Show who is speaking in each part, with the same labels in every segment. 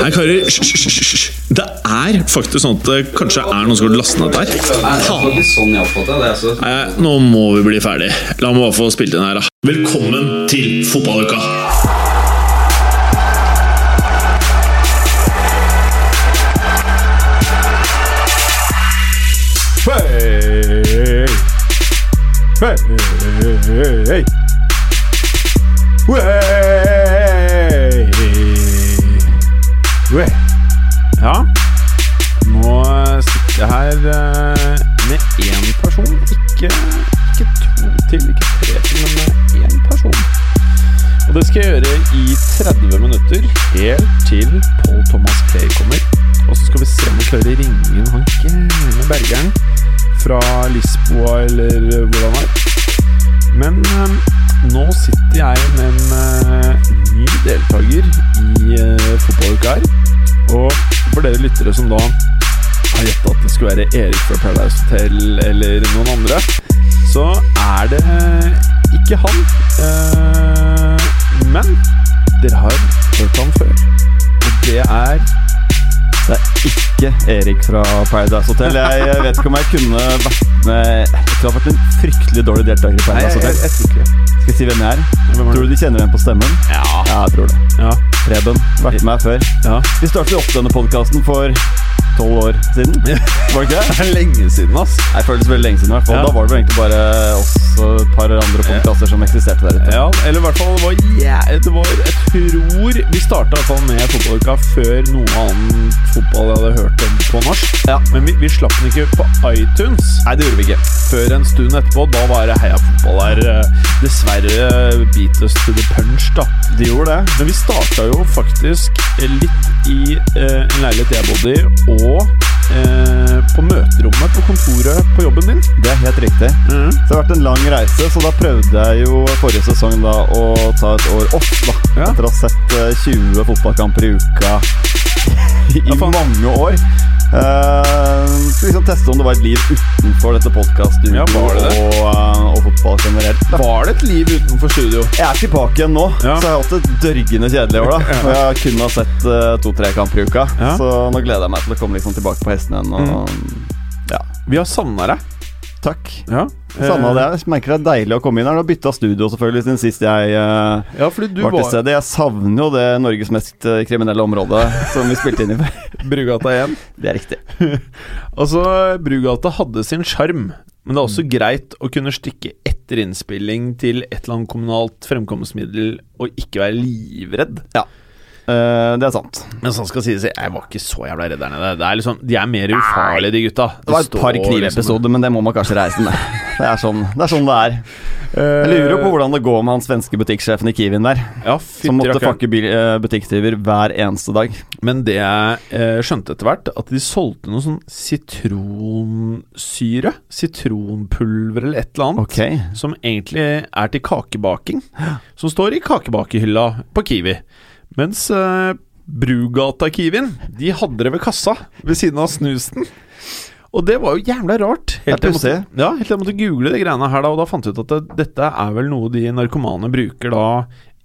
Speaker 1: Nei, karer, hysj, hysj, hysj, hysj. Det er faktisk sånn at det kanskje er noen som har lastet ned dette her. Faen.
Speaker 2: Sånn jeg oppfatter det. Altså.
Speaker 1: Nei, nå må vi bli ferdig. La meg bare få spilt inn her, da. Velkommen til fotballuka!
Speaker 3: Hey. Hey. Hey. Wey. Wey. Ja, nå sitter jeg her eh, med én person. Ikke, ikke to til, ikke tre til, men med én person. Og det skal jeg gjøre i 30 minutter, helt til Paul Thomas Clay kommer. Og så skal vi se om vi klarer å ringe inn han gærne bergeren fra Lisboa, eller eh, hvor han er. Men eh, nå sitter jeg med en eh, ny deltaker i eh, fotballuka her. Og for dere lyttere som da har gjetta at det skulle være Erik fra Paradise Hotel eller noen andre, så er det ikke han. Eh, Men dere har hørt han før. Og det er
Speaker 4: Det er ikke Erik fra Paradise Hotel. Jeg eh, vet ikke om jeg kunne vært med Jeg tror jeg har vært en fryktelig dårlig deltaker i Paradise Hotel.
Speaker 3: tror ikke det.
Speaker 4: Skal jeg si hvem jeg er?
Speaker 3: Hvem er
Speaker 4: Tror du de kjenner igjen på stemmen?
Speaker 3: Ja.
Speaker 4: Ja, jeg tror det.
Speaker 3: Ja.
Speaker 4: Preben. Vært med her før.
Speaker 3: ja.
Speaker 4: Vi startet jo opp denne podkasten for tolv år siden. Var det ikke det?
Speaker 3: Det er lenge siden, ass.
Speaker 4: Nei, Det føles veldig lenge siden. i hvert fall
Speaker 3: Ja.
Speaker 4: Da var det vel egentlig bare oss og et par andre podkaster som eksisterte der ute.
Speaker 3: Ja, eller i hvert fall det var, jæ- det var Jeg tror vi starta med fotballuka før noe annen fotball jeg hadde hørt om på norsk.
Speaker 4: Ja.
Speaker 3: Men vi, vi slapp den ikke på iTunes. Nei, det gjorde vi ikke. Før en stund etterpå. Da var det Heia fotball her. eh, Dessverre eh, beat us to the punch, da.
Speaker 4: De gjorde det.
Speaker 3: Men vi starta jo faktisk litt i eh, en leilighet jeg bodde i, og eh, på møterommet på kontoret på jobben din.
Speaker 4: Det er helt riktig.
Speaker 3: Mm.
Speaker 4: Så det har vært en lang reise, så da prøvde jeg jo forrige sesong da å ta et år off. da
Speaker 3: Ja.
Speaker 4: Etter å ha sett eh, 20 fotballkamper i uka i
Speaker 3: Ja, faen.
Speaker 4: mange år. Eh, Skulle liksom teste om det var et liv utenfor dette podkaststudioet
Speaker 3: Ja, var det det?
Speaker 4: og, eh, og fotball generelt. da.
Speaker 3: Var det et liv utenfor studio?
Speaker 4: Jeg er tilbake igjen nå,
Speaker 3: Ja.
Speaker 4: så jeg har hatt et dørgende kjedelig år. da Og jeg kun har sett eh, to-tre kamper i uka,
Speaker 3: Ja. Mm.
Speaker 4: så nå gleder jeg meg til å komme liksom tilbake på hesten igjen. Og, ja,
Speaker 3: Vi har savna deg.
Speaker 4: takk
Speaker 3: Ja.
Speaker 4: Samme av det. Jeg merker det er deilig å komme inn her. Nå bytta studio selvfølgelig siden sist jeg eh,
Speaker 3: Ja, fordi du
Speaker 4: var til
Speaker 3: var
Speaker 4: stede. Jeg savner jo det Norges mest eh, kriminelle området som vi spilte inn i.
Speaker 3: Brugata 1.
Speaker 4: Det er riktig.
Speaker 3: Altså, Brugata hadde sin sjarm, men det er
Speaker 4: Mm.
Speaker 3: også greit å kunne stikke etter innspilling til et eller annet kommunalt fremkomstmiddel og ikke være livredd.
Speaker 4: Eh, det er sant.
Speaker 3: Men sånn skal sies, jeg var ikke så jævla redd der nede. Det er liksom, de er mer ufarlige, de gutta.
Speaker 4: Det var et par liksom. knivepisoder, men det må man kanskje reise med. Det er sånn det er. Sånn det er. Jeg
Speaker 3: Eh,
Speaker 4: lurer jo på hvordan det går med han svenske butikksjefen i Kiwien der,
Speaker 3: ja,
Speaker 4: som måtte
Speaker 3: fytti rakkeren.
Speaker 4: fucke bil- eh, butikksdriver hver eneste dag.
Speaker 3: Men det jeg eh, skjønte etter hvert, at de solgte noe sånn sitronsyre. Sitronpulver eller et eller annet.
Speaker 4: Ok.
Speaker 3: Som egentlig er til kakebaking. Som står i kakebakehylla på Kiwi. Mens eh, Brugata-Kiwien, de hadde det ved kassa ved siden av snusen. Og det var jo jævla rart.
Speaker 4: Det er
Speaker 3: til jeg
Speaker 4: pussig.
Speaker 3: måtte, ja, helt til jeg måtte google de greiene her, da, og da fant jeg ut at det, dette er vel noe de narkomane bruker da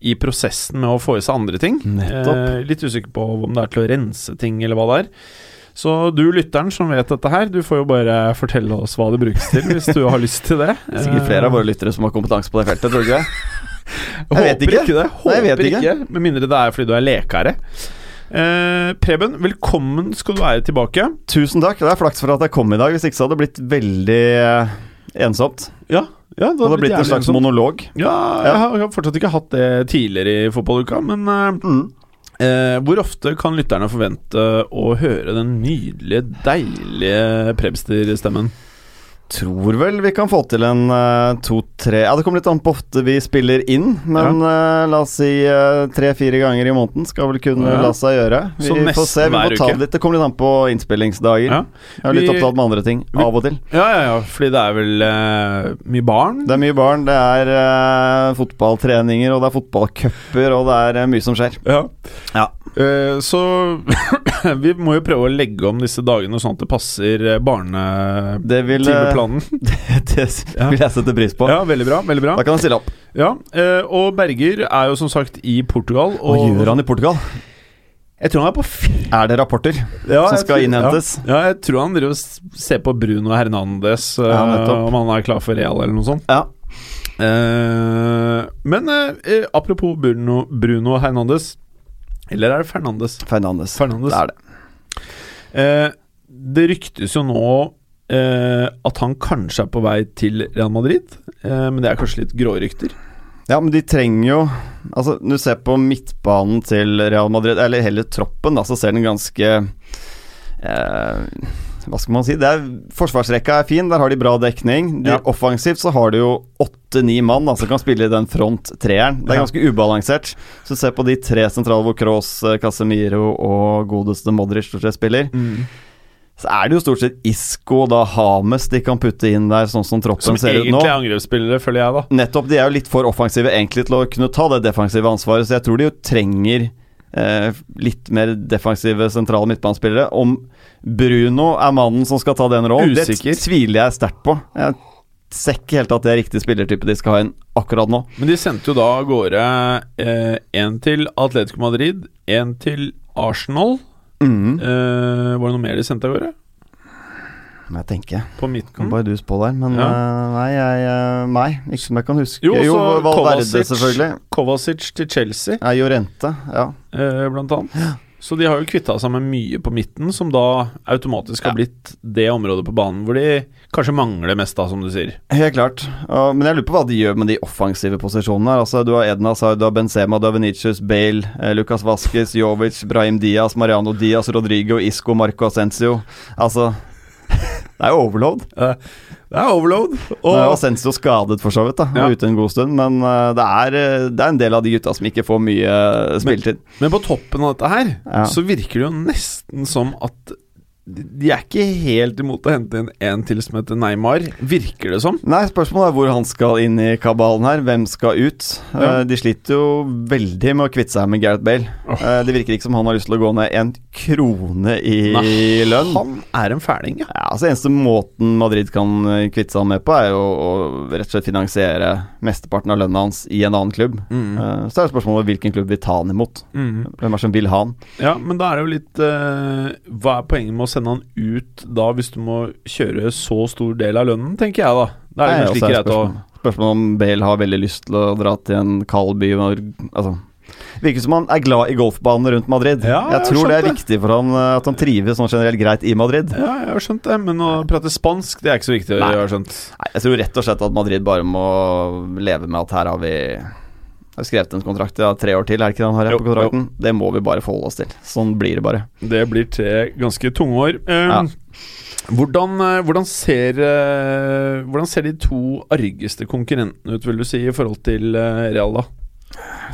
Speaker 3: i prosessen med å få i seg andre ting.
Speaker 4: Nettopp.
Speaker 3: Eh, litt usikker på om det er til å rense ting, eller hva det er. Så du lytteren som vet dette her, du får jo bare fortelle oss hva det brukes til, hvis du har lyst til det. Eh,
Speaker 4: Det er sikkert flere av våre lyttere som har kompetanse på det feltet, tror du ikke? det?
Speaker 3: Jeg
Speaker 4: Jeg vet
Speaker 3: håper
Speaker 4: ikke.
Speaker 3: ikke, det. Håper
Speaker 4: Nei, jeg vet
Speaker 3: ikke. Med mindre det er fordi du er lekare. Eh, Preben, velkommen skal du være tilbake.
Speaker 4: Tusen takk. Det er flaks for at jeg kom i dag, hvis ikke så hadde det blitt veldig eh, ensomt.
Speaker 3: Ja, ja
Speaker 4: Det hadde blitt en slags monolog.
Speaker 3: liksom. Ja, jeg har- jeg har fortsatt ikke hatt det tidligere i fotballuka, men eh,
Speaker 4: Mm.
Speaker 3: eh, hvor ofte kan lytterne forvente å høre den nydelige, deilige Prebster-stemmen?
Speaker 4: Tror vel vi kan få til en eh, to-tre Ja, det kommer litt an på ofte vi spiller inn, men eh, la oss si eh, tre-fire ganger i måneden skal vel kunne
Speaker 3: Ja.
Speaker 4: la seg gjøre. Vi
Speaker 3: Så nesten
Speaker 4: får se. Vi
Speaker 3: hver
Speaker 4: får ta
Speaker 3: uke.
Speaker 4: det litt. Det kommer litt an på innspillingsdager.
Speaker 3: Ja.
Speaker 4: Jeg er litt
Speaker 3: Vi-
Speaker 4: opptatt med andre ting
Speaker 3: vi-
Speaker 4: av og til.
Speaker 3: Ja, ja, ja, fordi det er vel eh, mye barn.
Speaker 4: Det er mye barn, det er eh, fotballtreninger, og det er fotballcuper, og det er eh, mye som skjer.
Speaker 3: Ja.
Speaker 4: Ja.
Speaker 3: Eh, så vi må jo prøve å legge om disse dagene sånn at det passer eh, barne...
Speaker 4: Det vil eh,
Speaker 3: planen.
Speaker 4: Det vil jeg sette pris på.
Speaker 3: Ja, veldig bra. veldig bra
Speaker 4: Da kan han stille opp.
Speaker 3: Ja, eh, Og Berger er jo som sagt i Portugal.
Speaker 4: Hva gjør han i Portugal?
Speaker 3: Jeg tror han er på f-
Speaker 4: Er det rapporter?
Speaker 3: Ja,
Speaker 4: Som
Speaker 3: jeg
Speaker 4: skal
Speaker 3: tror-
Speaker 4: innhentes?
Speaker 3: Ja, ja, jeg tror han driver og s- ser på Bruno Hernandez, eh,
Speaker 4: Ja, nettopp.
Speaker 3: om han er klar for Real eller noe sånt.
Speaker 4: Ja.
Speaker 3: Eh, men eh, apropos Bruno, Bruno Hernandez Eller er det Fernandes?
Speaker 4: Fernandes.
Speaker 3: Fernandes.
Speaker 4: Det er det.
Speaker 3: Eh, det ryktes jo nå eh, at han kanskje er på vei til Real Madrid, eh, men det er kanskje litt grårykter.
Speaker 4: Ja, men de trenger jo Altså, du ser på midtbanen til Real Madrid, eller hele troppen, da, så ser den ganske eh, Hva skal man si? Det er, forsvarsrekka er fin, der har de bra dekning. De,
Speaker 3: Ja.
Speaker 4: Offensivt så har de jo åtte-ni mann da, som kan spille i den front-treeren. Det er
Speaker 3: Ja.
Speaker 4: ganske ubalansert. Så se på de tre sentrale hvor Cross, Casemiro og godeste Modric stort sett spiller.
Speaker 3: Mm.
Speaker 4: Så er det jo stort sett Isco og da Hames de kan putte inn der, sånn som troppen
Speaker 3: Som
Speaker 4: ser ut nå.
Speaker 3: egentlig er angrepsspillere, føler jeg, da.
Speaker 4: Nettopp, de er jo litt for offensive egentlig til å kunne ta det defensive ansvaret, så jeg tror de jo trenger eh, litt mer defensive sentrale midtbanespillere. Om Bruno er mannen som skal ta den rollen, det
Speaker 3: Usikker.
Speaker 4: t- tviler jeg sterkt på. Jeg ser ikke helt at det er riktig spillertype de skal ha inn akkurat nå.
Speaker 3: Men de sendte jo da av gårde én til Atletico Madrid, én til Arsenal.
Speaker 4: Mhm,
Speaker 3: Eh, var det noe mer de sendte av gårde?
Speaker 4: må jeg tenke.
Speaker 3: På
Speaker 4: Kan
Speaker 3: midten?
Speaker 4: bare du spå der, men
Speaker 3: Mm. Ja.
Speaker 4: eh, nei, jeg, eh, nei, ikke som jeg kan huske.
Speaker 3: Jo, så
Speaker 4: Valverde,
Speaker 3: Kovacic.
Speaker 4: selvfølgelig.
Speaker 3: Kovacic til Chelsea,
Speaker 4: Ja, Jorente, ja.
Speaker 3: eh, blant annet. Så de har jo kvitta seg med mye på midten, som da automatisk har blitt det området på banen hvor de kanskje mangler mest, da, som du sier.
Speaker 4: Helt klart. Og- men jeg lurer på hva de gjør med de offensive posisjonene. her Altså Du har Edna Hazard, du har Benzema, du har Venicius, Bale, eh, Lucas Vasquez, Jovic, Brahim Diaz, Mariano Diaz, Rodrigo, Isco, Marco Ascencio. Altså Det er jo overload.
Speaker 3: Det er overload.
Speaker 4: Nå er jo
Speaker 3: Og
Speaker 4: Ascencio skadet, for så vidt, da og
Speaker 3: Ja.
Speaker 4: ute en god stund. Men eh, det er, eh, det er en del av de gutta som ikke får mye eh, spilletid.
Speaker 3: Men på toppen av dette her,
Speaker 4: Ja.
Speaker 3: så virker det jo nesten som at de de er ikke helt imot å hente inn en til som heter Neymar, virker det som.
Speaker 4: Nei, spørsmålet er hvor han skal inn i kabalen her. Hvem skal ut?
Speaker 3: Ja.
Speaker 4: Eh, De sliter jo veldig med å kvitte seg med Gareth Bale.
Speaker 3: Åh.
Speaker 4: Eh, Det virker ikke som han har lyst til å gå ned en krone i
Speaker 3: Nei,
Speaker 4: lønn.
Speaker 3: Han er en fæling, ja.
Speaker 4: Ja, altså Eneste måten Madrid kan eh, kvitte seg med på, er jo å rett og slett finansiere mesteparten av lønna hans i en annen klubb.
Speaker 3: Mm.
Speaker 4: Eh, Så er det spørsmålet hvilken klubb vil ta han imot.
Speaker 3: Mhm.
Speaker 4: Hvem er det som vil ha han?
Speaker 3: Ja, men da er det jo litt eh, Hva er poenget med å sende han ut da, hvis du må kjøre så stor del av lønnen, tenker jeg da. Da er det kanskje
Speaker 4: Nei, altså,
Speaker 3: like greit å
Speaker 4: spørsmål. Spørsmålet om Bale har veldig lyst til å dra til en kald by hvor, altså, Virker som han er glad i golfbanen rundt Madrid.
Speaker 3: Ja,
Speaker 4: jeg
Speaker 3: jeg
Speaker 4: tror det er
Speaker 3: skjønte.
Speaker 4: viktig for han eh, at han trives sånn generelt greit i Madrid.
Speaker 3: Ja, jeg har skjønt det, men å prate spansk, det er ikke så viktig,
Speaker 4: Nei.
Speaker 3: jeg har skjønt.
Speaker 4: Nei, jeg tror rett og slett at Madrid bare må leve med at her har vi har vi skrevet en kontrakt ja, tre år til, er det ikke det han har her
Speaker 3: Jo,
Speaker 4: på kontrakten? Det må vi bare forholde oss til. Sånn blir det bare.
Speaker 3: Det blir tre ganske tunge år. Eh,
Speaker 4: Ja.
Speaker 3: hvordan, eh, hvordan, ser, eh, hvordan ser de to argeste konkurrentene ut, vil du si, i forhold til eh, Real, da?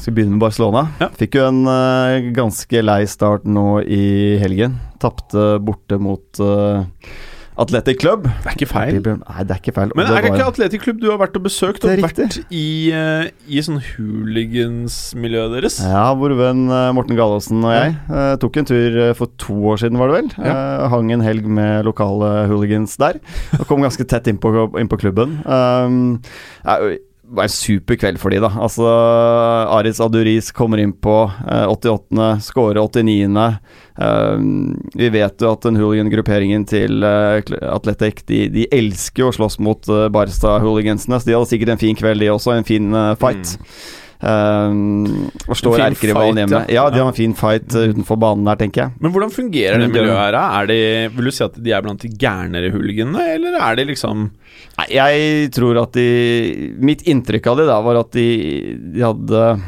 Speaker 4: Skal vi begynne med Barcelona.
Speaker 3: Ja.
Speaker 4: Fikk jo en eh, ganske lei start nå i helgen. Tapte borte mot eh, Athletic Club.
Speaker 3: Det er ikke feil.
Speaker 4: Bibelen- Nei, det er ikke feil.
Speaker 3: Men
Speaker 4: Det
Speaker 3: er det
Speaker 4: var-
Speaker 3: ikke atletikklubb du har vært og besøkt?
Speaker 4: Det
Speaker 3: Og
Speaker 4: er
Speaker 3: vært i, eh, i sånn hooligans-miljøet deres?
Speaker 4: Ja, vår venn eh, Morten Gallosen og jeg eh, tok en tur eh, for to år siden, var det vel. Eh, hang en helg med lokale hooligans der. Og kom ganske tett inn på, inn på klubben. Um, ja, det var en super kveld for de da. Altså, Aris Aduris kommer inn på eh, 88., scorer 89. Um, vi vet jo at den hooligan-grupperingen til eh, Kl- Athletic de, de elsker jo å slåss mot eh, Barstad-hooligansene, så de hadde sikkert en fin kveld, de også. En fin eh,
Speaker 3: Mm.
Speaker 4: fight. Um, og
Speaker 3: En
Speaker 4: slår
Speaker 3: fin
Speaker 4: erkerivalen
Speaker 3: fight,
Speaker 4: hjemme.
Speaker 3: ja.
Speaker 4: Ja, de har en fin fight eh, utenfor banen der, tenker jeg.
Speaker 3: Men hvordan fungerer det
Speaker 4: Men det-
Speaker 3: miljøet her? da? Er de, vil du si at de er blant de gærnere hooliganene, eller er de liksom
Speaker 4: Nei, jeg tror at de Mitt inntrykk av de da var at de, de hadde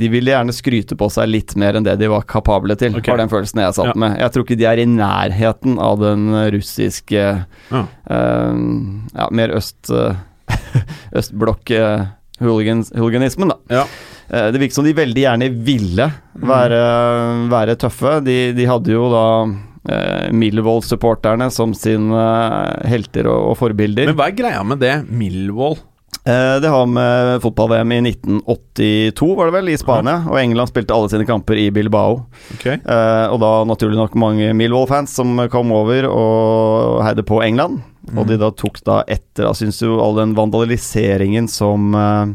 Speaker 4: de ville gjerne skryte på seg litt mer enn det de var kapable til,
Speaker 3: Ok.
Speaker 4: var den følelsen jeg
Speaker 3: Ja.
Speaker 4: satt med. Jeg tror ikke de er i nærheten av den russiske
Speaker 3: Ja.
Speaker 4: eh, Ja, mer øst eh, østblokk eh, hooligans, hooliganismen, da.
Speaker 3: Ja. Mm.
Speaker 4: Eh, det virket som de veldig gjerne ville være, være tøffe. De, de hadde jo da eh, Millwall-supporterne som sine eh, helter og, og forbilder.
Speaker 3: Men hva er greia med det? Millwall?
Speaker 4: Eh, Det har med fotball-VM i 1982, var det vel, i Spania. Og England spilte alle sine kamper i Bilbao.
Speaker 3: Ok.
Speaker 4: Eh, Og da naturlig nok mange Millwall-fans som kom over og heide på England. Og de da tok da etter Jeg syns jo all den vandaliseringen som eh,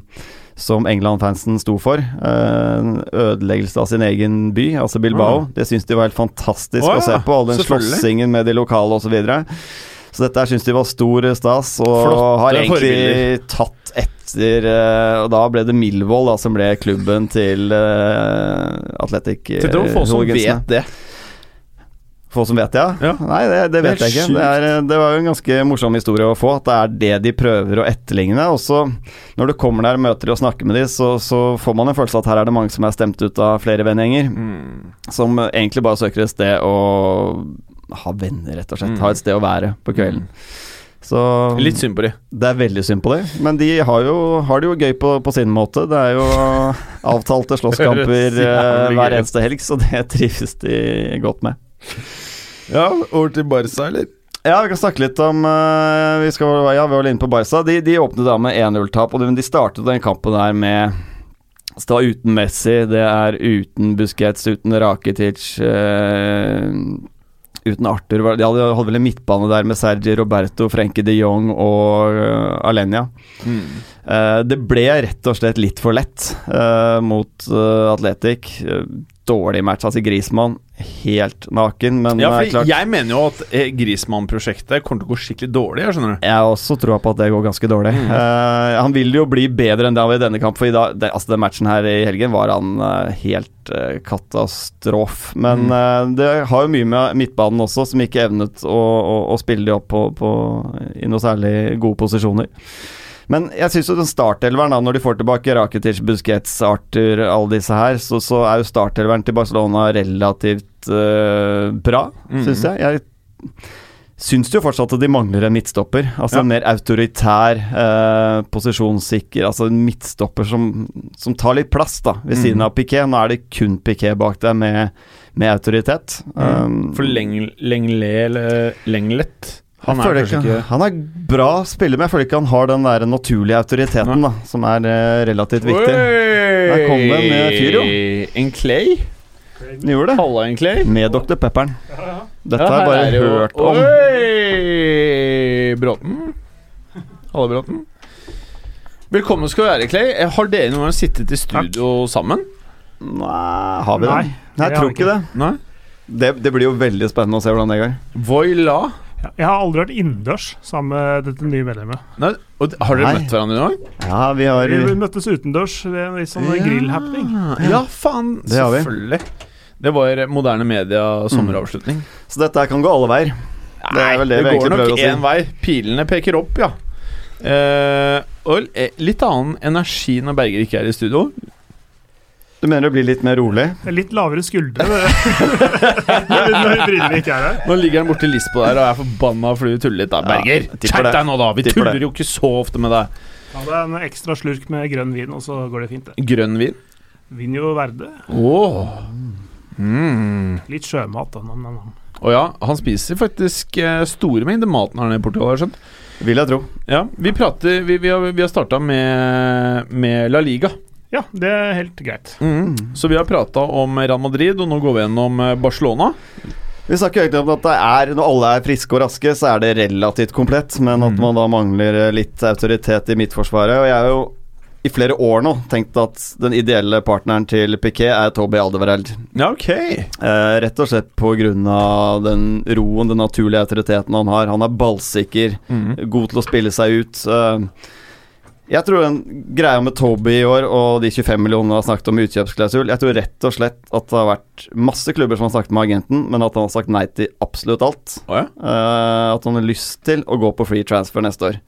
Speaker 4: som England-fansen sto for. eh, en Ødeleggelse av sin egen by, altså Bilbao.
Speaker 3: Ah.
Speaker 4: Det syns de var helt fantastisk
Speaker 3: Å
Speaker 4: å se
Speaker 3: ja,
Speaker 4: på. All den
Speaker 3: selvfølgelig.
Speaker 4: slåssingen med de lokale osv. Så, videre. så dette her syns de var stor eh, stas, og
Speaker 3: Flotte
Speaker 4: har egentlig
Speaker 3: forbilder.
Speaker 4: tatt etter eh, Og da ble det Milvold da, som ble klubben til uh, Atletic eh,
Speaker 3: Tenk deg hvor få som
Speaker 4: hooligansene.
Speaker 3: vet det.
Speaker 4: Få som vet det, ja?
Speaker 3: Ja.
Speaker 4: Nei, det, det vet
Speaker 3: Det er
Speaker 4: jeg ikke.
Speaker 3: sjukt.
Speaker 4: Det, er, det var jo en ganske morsom historie å få, at det er det de prøver å etterligne. Og så, når du kommer der, møter de og snakker med de, så, så får man en følelse av at her er det mange som er stemt ut av flere vennegjenger,
Speaker 3: Mm.
Speaker 4: som egentlig bare søker et sted å ha venner, rett og slett.
Speaker 3: Mm.
Speaker 4: Ha et sted å være på kvelden. Så
Speaker 3: Litt synd på de.
Speaker 4: det er veldig synd på dem, men de har, jo, har det jo gøy på, på sin måte. Det er jo avtalte slåsskamper
Speaker 3: Høres jævlig
Speaker 4: eh,
Speaker 3: gøy ut.
Speaker 4: hver eneste helg, så det trives de godt med.
Speaker 3: Ja, over til Barca, eller?
Speaker 4: Ja, vi kan snakke litt om eh, vi, skal, ja, vi var inne på Barca. De, de åpnet da med 1-0-tap, og de, de startet den kampen der med så Det var uten Messi, det er uten Busquets, uten Rakitic eh, Uten Arthur var- De hadde, hadde vel en midtbane der med Sergi Roberto, Frenkie de Jong og eh, Alenia.
Speaker 3: Mm.
Speaker 4: Eh, det ble rett og slett litt for lett eh, mot eh, Atletic. Eh, Dårlig match. Altså Grismann helt naken, men
Speaker 3: Ja,
Speaker 4: eh, klart-
Speaker 3: for jeg mener jo at eh, Grismann-prosjektet kommer til å gå skikkelig dårlig. Jeg skjønner du
Speaker 4: Jeg har også troa på at det går ganske dårlig. Eh, han vil jo bli bedre enn det han var i denne kampen, for i dag, det, altså den matchen her i helgen var han eh, helt eh, katastrof. Men eh, det har jo mye med midtbanen også, som ikke evnet å, å, å spille de opp på, på, i noe særlig gode posisjoner. Men jeg syns jo den startelveren, da, når de får tilbake Rakitic, Busquets, Arthur, alle disse her, så, så er jo startelveren til Barcelona relativt eh, bra, syns jeg. Jeg syns jo fortsatt at de mangler en midtstopper. Altså
Speaker 3: Ja.
Speaker 4: en mer autoritær, eh, posisjonssikker Altså en midtstopper som, som tar litt plass, da,
Speaker 3: Mm.
Speaker 4: ved siden av Piquet. Nå er det kun Piquet bak der med, med autoritet. Um,
Speaker 3: Mm. For Leng- Lengle eller Lenglet Han
Speaker 4: jeg
Speaker 3: er
Speaker 4: føler
Speaker 3: kanskje
Speaker 4: ikke,
Speaker 3: ikke
Speaker 4: han er bra spiller, men jeg føler ikke han har den der naturlige autoriteten da, som er eh, relativt viktig. Der kom det en, eh, fyr, jo.
Speaker 3: En Clay?
Speaker 4: Han gjorde det.
Speaker 3: Halla, en Clay?
Speaker 4: Med Dr. Pepper'n. Dette
Speaker 3: Ja,
Speaker 4: har
Speaker 3: her
Speaker 4: jeg bare
Speaker 3: er det jo-
Speaker 4: hørt om.
Speaker 3: Oi! Bråten. Halla, Bråten. Velkommen skal du være, Clay. Eh, Har dere noen gang sittet i studio sammen?
Speaker 4: Nei, har vi det?
Speaker 5: Nei,
Speaker 4: Nei, jeg
Speaker 5: det har
Speaker 4: tror
Speaker 5: vi
Speaker 4: ikke det.
Speaker 3: Nei?
Speaker 4: det. Det blir jo veldig spennende å se hvordan det går.
Speaker 3: Voila.
Speaker 5: Ja, Jeg har aldri vært innendørs sammen med dette nye medlemmet.
Speaker 3: Nei, og d- har dere
Speaker 4: Nei.
Speaker 3: møtt hverandre noen gang?
Speaker 4: Ja, vi har
Speaker 5: Vi møttes utendørs ved en litt sånn grillhappening.
Speaker 3: Ja, faen.
Speaker 4: Det har vi.
Speaker 3: Selvfølgelig. Det var eh, moderne media sommeravslutning.
Speaker 4: Så dette her kan gå alle veier. Mm. Det er vel det vi
Speaker 3: Nei,
Speaker 4: egentlig prøver å si.
Speaker 3: går nok én vei. Pilene peker opp, ja. Eh, og l- eh, litt annen energi når Berger ikke er i studio.
Speaker 4: Du mener det blir litt mer rolig?
Speaker 5: Det er Litt lavere skuldre det- når brillene ikke er her.
Speaker 3: Nå ligger han borti Lisboa der og er forbanna fordi vi tuller litt. da Berger,
Speaker 4: jeg tipper
Speaker 3: skjerp
Speaker 4: det.
Speaker 3: deg nå, da! Vi
Speaker 4: Tipper det.
Speaker 3: tuller jo ikke så ofte med deg.
Speaker 5: Ta deg en ekstra slurk med grønn vin, og så går det fint. det.
Speaker 3: Grønn vin.
Speaker 5: Vinjo verde.
Speaker 3: Åh. Mm.
Speaker 5: Litt sjømat. Da. Nam, nam, nam.
Speaker 3: Og ja, han spiser faktisk eh, store mengder mat når han er i Portugal, har jeg skjønt.
Speaker 4: Vil jeg tro.
Speaker 3: Ja, vi prater Vi, vi har, vi har starta med, med La Liga.
Speaker 5: Ja, det er helt greit.
Speaker 3: Så vi har prata om Real Madrid, og nå går vi gjennom eh, Barcelona.
Speaker 4: Vi snakker jo egentlig om at det er, når alle er friske og raske, så er det relativt komplett, men at man da mangler eh, litt autoritet i midtforsvaret. Og jeg har jo i flere år nå tenkt at den ideelle partneren til Piquet er Toby Aldevereld.
Speaker 3: Ja, ok
Speaker 4: Eh, rett og slett pga. den roen, den naturlige autoriteten han har. Han er ballsikker,
Speaker 3: Mm.
Speaker 4: god til å spille seg ut. Eh, jeg tror den greia med Toby i år og de 25 millionene han har snakket om i utkjøpsklausul Jeg tror rett og slett at det har vært masse klubber som har snakket med agenten, men at han har sagt nei til absolutt alt.
Speaker 3: Å ja.
Speaker 4: Eh, at han har lyst til å gå på free transfer neste år.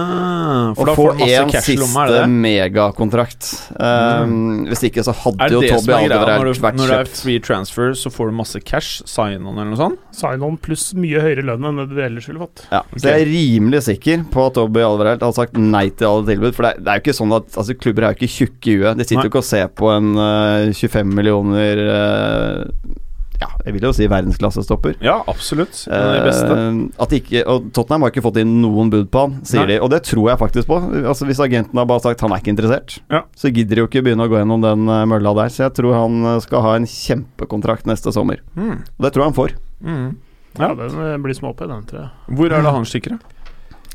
Speaker 3: Ah, for
Speaker 4: Og
Speaker 3: da
Speaker 4: få
Speaker 3: får du masse
Speaker 4: en
Speaker 3: cash i lomma,
Speaker 4: siste
Speaker 3: er det det?
Speaker 4: megakontrakt. Eh, Hvis ikke så hadde
Speaker 3: Er det
Speaker 4: jo
Speaker 3: det som
Speaker 4: Toby
Speaker 3: er greia? Når
Speaker 4: Alderweireld
Speaker 3: du,
Speaker 4: vært
Speaker 3: når det er
Speaker 4: kjøpt.
Speaker 3: free transfer, så får du masse cash? Sign-on eller noe sånt?
Speaker 5: Sign-on pluss mye høyere lønn enn det du ellers ville fått.
Speaker 4: Ja, Så jeg er rimelig sikker på at Toby Alvarelt har sagt nei til alle tilbud. For det er, det er jo ikke sånn at altså, klubber er jo ikke tjukke i huet. De sitter
Speaker 3: Nei.
Speaker 4: jo ikke og ser på en eh, 25 millioner eh, Ja, jeg vil jo si verdensklassestopper.
Speaker 3: Ja, absolutt. Det er det beste.
Speaker 4: Eh, at de ikke, og Tottenham har ikke fått inn noen bud på han, sier
Speaker 3: Nei.
Speaker 4: de. Og det tror jeg faktisk på. Altså Hvis agenten har bare sagt han er ikke interessert,
Speaker 3: Ja.
Speaker 4: så gidder de jo ikke begynne å gå gjennom den eh, mølla der. Så jeg tror han eh, skal ha en kjempekontrakt neste sommer.
Speaker 3: Mm.
Speaker 4: Og det tror jeg han får.
Speaker 3: Mm.
Speaker 5: Ja, Den eh, blir småp i den, tror jeg.
Speaker 3: Hvor er det han stikker, da?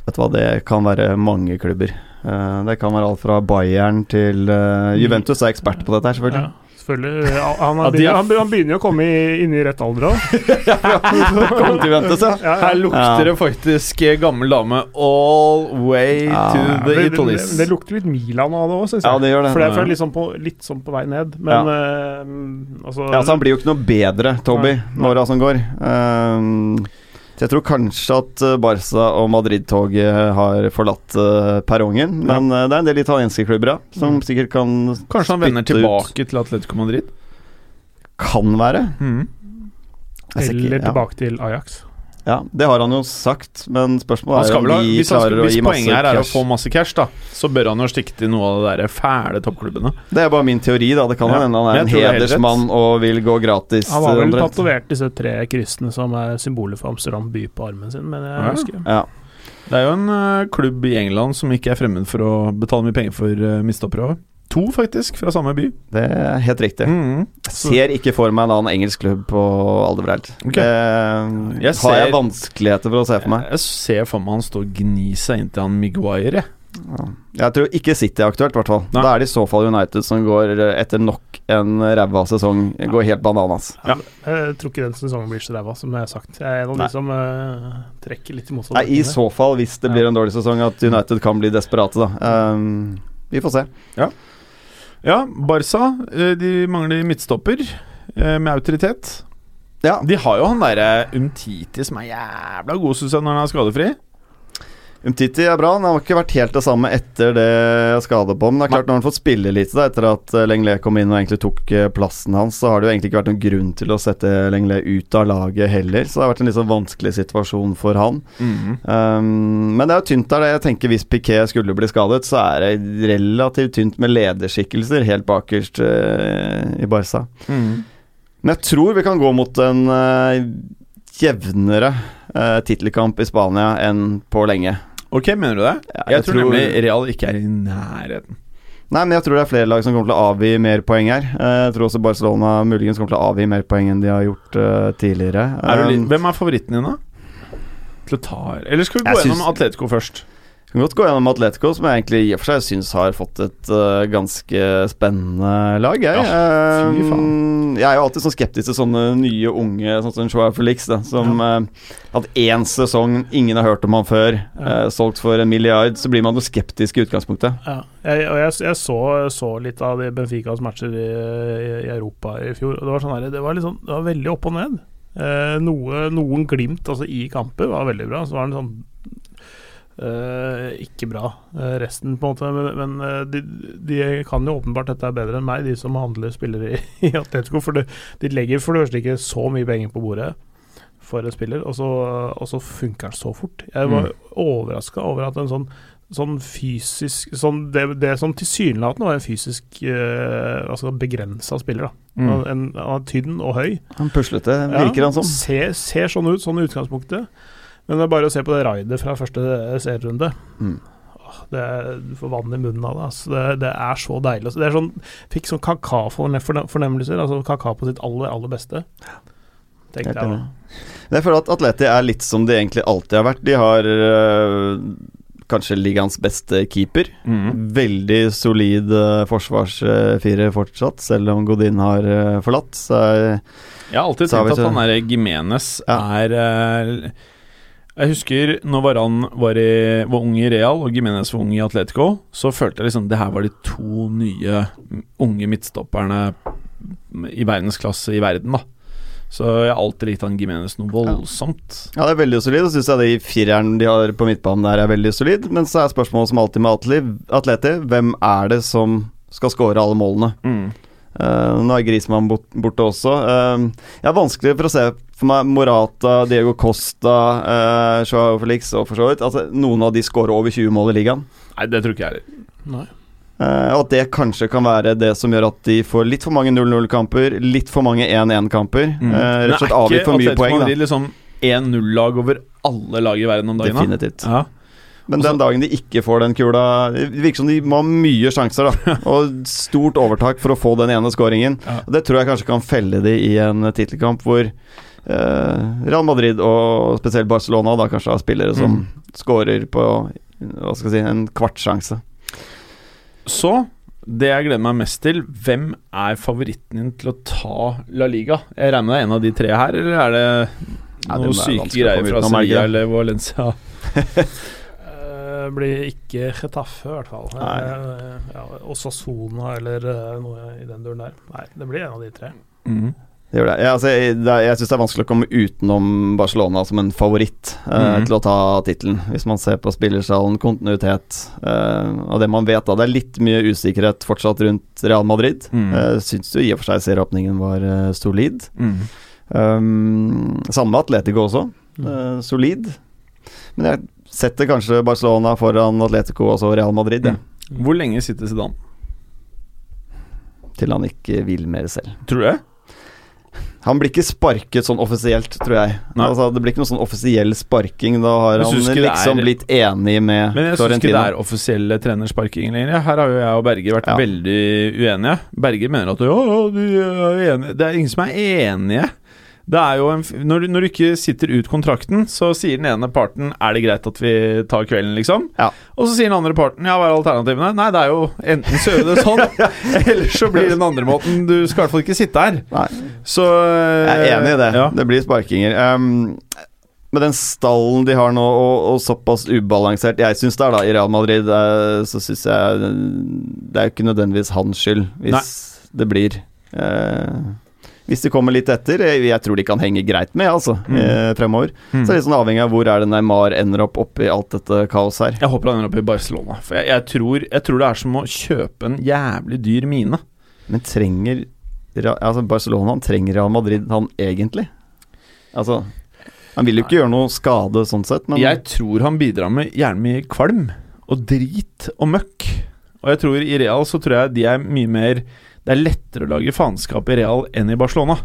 Speaker 4: Vet du hva, det kan være mange klubber. Eh, det kan være alt fra Bayern til eh, Juventus er ekspert på dette her, selvfølgelig.
Speaker 5: Ja, selvfølgelig. Han, han,
Speaker 3: Ja, de er-
Speaker 5: begynner, han, han begynner jo å komme i- inn i rett alder òg.
Speaker 4: Kom til Juventus, ja.
Speaker 5: Ja, ja.
Speaker 3: Her lukter det faktisk eh, gammel dame all way
Speaker 4: Ja,
Speaker 3: to
Speaker 4: ja,
Speaker 3: the
Speaker 5: Men
Speaker 3: Italis.
Speaker 5: Det, det lukter litt Milan av det òg, syns jeg.
Speaker 4: Ja, det gjør det.
Speaker 5: For det er
Speaker 4: Ja.
Speaker 5: fra litt sånn på, litt sånn på vei ned, men eh, altså,
Speaker 4: Ja, så Han blir jo ikke noe bedre, Toby,
Speaker 5: Nei, nei.
Speaker 4: med åra som går. Ehm, så jeg tror kanskje at eh, Barca og Madrid-toget har forlatt eh, perrongen. Men eh, det er en del italienske klubber ja,
Speaker 3: Mm.
Speaker 4: som sikkert kan
Speaker 3: Kanskje han vender
Speaker 4: spytte ut.
Speaker 3: tilbake til Atletico Madrid?
Speaker 4: Kan være.
Speaker 3: Mm.
Speaker 4: Jeg er sikker,
Speaker 5: Eller
Speaker 4: ja.
Speaker 5: tilbake til Ajax.
Speaker 4: Ja, det har han jo sagt, men
Speaker 3: Han
Speaker 4: spørsmålet er
Speaker 3: skal
Speaker 4: om
Speaker 3: vel ha,
Speaker 4: vi
Speaker 3: hvis han,
Speaker 4: klarer
Speaker 3: skal-
Speaker 4: å
Speaker 3: hvis
Speaker 4: gi masse
Speaker 3: poenget her er å
Speaker 4: cash.
Speaker 3: få masse cash, da, så bør han jo stikke til noe av de der fæle toppklubbene.
Speaker 4: Det er bare min teori, da. Det kan
Speaker 3: Ja,
Speaker 4: hende han er
Speaker 3: men
Speaker 4: en
Speaker 3: jeg tror det er helt
Speaker 4: hedersmann og vil gå gratis.
Speaker 5: Han var vel
Speaker 4: omtrent.
Speaker 5: tatovert disse tre kryssene som er symbolet for Amsterdam by på armen sin, men jeg
Speaker 3: Ja.
Speaker 5: husker
Speaker 4: Ja.
Speaker 3: Det er jo en ø, klubb i England som ikke er fremmed for å betale mye penger for uh, mistoppere også. To, faktisk, fra samme by.
Speaker 4: Det er helt riktig.
Speaker 3: Mhm. Så-
Speaker 4: Ser ikke for meg en annen engelsk klubb på Aldebreld.
Speaker 3: Ok.
Speaker 4: Det
Speaker 3: Jeg
Speaker 4: har jeg
Speaker 3: ser-
Speaker 4: vanskeligheter for å se for meg.
Speaker 3: Jeg ser for meg han står og gnir seg inn til han Maguire. jeg.
Speaker 4: Jeg tror ikke City er aktuelt, i hvert fall.
Speaker 3: Nei.
Speaker 4: Da er det i så fall United som går eh, etter nok en ræva sesong. Går helt bananas.
Speaker 5: Jeg tror ikke den sesongen blir så ræva, som jeg har sagt. Jeg er en av
Speaker 4: Nei.
Speaker 5: de som eh, trekker litt imot.
Speaker 4: Nei, I så fall, hvis det
Speaker 5: Ja.
Speaker 4: blir en dårlig sesong, at United kan bli desperate, da. Ehm, vi får se.
Speaker 3: Ja, Barca ø, de mangler midtstopper ø, med autoritet.
Speaker 4: Ja,
Speaker 3: De har jo han derre Umtiti som er jævla god, syns jeg, når han er skadefri.
Speaker 4: Umtiti er bra. Han har ikke vært helt det samme etter det skadet på. Men det er klart når han får spille litt da, etter at eh, Lenglet kom inn og egentlig tok eh, plassen hans, så har det jo egentlig ikke vært noen grunn til å sette Lenglet ut av laget heller. Så det har vært en litt sånn vanskelig situasjon for han. Ehm, men det er jo tynt der. det. Jeg tenker Hvis Piquet skulle bli skadet, så er det relativt tynt med lederskikkelser helt bakerst eh, i Barca.
Speaker 3: Mhm.
Speaker 4: Men jeg tror vi kan gå mot en eh, jevnere uh, tittelkamp i Spania enn på lenge.
Speaker 3: Ok, mener du det?
Speaker 4: Ja,
Speaker 3: jeg, tror, nemlig Real ikke er i nærheten.
Speaker 4: Nei, men jeg tror det er flere lag som kommer til å avgi mer poeng her. Eh, Jeg tror også Barcelona muligens kommer til å avgi mer poeng enn de har gjort eh, tidligere.
Speaker 3: Er du, li-
Speaker 4: Um,
Speaker 3: hvem er favoritten din, da? Til å ta her Eller skal vi gå
Speaker 4: Jeg
Speaker 3: gjennom
Speaker 4: syns-
Speaker 3: Atletico først?
Speaker 4: Kan godt gå gjennom Atletico, som jeg egentlig i og for seg syns har fått et øh, ganske spennende lag. Jeg.
Speaker 3: fy
Speaker 4: Um, jeg er jo alltid sånn skeptisk til sånne nye unge, sånn som Joao Felix, da, som ja. hatt én sesong ingen har hørt om han før,
Speaker 5: Ja.
Speaker 4: eh, solgt for en milliard, så blir man jo skeptisk i utgangspunktet.
Speaker 5: Ja. Jeg, og jeg, jeg så, så litt av de Benficas matcher i, i Europa i fjor. Og det var sånn her, det var, litt sånn, det var veldig opp og ned. Eh, noe, noen glimt altså, i kamper var veldig bra. Så var det sånn eh, ikke bra, eh, resten, på en måte. Men, men eh, de, de kan jo åpenbart dette er bedre enn meg, de som handler spillere i, i Atletico. For de, de legger for det første ikke så mye penger på bordet for en spiller, og så, og så funker den så fort. Jeg var overrasket overraska over at en sånn sånn fysisk sånn det, det som tilsynelatende var en fysisk eh, altså begrensa spiller. da
Speaker 4: Mm.
Speaker 5: han, en, han er tynn og høy.
Speaker 4: Han puslete,
Speaker 5: Mm. Ja,
Speaker 4: virker han som.
Speaker 5: Ser, ser sånn ut, sånn i utgangspunktet. Men det er bare å se på det raidet fra første serierunde.
Speaker 4: Mm.
Speaker 5: Åh, Det er, du får vann i munnen av det. Altså. Det, det er så deilig. Altså. Det er sånn, fikk sånn kaka-fornemmelser. Altså kaka på sitt aller, aller beste. Tenkte
Speaker 4: Helt
Speaker 5: jeg da.
Speaker 4: enig. Men Jeg føler at Atleti er litt som de egentlig alltid har vært. De har øh, kanskje ligaens beste keeper. Veldig solid eh, forsvarsfire fortsatt, selv om Godin har eh, forlatt. Så er-
Speaker 3: Jeg har alltid
Speaker 4: Så har vi
Speaker 3: tenkt at
Speaker 4: så-
Speaker 3: han der Gimenez
Speaker 4: Ja.
Speaker 3: er eh, Jeg husker når Varan var, i, var ung i Real og Gimenez var ung i Atletico, så følte jeg liksom det her var de to nye unge midtstopperne i verdensklasse i verden, da. Så jeg har alltid likt han Gimenez noe voldsomt.
Speaker 4: ja, det er veldig solid. Og syns jeg de fireren de har på midtbanen der er veldig solid. Men så er spørsmålet som alltid med Atli- Atleti, hvem er det som skal skåre alle målene?
Speaker 3: Mm.
Speaker 4: Eh, nå er Grismann bort, borte også. Eh, jeg er vanskelig for å se for meg Morata, Diego Costa, uh, Joao Felix og for så vidt. Altså, noen av de skårer over 20 mål i ligaen.
Speaker 3: Nei, det tror ikke jeg heller.
Speaker 5: Nei.
Speaker 4: Eh, Og at det kanskje kan være det som gjør at de får litt for mange 0-0-kamper, litt for mange 1-1-kamper.
Speaker 3: Mm.
Speaker 4: Eh, rett og slett avgitt for mye poeng, da.
Speaker 3: Madrid liksom 1-0-lag over alle lag i verden om dagen? da?
Speaker 4: Definitivt.
Speaker 3: Ja.
Speaker 4: Men den dagen de ikke får den kula Det virker som de må ha mye sjanser, da. Og stort overtak for å få den ene skåringen.
Speaker 3: Ja.
Speaker 4: Og Det tror jeg kanskje kan felle de i en tittelkamp hvor eh, Real Madrid og spesielt Barcelona da kanskje har spillere som
Speaker 3: Mm.
Speaker 4: scorer på hva skal jeg si, en kvartsjanse.
Speaker 3: Så det jeg gleder meg mest til, hvem er favoritten din til å ta La Liga? Jeg regner med det er en av de tre her, eller er det
Speaker 4: Nei,
Speaker 3: noen
Speaker 4: det er
Speaker 3: syke
Speaker 4: vanskelig å
Speaker 3: greier fra
Speaker 4: komme utenom, er det ikke
Speaker 3: Sevilla
Speaker 4: det?
Speaker 3: eller Valencia?
Speaker 5: Eh, blir ikke Chetaffe, i hvert fall.
Speaker 4: Nei.
Speaker 5: Eh, ja, Osasona eller eh, noe i den duren der. Nei, det blir en av de tre.
Speaker 3: Mm.
Speaker 4: Det gjør det. Jeg, altså, jeg, det er- jeg syns det er vanskelig å komme utenom Barcelona som en favoritt eh,
Speaker 3: Mhm.
Speaker 4: til å ta tittelen, hvis man ser på spillersalen, kontinuitet eh, og det man vet da. Det er litt mye usikkerhet fortsatt rundt Real Madrid.
Speaker 3: Mm.
Speaker 4: Eh, syns jo i og for seg serieåpningen var eh, solid.
Speaker 3: Mm.
Speaker 4: Um, samme med Atletico også,
Speaker 5: Mm.
Speaker 4: eh, solid. Men jeg setter kanskje Barcelona foran Atletico og så Real Madrid,
Speaker 3: Mm.
Speaker 4: jeg,
Speaker 3: Hvor lenge sitter Zidane?
Speaker 4: til han ikke vil mer selv.
Speaker 3: Tror du det?
Speaker 4: Han blir ikke sparket sånn offisielt, tror jeg.
Speaker 3: Nei.
Speaker 4: Altså, det blir ikke noe sånn offisiell sparking. Da
Speaker 3: Men
Speaker 4: har han
Speaker 3: synes ikke det
Speaker 4: liksom
Speaker 3: er-
Speaker 4: blitt enig med
Speaker 3: Men jeg syns ikke det
Speaker 4: Florentino.
Speaker 3: er offisielle trenersparkinger lenger. Her har jo jeg og Berger vært
Speaker 4: Ja.
Speaker 3: veldig uenige. Berger mener at ja, ja, du er enig. Det er ingen som er enige. Det er jo en, f- når, du- når du ikke sitter ut kontrakten, så sier den ene parten 'er det greit at vi tar kvelden', liksom.
Speaker 4: Ja.
Speaker 3: Og så sier den andre parten 'ja, hva er alternativene'? Nei, det er jo enten så gjør vi det sånn, eller så blir det den andre måten. Du skal i hvert fall ikke sitte her.
Speaker 4: Nei.
Speaker 3: Så
Speaker 4: Jeg er enig i det.
Speaker 3: Ja.
Speaker 4: Det blir sparkinger. Um, med den stallen de har nå, og, og såpass ubalansert jeg syns det er da i Real Madrid, eh, så syns jeg eh, det er jo ikke nødvendigvis hans skyld hvis det blir eh, Hvis de kommer litt etter. Jeg, jeg tror de kan henge greit med, altså,
Speaker 3: Mm.
Speaker 4: eh, fremover. Så det er litt sånn avhengig av hvor er det Neymar ender opp oppi alt dette kaoset her.
Speaker 3: Jeg håper han ender opp i Barcelona. For jeg, jeg, tror, jeg tror det er som å kjøpe en jævlig dyr mine.
Speaker 4: Men trenger Ra- altså Barcelona han trenger Real Madrid han egentlig? Altså Han vil jo ikke gjøre noe skade sånn sett, men
Speaker 3: Jeg tror han bidrar med gjerne mye kvalm og drit og møkk. Og jeg tror i Real så tror jeg de er mye mer Det er lettere å lage faenskap i Real enn i Barcelona.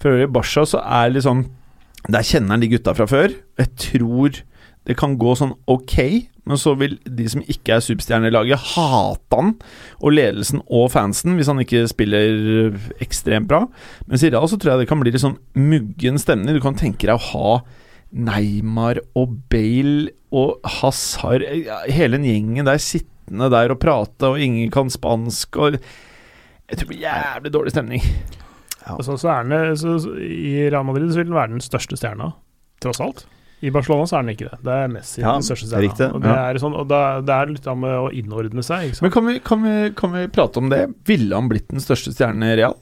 Speaker 3: For i Barca så er liksom Der kjenner han de gutta fra før. Jeg tror det kan gå sånn ok, men så vil de som ikke er superstjerner i laget, hate han og ledelsen og fansen hvis han ikke spiller ekstremt bra. Mens i Real så tror jeg det kan bli litt sånn muggen stemning. Du kan tenke deg å ha Neymar og Bale og Hazard ja, Hele den gjengen der sittende der og prate, og ingen kan spansk og Jeg tror det blir jævlig dårlig stemning.
Speaker 5: Og sånn så, så er den, eh, så, så, I Real Madrid så vil den være den største stjerna, tross alt. I Barcelona så er den ikke det. Det er Messi
Speaker 4: Ja,
Speaker 5: den største stjerna.
Speaker 4: riktig.
Speaker 5: Og det
Speaker 3: Ja.
Speaker 5: er, sånn, og da, det er litt da med å innordne seg. Ikke sant?
Speaker 3: Men kan vi, kan, vi, kan vi prate om det? Ville han blitt den største stjernen i Real?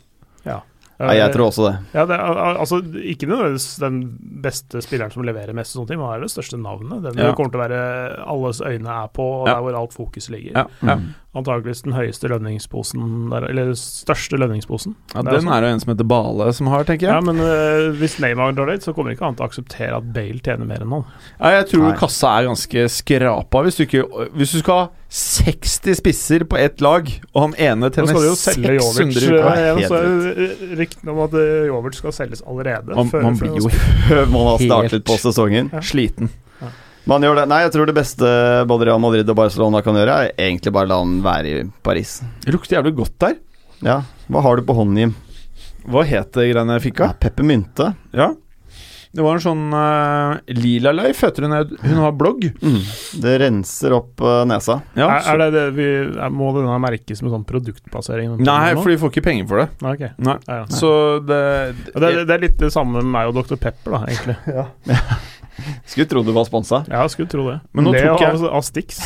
Speaker 4: Nei, jeg tror også det.
Speaker 5: Ja, det er, al- altså, ikke nødvendigvis den beste spilleren som leverer mest, og sånne ting, men han er det største navnet. Den
Speaker 3: Ja.
Speaker 5: det kommer til å være alles øyne er på, og
Speaker 3: Ja.
Speaker 5: der hvor alt fokus ligger.
Speaker 3: Ja, ja.
Speaker 4: Mm.
Speaker 5: Antakeligvis den høyeste lønningsposen der, eller største lønningsposen.
Speaker 3: ja
Speaker 5: Det er
Speaker 3: Den er jo en som heter Bale som har, tenker
Speaker 5: Ja,
Speaker 3: jeg.
Speaker 5: men øh, hvis Neymar drar dit, så kommer ikke han til å akseptere at Bale tjener mer enn han.
Speaker 3: Ja, jeg tror
Speaker 4: Nei.
Speaker 3: kassa er ganske skrapa hvis du, ikke, hvis du skal ha 60 spisser på ett lag, og han ene
Speaker 5: Nå
Speaker 3: tjener
Speaker 5: skal de jo
Speaker 3: 600
Speaker 5: selge Jovic.
Speaker 3: i uka.
Speaker 4: Ja,
Speaker 5: øh,
Speaker 4: helt
Speaker 5: så er Ryktene om at øh, Jovic skal selges allerede.
Speaker 3: Man,
Speaker 5: før-
Speaker 3: man
Speaker 5: før-
Speaker 3: blir jo
Speaker 4: Man har startet
Speaker 3: Helt.
Speaker 4: på sesongen.
Speaker 5: Ja.
Speaker 3: sliten.
Speaker 4: Man gjør det. Nei, jeg tror det beste både Real Madrid og Barcelona kan gjøre, er egentlig bare la han være i Paris.
Speaker 3: Det lukter jævlig godt der.
Speaker 4: Ja. Hva har du på hånden, Jim?
Speaker 3: Hva het det greiene jeg fikk av?
Speaker 4: Ja, peppermynte.
Speaker 3: Ja. Det var en sånn eh, Lila Leif heter hun. Hun har blogg.
Speaker 4: Mm. Det renser opp eh, nesa.
Speaker 3: Ja,
Speaker 5: er, er
Speaker 3: så-
Speaker 5: det det vi, er, må denne merkes med sånn produktplassering?
Speaker 3: Nei, for de får ikke penger for det.
Speaker 5: Nei, ok.
Speaker 3: Nei.
Speaker 5: Ja, ja.
Speaker 3: Så det,
Speaker 5: Og det, er- det er litt det samme med meg og Dr. Pepper, da, egentlig.
Speaker 4: Skulle tro du var sponsa.
Speaker 5: Ja, jeg skulle tro det.
Speaker 3: Men nå
Speaker 5: det
Speaker 3: tok jeg-
Speaker 5: av, av Stix.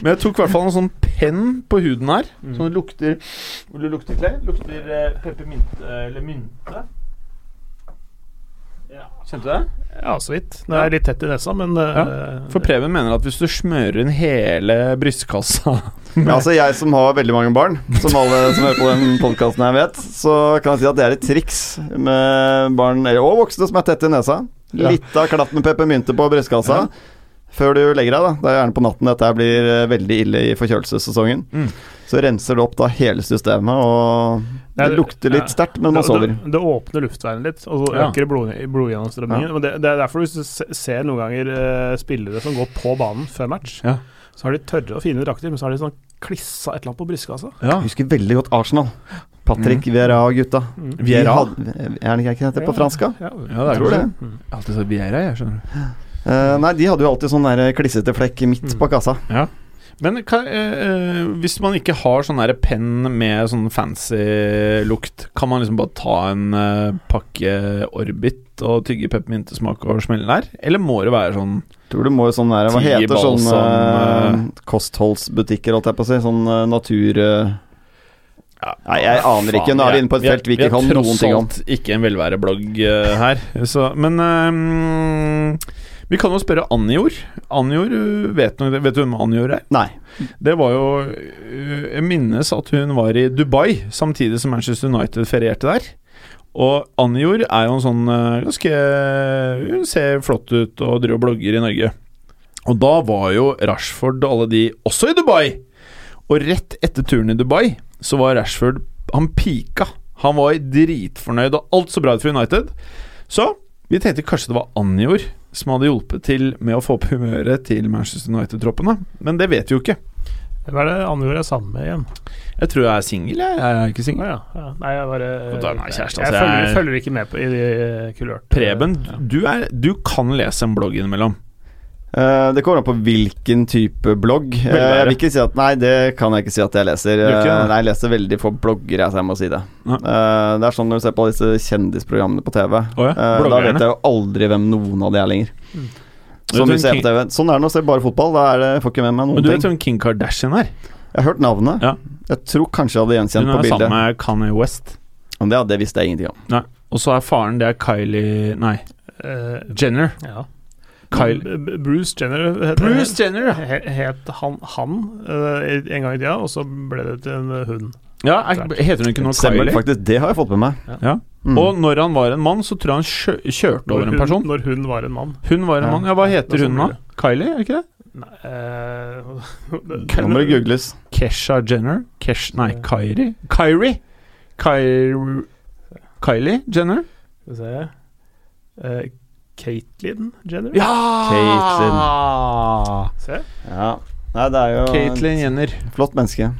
Speaker 3: Men jeg tok i hvert fall en sånn penn på huden her,
Speaker 5: Mm.
Speaker 3: som lukter Vil du lukte, Clay? Lukter uh, peppermynte eller mynte. Ja. Kjente du det?
Speaker 5: Ja, så vidt. Det er litt tett i nesa, men øh,
Speaker 3: For Preben mener at hvis du smører inn hele brystkassa
Speaker 4: Ja, altså Jeg som har veldig mange barn, som alle som hører på den podkasten her vet, så kan jeg si at det er et triks med barn eller- og voksne som er tett i nesa.
Speaker 3: Ja.
Speaker 4: Litt av klatt med peppermynte på brystkassa før du legger deg. da Det er gjerne på natten dette her blir eh, veldig ille i forkjølelsessesongen.
Speaker 3: Mm.
Speaker 4: Så renser det opp da hele systemet, og
Speaker 5: Ja,
Speaker 4: det
Speaker 5: det-
Speaker 4: lukter litt
Speaker 5: ja.
Speaker 4: sterkt, men man
Speaker 5: det,
Speaker 4: sover.
Speaker 5: det, det åpner luftveien litt, og så
Speaker 3: Ja.
Speaker 5: øker det blod, blodgjennomstrømningen. Men Det, det er derfor du se- ser noen ganger eh, spillere som går på banen før match.
Speaker 3: Ja.
Speaker 5: Så har de tørre og fine drakter, men så har de sånn klissa et eller annet på brystkassa.
Speaker 3: Ja.
Speaker 4: Jeg husker veldig godt Arsenal. Patrick Vera og gutta.
Speaker 3: Mm. Vieira?
Speaker 4: Vi hadde- Er det ikke det på fransk? da?
Speaker 5: Mm. Ja, Mm.
Speaker 3: Ja, det er
Speaker 4: Tror
Speaker 3: kanskje-
Speaker 4: det.
Speaker 3: Jeg har alltid sagt Vieira, jeg, skjønner du.
Speaker 4: Eh, nei, de hadde jo alltid sånn der klissete flekk midt
Speaker 3: Mm.
Speaker 4: på kassa.
Speaker 3: Men hva, eh, eh, hvis man ikke har sånn der penn med sånn fancy lukt, kan man liksom bare ta en eh, pakke Orbit og tygge peppermyntesmak og smelle der? Eller må det være sånn
Speaker 4: Tror du må jo sånn der Hva
Speaker 3: Ti
Speaker 4: heter
Speaker 3: balsam,
Speaker 4: sånne eh, kostholdsbutikker, holdt jeg på å si? Sånn eh, natur... eh, Nei, jeg aner ikke. Nå er vi inne på et felt vi ikke kan noen ting
Speaker 3: Vi er
Speaker 4: om.
Speaker 3: tross alt ikke en velværeblogg eh, her, så Men eh, vi kan jo spørre Anjor. Anjor eh, vet, noe- vet du hvem Anjor er?
Speaker 4: Nei.
Speaker 3: Det var jo øh, Jeg minnes at hun var i Dubai samtidig som Manchester United ferierte der. Og Anjor er jo en sånn øh, ganske Hun ser flott ut og driver og blogger i Norge. Og da var jo Rashford og alle de også i Dubai! Og rett etter turen i Dubai så var Rashford Han pika. Han var dritfornøyd, og alt så bra ut for United. Så vi tenkte kanskje det var Anjor som hadde hjulpet til med å få opp humøret til Manchester United-troppene, men det vet vi jo ikke.
Speaker 5: Hvem er det andre ordet jeg er sammen med igjen?
Speaker 3: Jeg tror jeg er singel, jeg. Jeg er ikke
Speaker 5: Å
Speaker 3: singel.
Speaker 5: ja, ja. Nei, jeg bare
Speaker 3: Og da er man kjæreste,
Speaker 5: Jeg
Speaker 3: altså,
Speaker 5: følger,
Speaker 3: jeg-
Speaker 5: følger ikke med på i de eh, kulørte
Speaker 3: Preben, du, er, du kan lese en blogg innimellom.
Speaker 4: Eh, det kommer an på hvilken type blogg. Eh, jeg vil ikke si at Nei, det kan jeg ikke si at jeg leser.
Speaker 3: Gjør ikke det?
Speaker 4: Eh, nei, jeg leser veldig få blogger, jeg, så jeg må si det.
Speaker 3: Ja.
Speaker 4: Eh, det er sånn når du ser på disse kjendisprogrammene på TV.
Speaker 3: ja,
Speaker 4: eh, da
Speaker 3: bloggerne.
Speaker 4: vet jeg jo aldri hvem noen av de er lenger.
Speaker 3: Vet du
Speaker 4: Som vi
Speaker 3: hvem
Speaker 4: ser
Speaker 3: Kim-
Speaker 4: på TV. Sånn er det når du ser bare fotball. Da er det, får ikke med meg
Speaker 3: Men
Speaker 4: noen
Speaker 3: du vet
Speaker 4: ting.
Speaker 3: hvem Kim Kardashian er?
Speaker 4: Jeg har hørt navnet.
Speaker 3: Ja.
Speaker 4: Jeg tror kanskje jeg hadde
Speaker 3: Hun
Speaker 4: gjenkjent på
Speaker 3: er sammen
Speaker 4: bildet.
Speaker 3: med Kanye West.
Speaker 4: Men det, det visste jeg ingenting om.
Speaker 3: Og så er faren, det er Kylie Nei,
Speaker 5: Eh,
Speaker 3: Jenner.
Speaker 5: ja.
Speaker 3: Kyle.
Speaker 5: B- B- Bruce Jenner heter
Speaker 3: Bruce Jenner! ja.
Speaker 5: He- Het han, han eh, en gang i tida, og så ble det til en eh, hund.
Speaker 3: Ja, er, Heter hun ikke noe
Speaker 4: Stemmer det
Speaker 3: Kylie?
Speaker 4: faktisk, det har jeg fått med meg.
Speaker 3: Ja.
Speaker 4: Mm.
Speaker 3: Og når han var en mann, så tror jeg han kjø kjørte over en
Speaker 5: hun,
Speaker 3: person.
Speaker 5: når hun var en mann.
Speaker 3: Hun var en
Speaker 4: Ja.
Speaker 3: mann. Ja, hva
Speaker 5: Det
Speaker 3: heter
Speaker 5: er
Speaker 3: hun da?
Speaker 5: sånn
Speaker 3: Kylie, er det ikke det?
Speaker 5: Nei, eh,
Speaker 4: Nå må det googles.
Speaker 3: Kesha Jenner? Kesh, nei, Kyrie? Kyrie? Kyrie Kylie Jenner?
Speaker 5: Skal vi se uh, Caitlyn Jenner?
Speaker 3: Ja!
Speaker 4: Caitlyn.
Speaker 5: Se.
Speaker 4: Ja. Nei, det er jo
Speaker 3: Caitlyn Jenner.
Speaker 4: et flott menneske.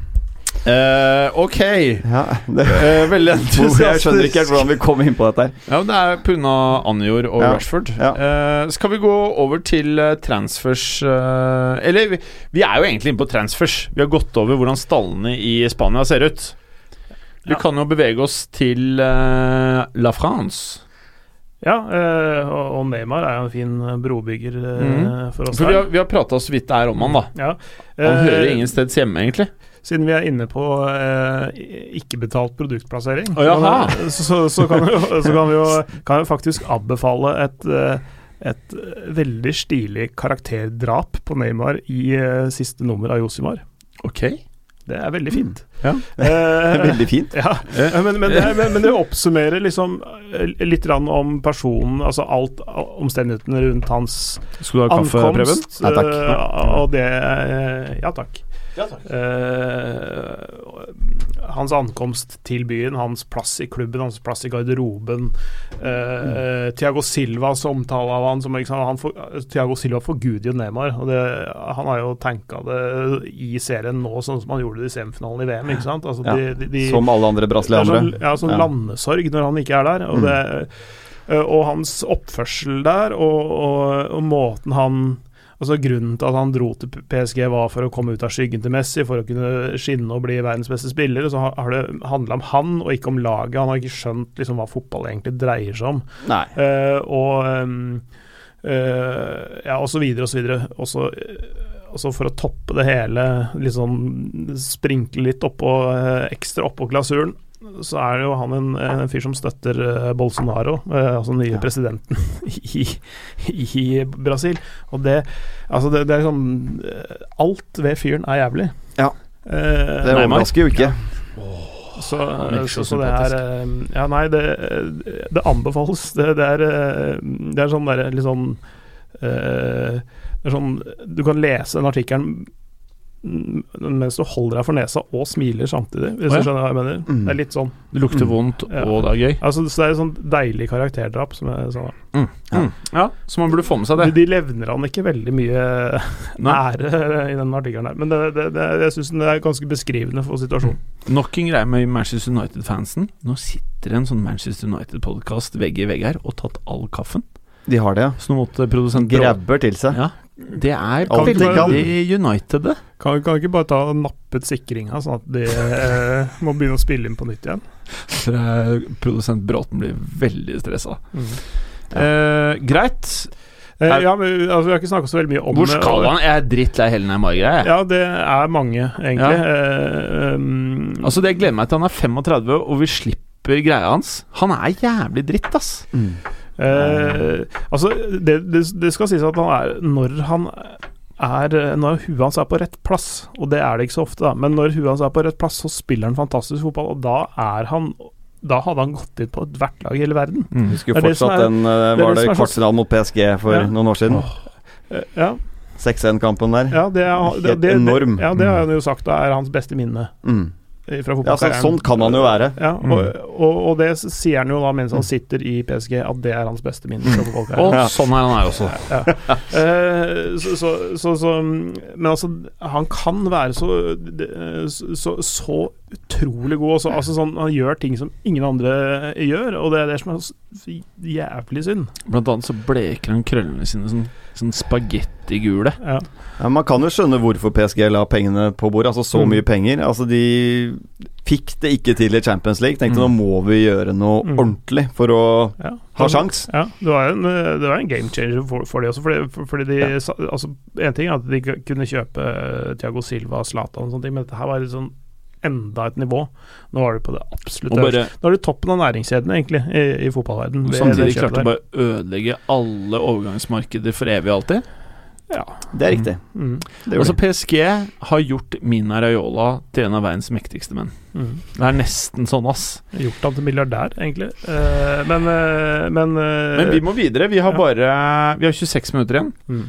Speaker 3: Eh, ok.
Speaker 4: Ja, det,
Speaker 3: Eh, veldig entusiastisk.
Speaker 4: jeg skjønner ikke helt hvordan vi kom inn på dette. her
Speaker 3: Ja, men Det er pga. Anjor og
Speaker 4: Ja,
Speaker 3: Rashford.
Speaker 4: ja.
Speaker 3: Eh, skal vi gå over til eh, transfers eh, Eller vi, vi er jo egentlig inne på transfers. Vi har gått over hvordan stallene i Spania ser ut. Vi
Speaker 5: Ja.
Speaker 3: kan jo bevege oss til eh, La France.
Speaker 5: Ja, eh, og, og Neymar er jo en fin eh, brobygger eh,
Speaker 3: Mhm.
Speaker 5: for oss
Speaker 3: For vi
Speaker 5: der.
Speaker 3: har, vi har prata så vidt det er om han, da.
Speaker 5: Ja.
Speaker 3: Han
Speaker 5: Eh,
Speaker 3: hører ingen steds hjemme, egentlig.
Speaker 5: Siden vi er inne på eh, i- ikke-betalt produktplassering,
Speaker 3: Å, jaha.
Speaker 5: kan jeg- så, så, kan vi, jo- så kan vi jo kan jeg faktisk anbefale et, eh, et eh, veldig stilig karakterdrap på Neymar i eh, siste nummer av Josimar.
Speaker 3: Ok
Speaker 5: Det er veldig fint.
Speaker 3: Ja.
Speaker 5: Eh,
Speaker 4: Veldig fint.
Speaker 5: Ja,
Speaker 3: Eh.
Speaker 5: men, men, det, er- men, men det oppsummerer liksom eh, litt grann om personen, altså alt eh, omstendighetene rundt hans
Speaker 3: Skal du ha kaffe, Preben?
Speaker 5: ankomst.
Speaker 4: Nei, takk.
Speaker 5: eh, og det eh, Ja takk. Eh, hans ankomst til byen, hans plass i klubben, hans plass i garderoben. Uh, Tiago Silvas omtale av han som ikke sant, han for, Tiago Silva forguder jo Neymar. Og det, han har jo tenka det i serien nå, sånn som han gjorde det i semifinalen i VM. Ikke sant? Altså,
Speaker 4: Ja.
Speaker 5: de, de, de,
Speaker 4: Som alle andre
Speaker 5: det er sånn,
Speaker 4: brasilianere.
Speaker 5: ja, sånn
Speaker 4: Ja.
Speaker 5: landesorg når han ikke er der. Og, det, ø, og hans oppførsel der, og, og, og måten han Altså Grunnen til at han dro til PSG var for å komme ut av skyggen til Messi, for å kunne skinne og bli verdens beste spiller. og Så har- har det handla om han, og ikke om laget. Han har ikke skjønt liksom, hva fotball egentlig dreier seg om.
Speaker 4: Nei.
Speaker 5: Eh, og ehm, eh, ja, og så videre og så videre. Og så, eh, og så for å toppe det hele, liksom sprinkle litt oppå, eh, ekstra oppå glasuren, så er det jo han en, en fyr som støtter eh, Bolsonaro, eh, altså den
Speaker 4: Ja.
Speaker 5: nye presidenten i, i Brasil. Og det Altså, det, det er sånn eh, Alt ved fyren er jævlig.
Speaker 4: Ja.
Speaker 5: Eh,
Speaker 4: Det
Speaker 3: Nei, Mark.
Speaker 4: overrasker jo ikke.
Speaker 5: så,
Speaker 3: Han virker så
Speaker 5: så, så det er eh, Ja, nei, det, eh, det anbefales. Det, det er eh, Det er sånn derre litt sånn eh, Det er sånn Du kan lese den artikkelen m- mens du holder deg for nesa og smiler samtidig, hvis
Speaker 3: Å, ja.
Speaker 5: du skjønner hva jeg mener. Det er litt sånn.
Speaker 3: Det lukter vondt,
Speaker 5: Ja.
Speaker 3: og det er gøy.
Speaker 5: Altså, så det er et sånn deilig karakterdrap. Som er sånn.
Speaker 3: Mm. Ja, Så man burde få med seg
Speaker 5: de,
Speaker 3: det.
Speaker 5: de levner han ikke veldig mye
Speaker 3: Nei.
Speaker 5: ære i den artikkelen her, men det, det, det, jeg syns den er ganske beskrivende for situasjonen.
Speaker 3: Nok en greie med Manchester United-fansen. Nå sitter en sånn Manchester United-podkast vegg i vegg her og tatt all kaffen.
Speaker 4: De har det, ja.
Speaker 3: Så nå måtte produsent
Speaker 4: Grabber til seg.
Speaker 3: Ja, det er
Speaker 4: Alt de kan.
Speaker 3: veldig United, det.
Speaker 5: Kan, kan ikke bare ta og nappe ut sikringa, sånn at de eh, må begynne å spille inn på nytt igjen?
Speaker 3: Så det er- Produsent Bråten blir veldig stressa.
Speaker 4: Ja.
Speaker 3: Eh, greit.
Speaker 5: Eh,
Speaker 3: Er-
Speaker 5: ja, men altså, Vi har ikke snakka så veldig mye om
Speaker 3: Hvor skal han? Jeg er drittlei hele den Margreia. jeg.
Speaker 5: Ja, det er mange, egentlig. Eh, um,
Speaker 3: Altså, det jeg gleder meg til han er 35 og vi slipper greia hans. Han er jævlig dritt, ass.
Speaker 4: Mm.
Speaker 5: Eh, altså, det, det, det skal sies at han er Når han er Når huet hans er på rett plass, og det er det ikke så ofte, da, men når huet hans er på rett plass, så spiller han fantastisk fotball, og da er han da hadde han gått inn på ethvert lag i hele verden.
Speaker 4: Husker jo
Speaker 5: Det er det som
Speaker 4: fortsatt
Speaker 5: er-
Speaker 4: den eh,
Speaker 5: det er
Speaker 4: Var
Speaker 5: det
Speaker 4: det
Speaker 5: som er så-
Speaker 4: kvartfinalen mot PSG for
Speaker 5: Ja.
Speaker 4: noen år siden?
Speaker 5: Eh, Ja,
Speaker 4: 6-1-kampen der.
Speaker 5: ja, det er det,
Speaker 4: Helt
Speaker 5: det, det,
Speaker 4: enorm.
Speaker 5: ja, det har han
Speaker 3: Mm.
Speaker 5: jo sagt da er hans beste minne
Speaker 4: Mm.
Speaker 5: eh, fra
Speaker 4: Ja, så,
Speaker 5: fotballkarrieren.
Speaker 4: sånn kan han jo være.
Speaker 5: Ja, og, og, og det sier han jo da mens han sitter i PSG, at det er hans beste minne fra fotballkarrieren.
Speaker 3: Og sånn er han her også.
Speaker 5: Eh, så, så, så, så Men altså, han kan være så det- eh, så, så utrolig god også. Altså, sånn, han gjør ting som ingen andre gjør, og det er det som er så jævlig synd.
Speaker 3: Blant annet så bleker han krøllene sine sånn, sånn spagettigule.
Speaker 5: Ja.
Speaker 4: Ja, man kan jo skjønne hvorfor PSG la pengene på bordet. Altså så
Speaker 5: Mm.
Speaker 4: mye penger. Altså De fikk det ikke til i Champions League. Tenkte
Speaker 3: Mm.
Speaker 4: nå må vi gjøre noe
Speaker 5: Mm.
Speaker 4: ordentlig for å
Speaker 5: Ja.
Speaker 4: ha sjans.
Speaker 5: Ja, det var en, eh, det var en game changer for, for de også. Fordi, for- fordi de, sa- altså, en ting er at de k- kunne kjøpe eh, Thiago Silva, Zlatan og sånne ting, men dette her var litt sånn enda et nivå. Nå var du på det absolutt
Speaker 3: Og bare,
Speaker 5: Nå er du toppen av næringskjeden, egentlig, i, i fotballverden. ved
Speaker 3: samtidig
Speaker 5: det kjøpet
Speaker 3: klarte å
Speaker 5: der.
Speaker 3: bare ødelegge alle overgangsmarkeder for evig og alltid.
Speaker 4: Det er riktig.
Speaker 5: Mm.
Speaker 4: Det
Speaker 3: Altså
Speaker 4: gjorde de.
Speaker 3: PSG har gjort Mina Raiola til en av verdens mektigste menn.
Speaker 5: Mm.
Speaker 3: Det er nesten sånn, ass.
Speaker 5: Gjort ham til milliardær, egentlig. Eh, men eh, men, eh,
Speaker 3: Men vi må videre. Vi har
Speaker 5: Ja.
Speaker 3: bare Vi har 26 minutter igjen.
Speaker 5: mm.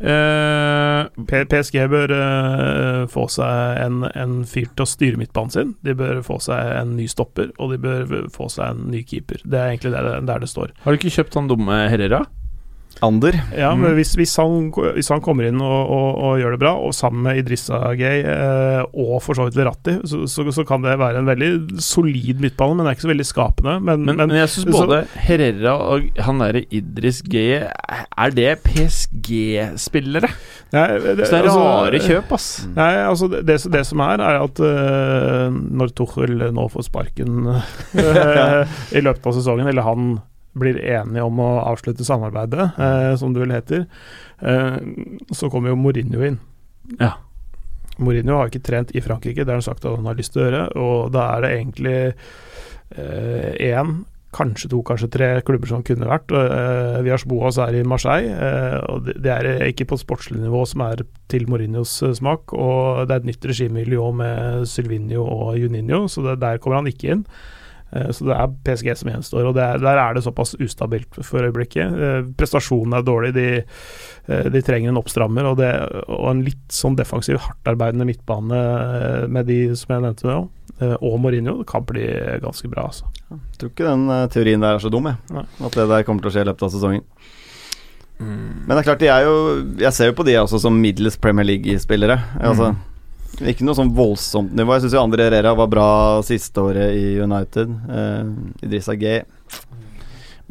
Speaker 3: Eh,
Speaker 5: P- PSG bør eh, få seg en, en fyr til å styre midtbanen sin. De bør få seg en ny stopper, og de bør få seg en ny keeper. Det er egentlig der det, der det står.
Speaker 3: har du ikke kjøpt han dumme Herrera?
Speaker 4: Ander.
Speaker 5: Ja,
Speaker 3: Mm.
Speaker 5: men hvis, hvis, han, hvis han kommer inn og, og, og gjør det bra, og sammen med Idrissa Gay eh, og for så vidt Verratti, så, så, så kan det være en veldig solid midtbane, men det er ikke så veldig skapende. Men,
Speaker 3: Men, men, jeg syns
Speaker 5: så-
Speaker 3: både Herrera og han derre Idris G Er det PSG-spillere?
Speaker 5: Nei,
Speaker 3: Så det er
Speaker 5: altså-
Speaker 3: rare kjøp, ass.
Speaker 5: Nei, altså det, det, det som er, er at eh, når Tuchel nå får sparken eh, i løpet av sesongen, eller han blir enig om å avslutte samarbeidet, eh, som det vel heter, eh, så kommer jo Mourinho inn.
Speaker 3: Ja.
Speaker 5: Mourinho har ikke trent i Frankrike, det har han sagt at han har lyst til å gjøre, og da er det egentlig én Kanskje to, kanskje tre klubber som kunne vært. Uh, Vias Boas er i Marseille, eh, og det, det er ikke på sportslig nivå som er til Mourinhos eh, smak. Og det er et nytt regime i Lyon med Sylvinio og Juninho, så det, der kommer han ikke inn. Eh, Så det er PSG som gjenstår, og det er, der er det såpass ustabilt for øyeblikket. Eh, Prestasjonene er dårlige, de, eh, de trenger en oppstrammer og, det, og en litt sånn defensiv, hardtarbeidende midtbane eh, med de som jeg nevnte nå, eh, og Mourinho. Det kan bli ganske bra, altså.
Speaker 4: Tror ikke den eh, teorien der er så dum,
Speaker 5: Nei.
Speaker 4: jeg. At det der kommer til å skje i løpet av sesongen.
Speaker 5: Mm.
Speaker 4: Men det er klart, de er jo, jeg ser jo på de også som middels Premier League-spillere. Altså,
Speaker 5: Mm.
Speaker 4: Ikke noe sånn voldsomt nivå. Jeg syns jo Andre Herrera var bra siste året i United. Eh, Idrissa Gay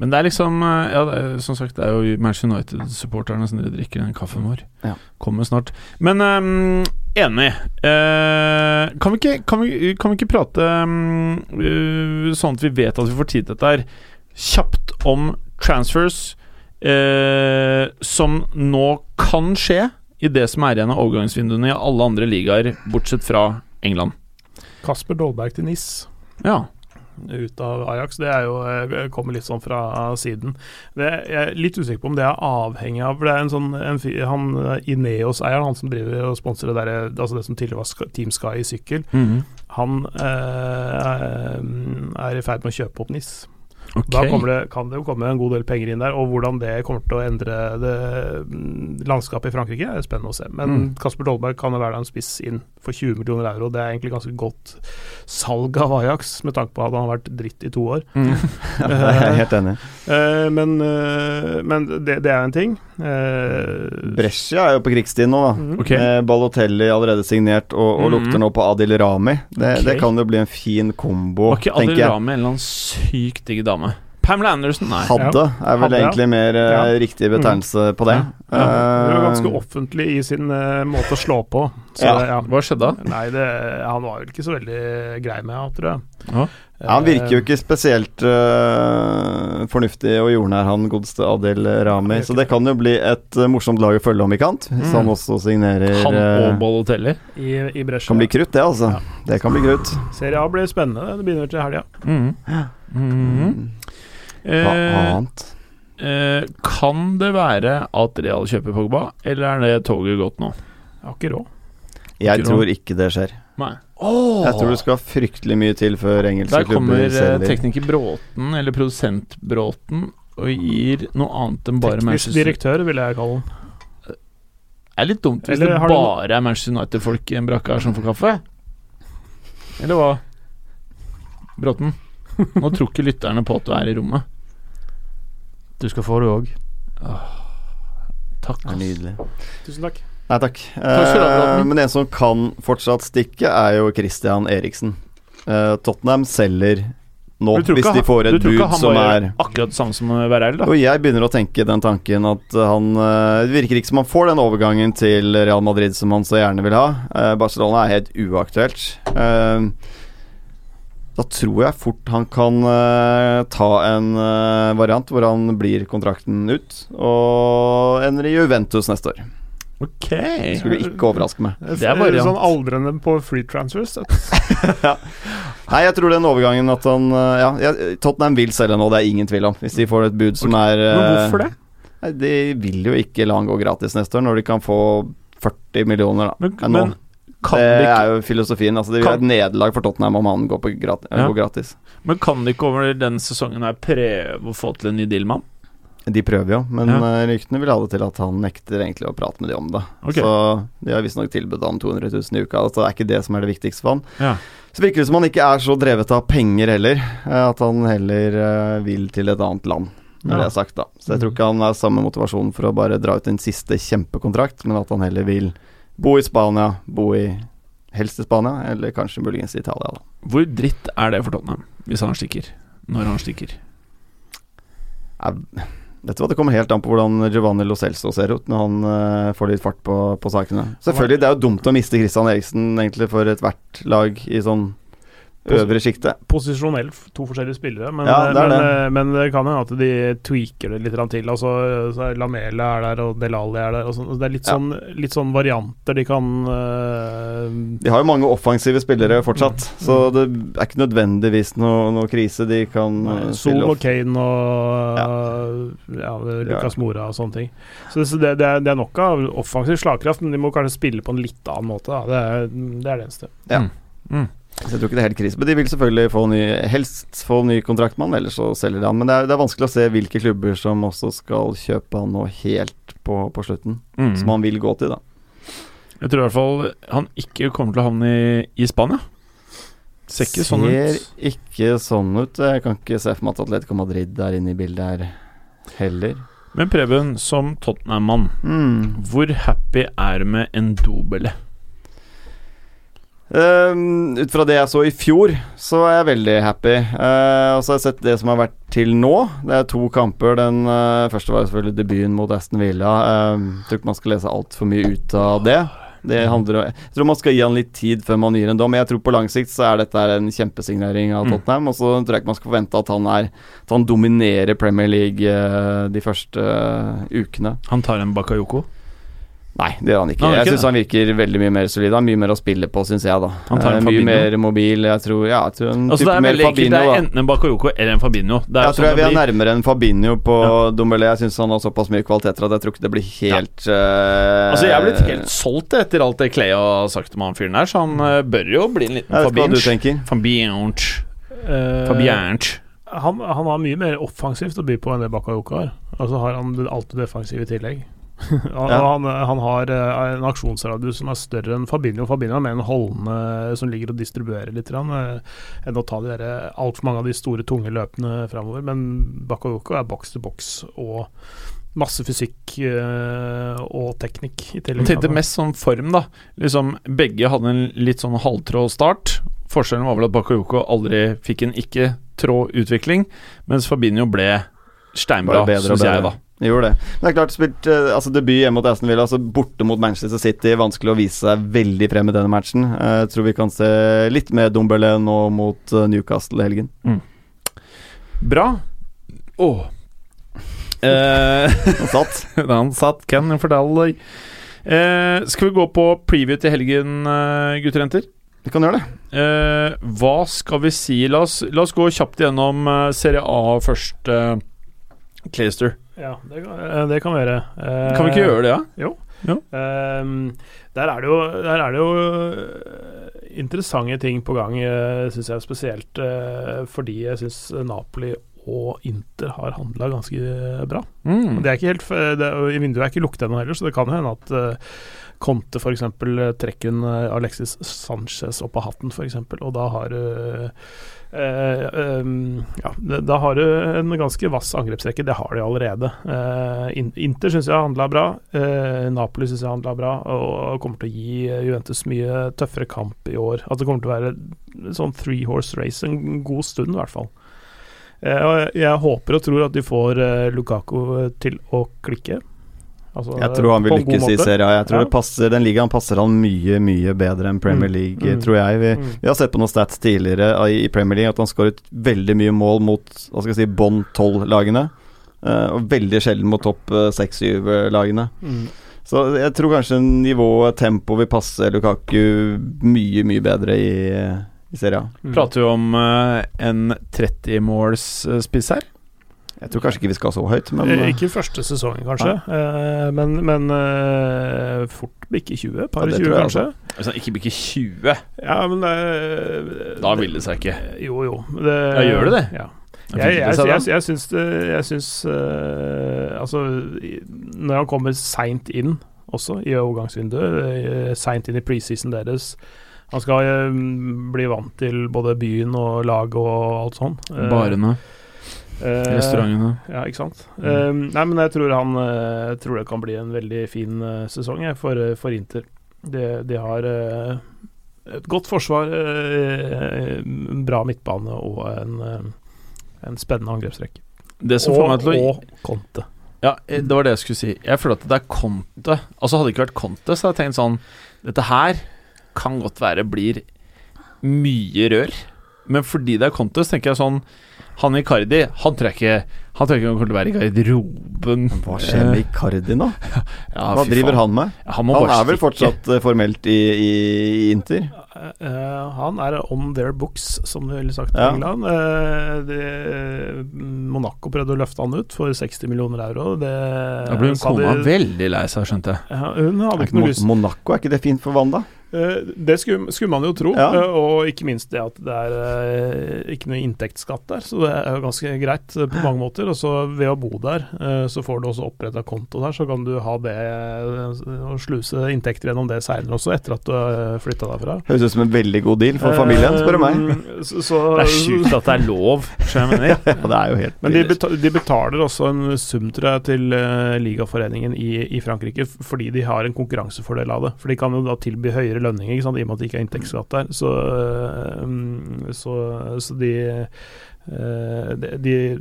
Speaker 3: Men det er liksom eh, Ja, det er, som sagt, det er jo Manchester United-supporterne som dere drikker den kaffen vår.
Speaker 4: Ja.
Speaker 3: Kommer snart. Men ehm, enig. Eh, kan, vi ikke, kan, vi, kan vi ikke prate ehm, eh, sånn at vi vet at vi får tid til dette her, kjapt om transfers eh, som nå kan skje i det som er igjen av overgangsvinduene i alle andre ligaer, bortsett fra England.
Speaker 5: Kasper Dolberg til NIS.
Speaker 3: Ja.
Speaker 5: ut av Ajax. Det er jo, eh, kommer litt sånn fra siden. Det, jeg er litt usikker på om det er avhengig av for Det er en sånn en, fyr- han eh, Ineos-eieren, han som driver og sponser det der, eh, altså det som tidligere var Sk- Team Sky i
Speaker 3: Mhm.
Speaker 5: eh, sykkel, han eh, er i ferd med å kjøpe opp NIS. Da kommer det, kan det jo komme en god del penger inn der, og hvordan det kommer til å endre det, mm, landskapet i Frankrike, er spennende å se. Men
Speaker 3: Mm.
Speaker 5: Kasper Dolberg kan jo være en spiss inn for 20 millioner euro. Det er egentlig ganske godt salg av Ajax, med tanke på at han har vært dritt i to år.
Speaker 3: Mhm.
Speaker 4: Ja, det er jeg helt enig. i.
Speaker 5: Eh, men eh, men det, det er en ting. Eh,
Speaker 4: Brescia er jo på krigsstien
Speaker 5: Mm.
Speaker 4: nå, da.
Speaker 3: Ok.
Speaker 4: Med Balotelli allerede signert, og, og
Speaker 3: Mhm.
Speaker 4: lukter nå på Adil Rami. Det,
Speaker 3: Ok.
Speaker 4: det kan jo bli en fin kombo,
Speaker 3: Var ikke
Speaker 4: tenker
Speaker 3: Adil
Speaker 4: jeg.
Speaker 3: Rami en eller annen sykt digg dame? Pamela Anderson? Nei.
Speaker 4: Hadde er vel
Speaker 5: Hadde, ja.
Speaker 4: egentlig mer eh,
Speaker 5: Ja.
Speaker 4: riktig betegnelse på det.
Speaker 3: Mhm. Ja. Ja.
Speaker 5: Han var
Speaker 4: Eh,
Speaker 5: ganske offentlig i sin eh, måte å slå på. Så,
Speaker 4: Ja.
Speaker 5: det- ja.
Speaker 3: Hva skjedde da?
Speaker 5: Nei, det, han var vel ikke så veldig grei med henne, tror jeg.
Speaker 3: Ja.
Speaker 4: ja, han virker jo ikke spesielt eh, fornuftig og jordnær, han godeste Adil Rami.
Speaker 5: det er
Speaker 4: Så
Speaker 5: ikke
Speaker 4: det kan jo bli et eh, morsomt lag å følge om i kant, hvis han også signerer
Speaker 3: Mhm. Han og
Speaker 4: eh,
Speaker 3: Balotelli?
Speaker 5: i, i bresjen.
Speaker 4: Kan bli krutt, det, altså. Det kan bli krutt.
Speaker 5: Serie A blir spennende. Det begynner til helga.
Speaker 3: Mhm. Mhm.
Speaker 4: Mm. Hva
Speaker 3: Eh,
Speaker 4: annet?
Speaker 3: eh, kan det være at Real kjøper Pogba, eller er det toget gått nå?
Speaker 5: Jeg har ikke råd.
Speaker 4: Jeg
Speaker 3: ikke
Speaker 4: tror ikke det skjer.
Speaker 3: Nei.
Speaker 4: Jeg tror det skal fryktelig mye til før engelske
Speaker 3: Der kommer
Speaker 4: klubber
Speaker 3: eh,
Speaker 4: selger.
Speaker 3: tekniker Bråten, eller produsent Bråten, og gir noe annet enn bare
Speaker 5: Teknisk
Speaker 3: Manchester
Speaker 5: direktør, ville jeg kalle han.
Speaker 3: Det er litt dumt hvis
Speaker 5: Eller
Speaker 3: det
Speaker 5: har du noe-
Speaker 3: bare er Manchester United-folk i en brakke her som får kaffe. Eller hva? Bråten, nå tror ikke lytterne på at du er i rommet.
Speaker 1: Du skal få det òg.
Speaker 3: Takk.
Speaker 4: Det er
Speaker 3: ass.
Speaker 4: nydelig.
Speaker 5: Tusen takk.
Speaker 4: Nei takk.
Speaker 3: skal du ha,
Speaker 4: Eh,
Speaker 3: Bråten.
Speaker 4: men en som kan fortsatt stikke, er jo Christian Eriksen. Eh, Tottenham selger nå,
Speaker 3: Du tror
Speaker 4: hvis
Speaker 3: ikke
Speaker 4: de
Speaker 3: han-
Speaker 4: får
Speaker 3: du
Speaker 4: et
Speaker 3: tror ikke
Speaker 4: bud
Speaker 3: han
Speaker 4: som
Speaker 3: bare
Speaker 4: er
Speaker 3: gjør Akkurat det samme som Vereil, da.
Speaker 4: Og jeg begynner å tenke den tanken at eh, han eh, Det virker ikke som han får den overgangen til Real Madrid som han så gjerne vil ha. Eh, Barcelona er helt uaktuelt. Eh, da tror jeg fort han kan eh, ta en eh, variant hvor han blir kontrakten ut, og ender i Juventus neste år.
Speaker 3: Ok.
Speaker 4: Det skulle ikke overraske meg.
Speaker 3: Det er variant.
Speaker 5: Sånn aldrende på free transfers.
Speaker 4: Nei, jeg tror den overgangen at han eh, Ja, jeg- Tottenham vil selge nå, det er ingen tvil om. Hvis de får et bud som er
Speaker 3: Men
Speaker 4: eh,
Speaker 3: hvorfor det?
Speaker 4: Nei, De vil jo ikke la han gå gratis neste år, når de kan få 40 millioner, da.
Speaker 3: Men,
Speaker 4: Ja, nå. Eh,
Speaker 3: men kan
Speaker 4: det
Speaker 3: det
Speaker 4: er
Speaker 3: ikke,
Speaker 4: jo filosofien. Altså, det vil
Speaker 3: Kan-
Speaker 4: være et nederlag for Tottenham om han går, på gratis,
Speaker 3: Ja.
Speaker 4: går gratis.
Speaker 3: men kan de ikke over den sesongen her prøve å få til en ny deal med han?
Speaker 4: De prøver jo, men
Speaker 3: Ja.
Speaker 4: eh, ryktene vil ha det til at han nekter egentlig å prate med de om det.
Speaker 3: Ok.
Speaker 4: Så de har visstnok tilbudt ham 200 000 i uka, altså det er ikke det som er det viktigste for han.
Speaker 3: Ja.
Speaker 4: Så virker det som han ikke er så drevet av penger heller, eh, at han heller eh, vil til et annet land. Når
Speaker 3: Ja. Mm.
Speaker 4: det er sagt, da. Så jeg tror ikke han har samme motivasjon for å bare dra ut en siste kjempekontrakt, men at han heller vil bo i Spania, bo i helst i Spania, eller kanskje muligens i Italia, da.
Speaker 3: Hvor dritt er det for Tottenham, hvis han stikker? Når han stikker?
Speaker 4: Jeg vet du hva, Det kommer helt an på hvordan Giovanni Lo Celso ser ut når han eh, får litt fart på, på sakene. Selvfølgelig, Det er jo dumt å miste Christian Eriksen egentlig for ethvert lag i sånn øvre sjikte.
Speaker 5: Posisjonelt f- to forskjellige spillere, men,
Speaker 4: Ja, det er
Speaker 5: men, eh, men det kan hende at de tweaker det litt grann til. Altså, så er Lamela er der, og Delali er der. Og sånn. Altså, det er litt,
Speaker 4: Ja.
Speaker 5: sånn, litt sånn varianter de kan eh,
Speaker 4: De har jo mange offensive spillere fortsatt,
Speaker 5: Mm.
Speaker 4: så det er ikke nødvendigvis noe, noe krise de kan eh,
Speaker 5: Nei, Sol
Speaker 4: stille
Speaker 5: og
Speaker 4: opp.
Speaker 5: Kane og ja. Lucas Mora og sånne ting. Så det, så det, det, er, det er nok av offensiv slagkraft, men de må kanskje spille på en litt annen måte. Da. Det, er, det er det eneste.
Speaker 4: Så jeg tror ikke det er helt krise. Men de vil selvfølgelig få ny, helst få ny kontrakt med han, ellers så selger de han. Men det er, det er vanskelig å se hvilke klubber som også skal kjøpe han nå helt på, på slutten,
Speaker 3: Mm.
Speaker 5: Mm.
Speaker 4: som han vil gå til, da.
Speaker 3: Jeg tror i hvert fall han ikke kommer til å havne i, i Spania. Ser ikke sånn ut.
Speaker 4: Ser ikke sånn ut. Jeg kan ikke se for meg at Atletico Madrid er inne i bildet her heller.
Speaker 3: Men Preben, som Tottenham-mann, hvor happy er du med en dobele?
Speaker 4: Ehm, ut fra det jeg så i fjor, så er jeg veldig happy. Eh, og så har jeg sett det som har vært til nå. Det er to kamper. Den eh, første var jo selvfølgelig debuten mot Aston Villa. Um, tror ikke man skal lese altfor mye ut av det. Det handler om, Jeg tror man skal gi han litt tid før man gir en dom. Jeg tror på lang sikt så er dette her en kjempesignering av
Speaker 3: Mm.
Speaker 4: Tottenham. Og så tror jeg ikke man skal forvente at han, er, at han dominerer Premier League eh, de første eh, ukene.
Speaker 3: Han tar en Bakayoko.
Speaker 4: Nei, det gjør han ikke.
Speaker 3: Nei, han gjør
Speaker 4: jeg
Speaker 3: ikke
Speaker 4: syns han virker veldig mye mer solid. Han har mye mer å spille på, syns jeg, da.
Speaker 3: Han tar en
Speaker 4: Eh, mye
Speaker 3: Fabinho.
Speaker 4: mer mobil. Jeg tror, ja, jeg tror en
Speaker 3: Altså Det
Speaker 4: type
Speaker 3: er
Speaker 4: mer
Speaker 3: veldig enkelt. Det
Speaker 4: Fabinho,
Speaker 3: er
Speaker 4: da.
Speaker 3: enten en Bakayoko eller en Fabinho. Det er
Speaker 4: Jeg
Speaker 3: jo
Speaker 4: tror
Speaker 3: sånn
Speaker 4: jeg vi
Speaker 3: det
Speaker 4: er
Speaker 3: blir.
Speaker 4: nærmere enn Fabinho på
Speaker 3: Ja.
Speaker 4: Dombele. Jeg syns han har såpass mye kvaliteter at jeg tror ikke det blir helt eh,
Speaker 3: Altså Jeg er blitt helt solgt etter alt det Clay har sagt om han fyren der, så han eh, bør jo bli en liten
Speaker 4: Jeg vet ikke hva du
Speaker 3: Fabinch.
Speaker 4: tenker.
Speaker 3: Fabinch.
Speaker 5: Eh,
Speaker 3: Fabinch.
Speaker 5: han, han har mye mer offensivt å by på enn det Bakayoko har. Og så har han det- alt det defensive i tillegg. han,
Speaker 4: Ja.
Speaker 5: han, han har eh, en aksjonsradius som er større enn Fabinho. Fabinho er mer en holdende som ligger og distribuerer litt, grann, eh, enn å ta de der, eh, alt for mange av de store, tunge løpene framover. Men Bakayoko er boks til boks og masse fysikk eh, og teknikk i tillegg.
Speaker 3: Jeg tenkte mest sånn form, da. Liksom, begge hadde en litt sånn halvtrå start. Forskjellen var vel at Bakayoko aldri fikk en ikke-trå utvikling, mens Fabinho ble steinbra,
Speaker 4: Bare bedre og
Speaker 3: syns jeg,
Speaker 4: bedre.
Speaker 3: da.
Speaker 4: Gjorde det. Men det er klart, spilt eh, altså debut hjemme mot Aston Villa, altså borte mot Manchester City. Vanskelig å vise seg veldig frem i denne matchen. Eh, Jeg tror vi kan se litt mer Dombele nå mot eh, Newcastle i helgen.
Speaker 3: Bra. Åh. Eh,
Speaker 4: Han Satt.
Speaker 3: han satt, kan jeg fortelle deg. Eh, skal vi gå på preview til helgen, eh, gutter og jenter?
Speaker 4: Vi kan gjøre det.
Speaker 3: Eh, hva skal vi si? La oss, la oss gå kjapt gjennom eh, Serie A først. Eh, Clayster.
Speaker 5: Ja, det kan, eh, det kan vi gjøre. Eh,
Speaker 3: Kan vi ikke gjøre det, da?
Speaker 5: Ehm, der, er det jo, der er det jo øh, interessante ting på gang, øh, syns jeg. Spesielt øh, fordi jeg syns Napoli og Inter har handla ganske øh, bra.
Speaker 3: Mm.
Speaker 5: Men Det er ikke helt, f- det er, jo- I vinduet er ikke lukket ennå heller, så det kan jo hende at øh, Conte f.eks. trekker en øh, Alexis Sanchez opp av hatten, f.eks., og da har øh, Eh, ehm, ja, det- da har du en ganske vass angrepsrekke. Det har de allerede. Eh, In- Inter syns jeg handla bra. Eh, Napoli syns jeg handla bra. Og kommer til å gi eh, Juventus mye tøffere kamp i år. At det kommer til å være en sånn three horse race en god stund, i hvert fall. Eh, og jeg- jeg håper og tror at de får eh, Lukaku til å klikke. Altså,
Speaker 4: Jeg tror han vil
Speaker 5: på en god
Speaker 4: lykkes i
Speaker 5: måte.
Speaker 4: serien. Jeg tror
Speaker 5: Ja.
Speaker 4: det passer, Den ligaen passer han mye, mye bedre enn Premier
Speaker 5: Mm.
Speaker 4: League,
Speaker 5: Mm.
Speaker 4: tror jeg. Vi,
Speaker 5: Mm.
Speaker 4: vi har sett på noen stats tidligere eh, i Premier League at han skåret veldig mye mål mot hva skal jeg si, bånn tolv-lagene. Uh, Og veldig sjelden mot topp uh, seks-syv-lagene.
Speaker 5: Mm.
Speaker 4: Så jeg tror kanskje nivået, tempoet vil passe Lukaku mye, mye bedre i, uh, i Serie A.
Speaker 5: Mm.
Speaker 3: Prater vi om eh, en 30-målsspiss her?
Speaker 4: Jeg tror kanskje ikke vi skal så høyt, men
Speaker 5: Eh,
Speaker 4: eh,
Speaker 5: ikke første sesongen, kanskje, eh, men, men eh, fort bikke 20. Par
Speaker 4: Ja,
Speaker 5: og
Speaker 4: det
Speaker 5: 20,
Speaker 4: tror jeg
Speaker 5: kanskje.
Speaker 3: Altså, ikke bikke 20.
Speaker 5: Ja, men eh,
Speaker 3: Da vil det seg ikke.
Speaker 5: Jo, jo. Det,
Speaker 3: Ja, gjør det det?
Speaker 5: Ja.
Speaker 3: Jeg fikk
Speaker 5: Jeg, jeg,
Speaker 3: ikke
Speaker 5: jeg,
Speaker 3: det,
Speaker 5: jeg, syns det Jeg syns eh, Altså, i- når han kommer seint inn også, i overgangsvinduet, uh, seint inn i preseason deres Han skal eh, bli vant til både byen og laget og alt sånn. Eh,
Speaker 3: Barene,
Speaker 5: eh,
Speaker 3: restaurantene.
Speaker 5: Ja, ikke sant.
Speaker 3: Mm.
Speaker 5: Eh, nei, men jeg tror han eh, tror det kan bli en veldig fin eh, sesong jeg, for, eh, for Inter. De, de har eh, et godt forsvar, eh, en bra midtbane og en, eh, en spennende angrepsrekke.
Speaker 3: Det som får
Speaker 5: Og,
Speaker 3: meg til å
Speaker 5: og Conte.
Speaker 3: Ja, eh, det var det jeg skulle si. Jeg føler at det er Conte. Altså, hadde det ikke vært Conte, så hadde jeg tenkt sånn Dette her kan godt være blir mye rør, men fordi det er Conte, så tenker jeg sånn Han Icardi, han tror jeg ikke Han tror jeg ikke han kommer til å være i garderoben.
Speaker 4: uh,
Speaker 3: Eh,
Speaker 4: hva skjer med Icardi nå?
Speaker 3: Ja,
Speaker 4: Hva
Speaker 3: fy
Speaker 4: driver
Speaker 3: faen.
Speaker 4: han med?
Speaker 3: Han, må
Speaker 4: Han
Speaker 3: bare
Speaker 4: er vel
Speaker 3: stikke.
Speaker 4: fortsatt eh, formelt i, i, i Inter?
Speaker 5: Eh, eh, han er on their books, som det ville sagt i
Speaker 4: Ja.
Speaker 5: England. Eh, det, Monaco prøvde å løfte han ut for 60 millioner euro. Det,
Speaker 3: Da blir hun
Speaker 5: sa de-
Speaker 3: kona veldig lei seg, skjønte jeg.
Speaker 5: Ja, hun hadde
Speaker 4: Er
Speaker 5: ikke
Speaker 4: ikke
Speaker 5: noe
Speaker 4: Mon-
Speaker 5: lyst
Speaker 4: Monaco, er ikke det fint for Wanda?
Speaker 5: Eh, Det skulle, skulle man jo tro,
Speaker 4: Ja.
Speaker 5: eh, og ikke minst det at det er eh, ikke noe inntektsskatt der, så det er jo ganske greit eh, på mange måter. Og så ved å bo der, eh, så får du også oppretta konto der, så kan du ha det eh, og sluse inntekter gjennom det seinere også, etter at du har flytta derfra.
Speaker 4: Høres ut som en veldig god deal for familien, spør du meg.
Speaker 5: Eh, Så, så,
Speaker 3: Det er sjukt at det er lov, skjønner jeg mener.
Speaker 4: Ja, det er jo helt
Speaker 5: Men de,
Speaker 4: vilt.
Speaker 5: beta- de betaler også en sum tror jeg, til eh, ligaforeningen i, i Frankrike f- fordi de har en konkurransefordel av det. For de kan jo da tilby høyere lønninger ikke sant? i og med at det ikke er inntektsskatt der. Så, eh, mm, så, så de, eh, de de eh,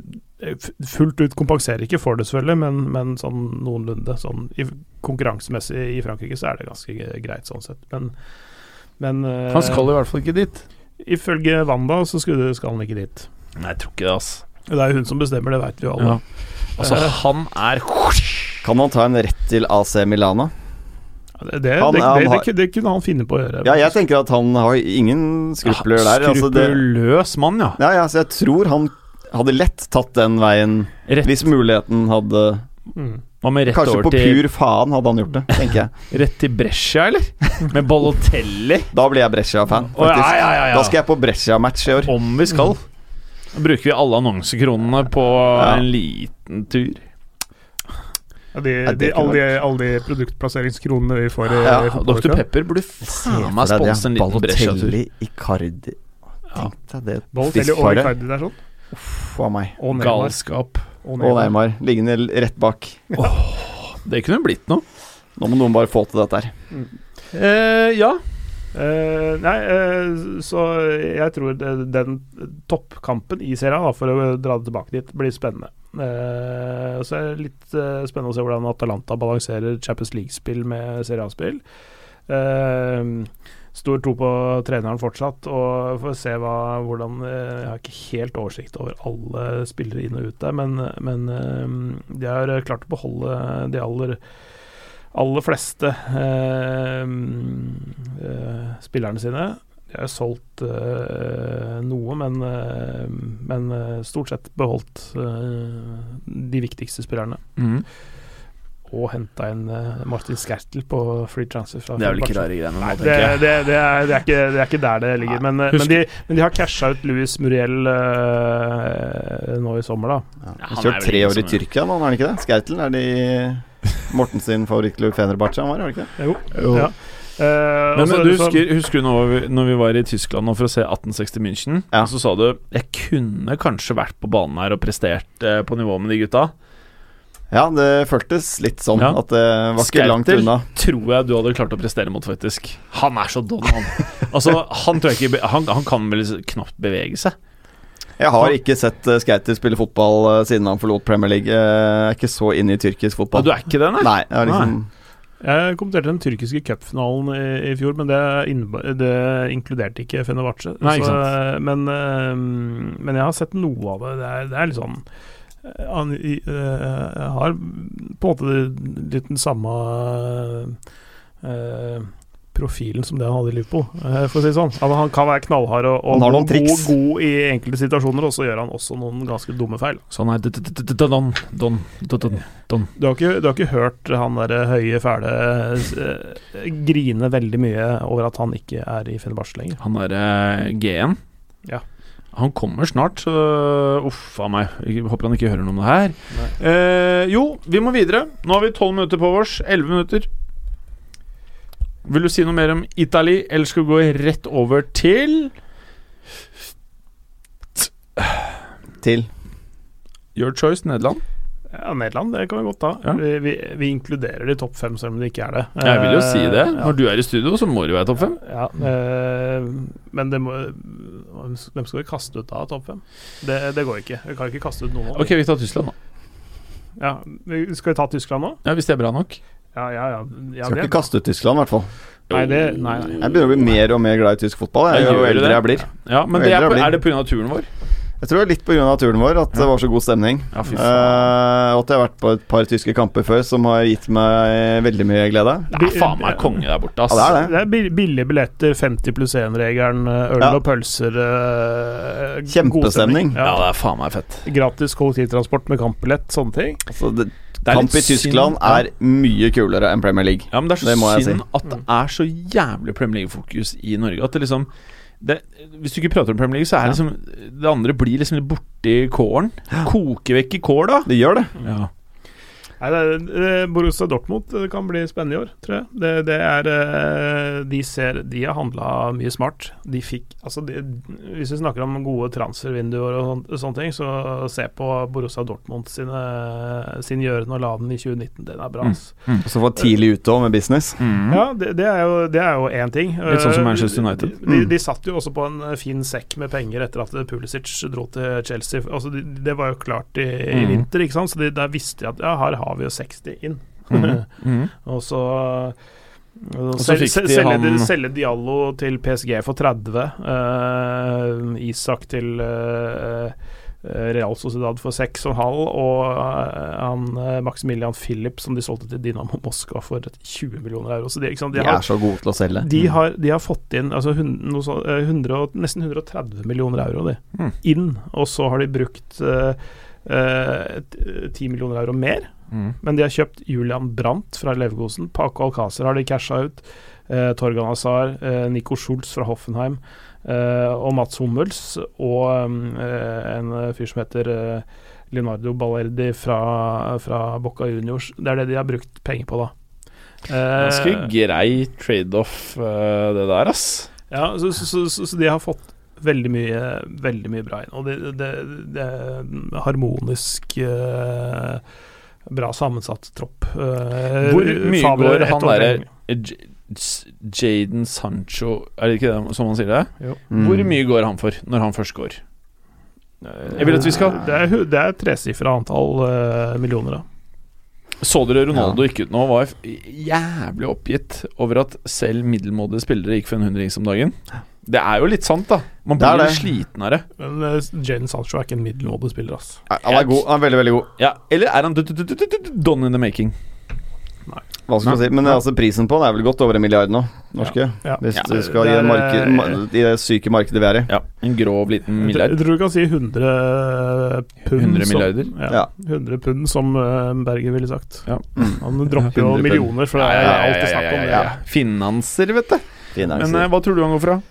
Speaker 5: f- Fullt ut kompenserer ikke for det, selvfølgelig, men, men sånn noenlunde. Sånn, i, konkurransemessig i Frankrike så er det ganske g- greit, sånn sett. Men, men eh,
Speaker 3: Han skal i hvert fall ikke dit.
Speaker 5: ifølge Wanda så skulle, skal han ikke dit.
Speaker 3: Nei, jeg tror ikke det, ass.
Speaker 5: Det er jo hun som bestemmer, det veit vi jo alle. Eh,
Speaker 3: Ja. Altså, han er
Speaker 4: Kan man ta en rett til AC Milana?
Speaker 5: Det, det,
Speaker 4: Han-
Speaker 5: det,
Speaker 4: han
Speaker 5: det, det,
Speaker 4: har-
Speaker 5: kunne- det kunne han finne på å gjøre.
Speaker 4: Ja, jeg tenker at han har ingen skrupler der. Altså det,
Speaker 3: Skrupuløs mann, ja.
Speaker 4: ja, ja, så jeg tror han hadde lett tatt den veien
Speaker 3: Rett,
Speaker 4: hvis muligheten hadde
Speaker 5: Mm.
Speaker 3: hva med rett
Speaker 4: Kanskje
Speaker 3: over
Speaker 4: på
Speaker 3: til
Speaker 4: pur faen hadde han gjort det, tenker jeg.
Speaker 3: Rett til Brescia, eller? Med Balotelli?
Speaker 4: Da blir jeg Brescia-fan,
Speaker 3: Å, ja,
Speaker 4: faktisk.
Speaker 3: ja, ja, ja.
Speaker 4: Da skal jeg på Brescia-match i år.
Speaker 3: Om vi skal. Da bruker vi alle annonsekronene på
Speaker 4: Ja.
Speaker 3: en liten tur.
Speaker 5: Ja, de,
Speaker 4: Ja, det
Speaker 5: de,
Speaker 4: kunne
Speaker 5: alle, de, alle de produktplasseringskronene vi får i
Speaker 4: Ja,
Speaker 5: i
Speaker 3: Ja,
Speaker 5: fotballuka.
Speaker 3: Dr. Pepper burde faen meg sponse en liten Brescia-tur.
Speaker 4: Balotelli, Icardi Tenk deg det
Speaker 5: Balotelli og
Speaker 4: Spissparet.
Speaker 5: Icardi der sånn.
Speaker 4: Faen meg.
Speaker 5: Og Neymar.
Speaker 3: Galskap.
Speaker 5: Og
Speaker 4: Og
Speaker 5: Neymar.
Speaker 4: Neymar liggende l- rett bak.
Speaker 3: Det kunne blitt noe.
Speaker 4: Nå må noen bare få til dette her.
Speaker 3: Eh, ja.
Speaker 5: Eh, nei, eh, så jeg tror det- den toppkampen i serien, da, for å dra det tilbake dit, blir spennende. Eh, så er det litt eh, spennende å se hvordan Atalanta balanserer Champions League-spill med Serie A-spill. Eh, stor tro på treneren fortsatt, og får se hva, hvordan eh, Jeg har ikke helt oversikt over alle spillere inn og ut der, men, men eh, de har klart å beholde de aller aller fleste eh, eh, spillerne sine. De har solgt eh, noe, men, eh, men eh, stort sett beholdt eh, de viktigste spillerne.
Speaker 3: Mm.
Speaker 5: Og henta inn eh, Martin Skertel på free transfer. Fra
Speaker 3: Det er vel ikke
Speaker 5: Fenerbahçe.
Speaker 3: rare greiene nå,
Speaker 5: Nei, det,
Speaker 3: tenker jeg.
Speaker 5: det, det, er, det, er ikke, det er ikke der det ligger. Men, eh,
Speaker 3: Husk-
Speaker 5: men, de, men de har casha ut Louis Muriel eh, nå i sommer, da.
Speaker 4: Ja.
Speaker 3: han
Speaker 4: Han
Speaker 3: er
Speaker 4: kjørt
Speaker 3: vel
Speaker 4: tre
Speaker 3: ingen
Speaker 4: år i
Speaker 3: som-
Speaker 4: Tyrkia nå, er han ikke det? Skeitelen er det i Morten sin favorittklubb Fenerbahçe han var, var det ikke det?
Speaker 5: Jo. Ja. Eh,
Speaker 3: Men,
Speaker 5: og så-
Speaker 3: men du
Speaker 5: så-
Speaker 3: husker, husker du når vi, når vi var i Tyskland nå for å se 1860 München?
Speaker 4: Ja.
Speaker 3: Så sa du jeg kunne kanskje vært på banen her og prestert eh, på nivå med de gutta.
Speaker 4: Ja, det føltes litt sånn.
Speaker 3: Ja.
Speaker 4: At det var ikke langt
Speaker 3: Skertel.
Speaker 4: unna.
Speaker 3: Tror jeg du hadde klart å prestere mot, faktisk. Han er så dum, han. altså, han, tror jeg ikke, be- han, han kan vel knapt bevege seg.
Speaker 4: Jeg har ikke sett uh, Skeiter spille fotball eh, siden han forlot Premier League. Eh, jeg er ikke så inne i tyrkisk
Speaker 3: Ja,
Speaker 4: fotball.
Speaker 3: du er ikke det, nei?
Speaker 4: Nei, jeg har liksom
Speaker 5: Jeg kommenterte den tyrkiske cupfinalen i, i fjor, men det, inneba- det inkluderte ikke Fenerbahçe.
Speaker 3: Nei, ikke
Speaker 5: Så,
Speaker 3: sant.
Speaker 5: eh, men, eh, men jeg har sett noe av det. Det er, det er litt sånn eh, han, i- eh, jeg har på en måte litt den samme eh, profilen som det han hadde i Liverpool, eh, for å si det sånn. Han, han kan være knallhard og, og
Speaker 4: Han har noen
Speaker 5: god,
Speaker 4: triks.
Speaker 5: god i enkelte situasjoner, og så gjør han også noen ganske dumme feil.
Speaker 3: Så han er d- d- d- d- don, don, don, don.
Speaker 5: Du har, ikke, du har ikke hørt han der høye, fæle eh, grine veldig mye over at han ikke er i Fenerbahçe lenger.
Speaker 3: Han er eh, G1.
Speaker 5: Ja.
Speaker 3: Han kommer snart, så uff a meg. Jeg håper han ikke hører noe om det her. Eh, jo, vi må videre. Nå har vi tolv minutter på oss. Elleve minutter. Vil du si noe mer om Italy, eller skal vi gå rett over til
Speaker 4: til.
Speaker 3: Your choice, Nederland?
Speaker 5: Ja, Nederland, det kan vi godt ta.
Speaker 3: Ja.
Speaker 5: Vi, vi, vi inkluderer de topp fem, selv om de ikke er det.
Speaker 3: Jeg vil jo si det.
Speaker 5: Eh, ja.
Speaker 3: Når du er i studio, så må du være topp fem.
Speaker 5: Ja, eh, men det må Hvem skal vi kaste ut av topp fem? Det, det går ikke. Vi kan ikke kaste ut noen. av dem.
Speaker 3: Ok, vi tar Tyskland, da.
Speaker 5: Ja, vi- skal vi ta Tyskland nå?
Speaker 3: Ja, Hvis det er bra nok.
Speaker 5: Ja, ja, ja. ja
Speaker 4: Skal
Speaker 5: det-
Speaker 4: ikke kaste ut Tyskland, i hvert fall.
Speaker 5: Nei, det, nei, nei.
Speaker 4: Jeg begynner å bli mer og mer glad i tysk fotball jeg,
Speaker 3: Ja,
Speaker 4: jo
Speaker 3: gjør du
Speaker 4: eldre
Speaker 3: det?
Speaker 4: jeg blir.
Speaker 3: Ja, Men
Speaker 4: Jo
Speaker 3: det er,
Speaker 4: eldre
Speaker 3: på,
Speaker 4: blir-
Speaker 3: er det pga. turen vår?
Speaker 4: Jeg tror det er litt pga. turen vår at det var så god stemning.
Speaker 3: Ja, fy
Speaker 4: Eh,
Speaker 3: faen.
Speaker 4: og at jeg har vært på et par tyske kamper før som har gitt meg veldig mye glede.
Speaker 3: Det er faen meg konge der borte, ass.
Speaker 4: Ja, det er det.
Speaker 5: Det er bill- billige billetter, 50 pluss 1-regelen, øl
Speaker 4: Ja.
Speaker 5: og pølser. eh, god
Speaker 4: Kjempestemning.
Speaker 5: stemning.
Speaker 3: Ja,
Speaker 5: Ja.
Speaker 3: det er faen meg fett.
Speaker 5: Gratis kollektivtransport med kampbillett, sånne ting.
Speaker 4: Altså, det,
Speaker 3: er
Speaker 4: kamp i
Speaker 3: litt
Speaker 4: Tyskland
Speaker 3: synd, ja.
Speaker 4: er mye kulere enn Premier League.
Speaker 3: Ja, men det er så
Speaker 4: Det må jeg
Speaker 3: synd at det er så jævlig Premier League-fokus i Norge. At det liksom det, Hvis du ikke prater om Premier League, så er liksom det andre blir liksom litt borti kålen. Koke vekk i kål, da.
Speaker 4: Det gjør det.
Speaker 3: Ja.
Speaker 5: Nei, det er, eh, Borussia Dortmund det kan bli spennende i år, tror jeg. Det, det er eh, De ser De har handla mye smart. De fikk Altså, de, hvis vi snakker om gode transfervinduer og sånt, sånne ting, så se på Borussia Dortmund sine, sin gjøren og laden i 2019. Den er bra,
Speaker 4: Mm.
Speaker 5: ass.
Speaker 4: Og så var tidlig ute òg med business.
Speaker 5: Mm. Ja, det, det er jo det er jo én ting.
Speaker 3: Mhm.
Speaker 5: Eh,
Speaker 3: Litt sånn som Manchester United. Mm.
Speaker 5: De, de, de satt jo også på en eh, fin sekk med penger etter at eh, Pulisic dro til Chelsea. Altså, de, det var jo klart i,
Speaker 3: Mhm.
Speaker 5: i vinter, ikke sant? så de, der visste de at ja, her har vi jo 60 inn.
Speaker 3: Mhm. Mm.
Speaker 5: og så og
Speaker 3: så fikk de
Speaker 5: selge,
Speaker 3: han-
Speaker 5: selge Diallo til PSG for 30. eh, Isak til eh, eh, Real Sociedad for 6,5. Og eh, han, eh, Maximilian Philip, som de solgte til Dynamo Moskva for 20 millioner euro. Så de, ikke sant?
Speaker 4: De
Speaker 5: De har,
Speaker 4: er så gode til å selge.
Speaker 5: de
Speaker 3: Mm.
Speaker 5: har, de har fått inn altså, hun, noe så, eh, 100, og- nesten 130 millioner euro de.
Speaker 3: Mm.
Speaker 5: inn, og så har de brukt eh, eh, t- 10 millioner
Speaker 4: Mm.
Speaker 5: euro mer. Men de har kjøpt Julian Brandt fra Leverkosen. Paco Alcácer har de casha ut. eh, Torgan Hazar, eh, Nico Schultz fra Hoffenheim eh, og Mats Hummels og eh, en fyr som heter eh, Leonardo Ballerdi fra, fra Bocca Juniors. Det er det de har brukt penger på, da. Eh,
Speaker 3: Ganske grei trade-off, eh, det der, ass.
Speaker 5: ja, så, så, så, så, så de har fått veldig mye, veldig mye bra inn. Og det, det, det er en harmonisk eh, bra sammensatt tropp. Eh,
Speaker 3: Hvor mye
Speaker 5: Faber
Speaker 3: går
Speaker 5: ett
Speaker 3: han
Speaker 5: år
Speaker 3: derre-
Speaker 5: lenger.
Speaker 3: Eh, J- S- Jaden Sancho Er det ikke det som man sier det?
Speaker 4: Mm.
Speaker 3: Hvor mye går han for, når han først går? Jeg vil at vi skal
Speaker 5: Det er, hu- det er tresifra antall eh, millioner, da.
Speaker 3: Så dere Ronaldo gikk ut nå og var f- jævlig oppgitt over at selv middelmådige spillere gikk for en hundrings om dagen? Det er jo litt sant, da. Man
Speaker 4: Det er
Speaker 3: blir
Speaker 4: det.
Speaker 3: sliten av det.
Speaker 5: Men eh, Jadon Sancho er ikke en middelmådig spiller, ass.
Speaker 4: Nei, Han er god. Han er veldig, veldig god.
Speaker 3: Ja, eller er han d- d- d- d- d- d- done in the making?
Speaker 4: Hva skal man si? Men altså, prisen på den er vel godt over en milliard nå, norske.
Speaker 5: Ja.
Speaker 4: Hvis
Speaker 3: Ja.
Speaker 4: du skal i,
Speaker 5: Det er-
Speaker 4: det marked, ma, i det syke markedet vi er i.
Speaker 3: Ja, En grov liten milliard.
Speaker 5: Jeg tror du kan si 100 pund
Speaker 3: 100
Speaker 5: som-
Speaker 3: milliarder?
Speaker 5: Ja,
Speaker 4: Ja.
Speaker 5: 100 pund, som eh, Berger ville sagt.
Speaker 3: Ja.
Speaker 5: Han dropper
Speaker 4: 100
Speaker 5: jo
Speaker 4: pund.
Speaker 5: millioner, for det er alltid snakk om det.
Speaker 3: Finanser, vet du. Men eh,
Speaker 4: Finansier.
Speaker 3: hva tror du han går fra?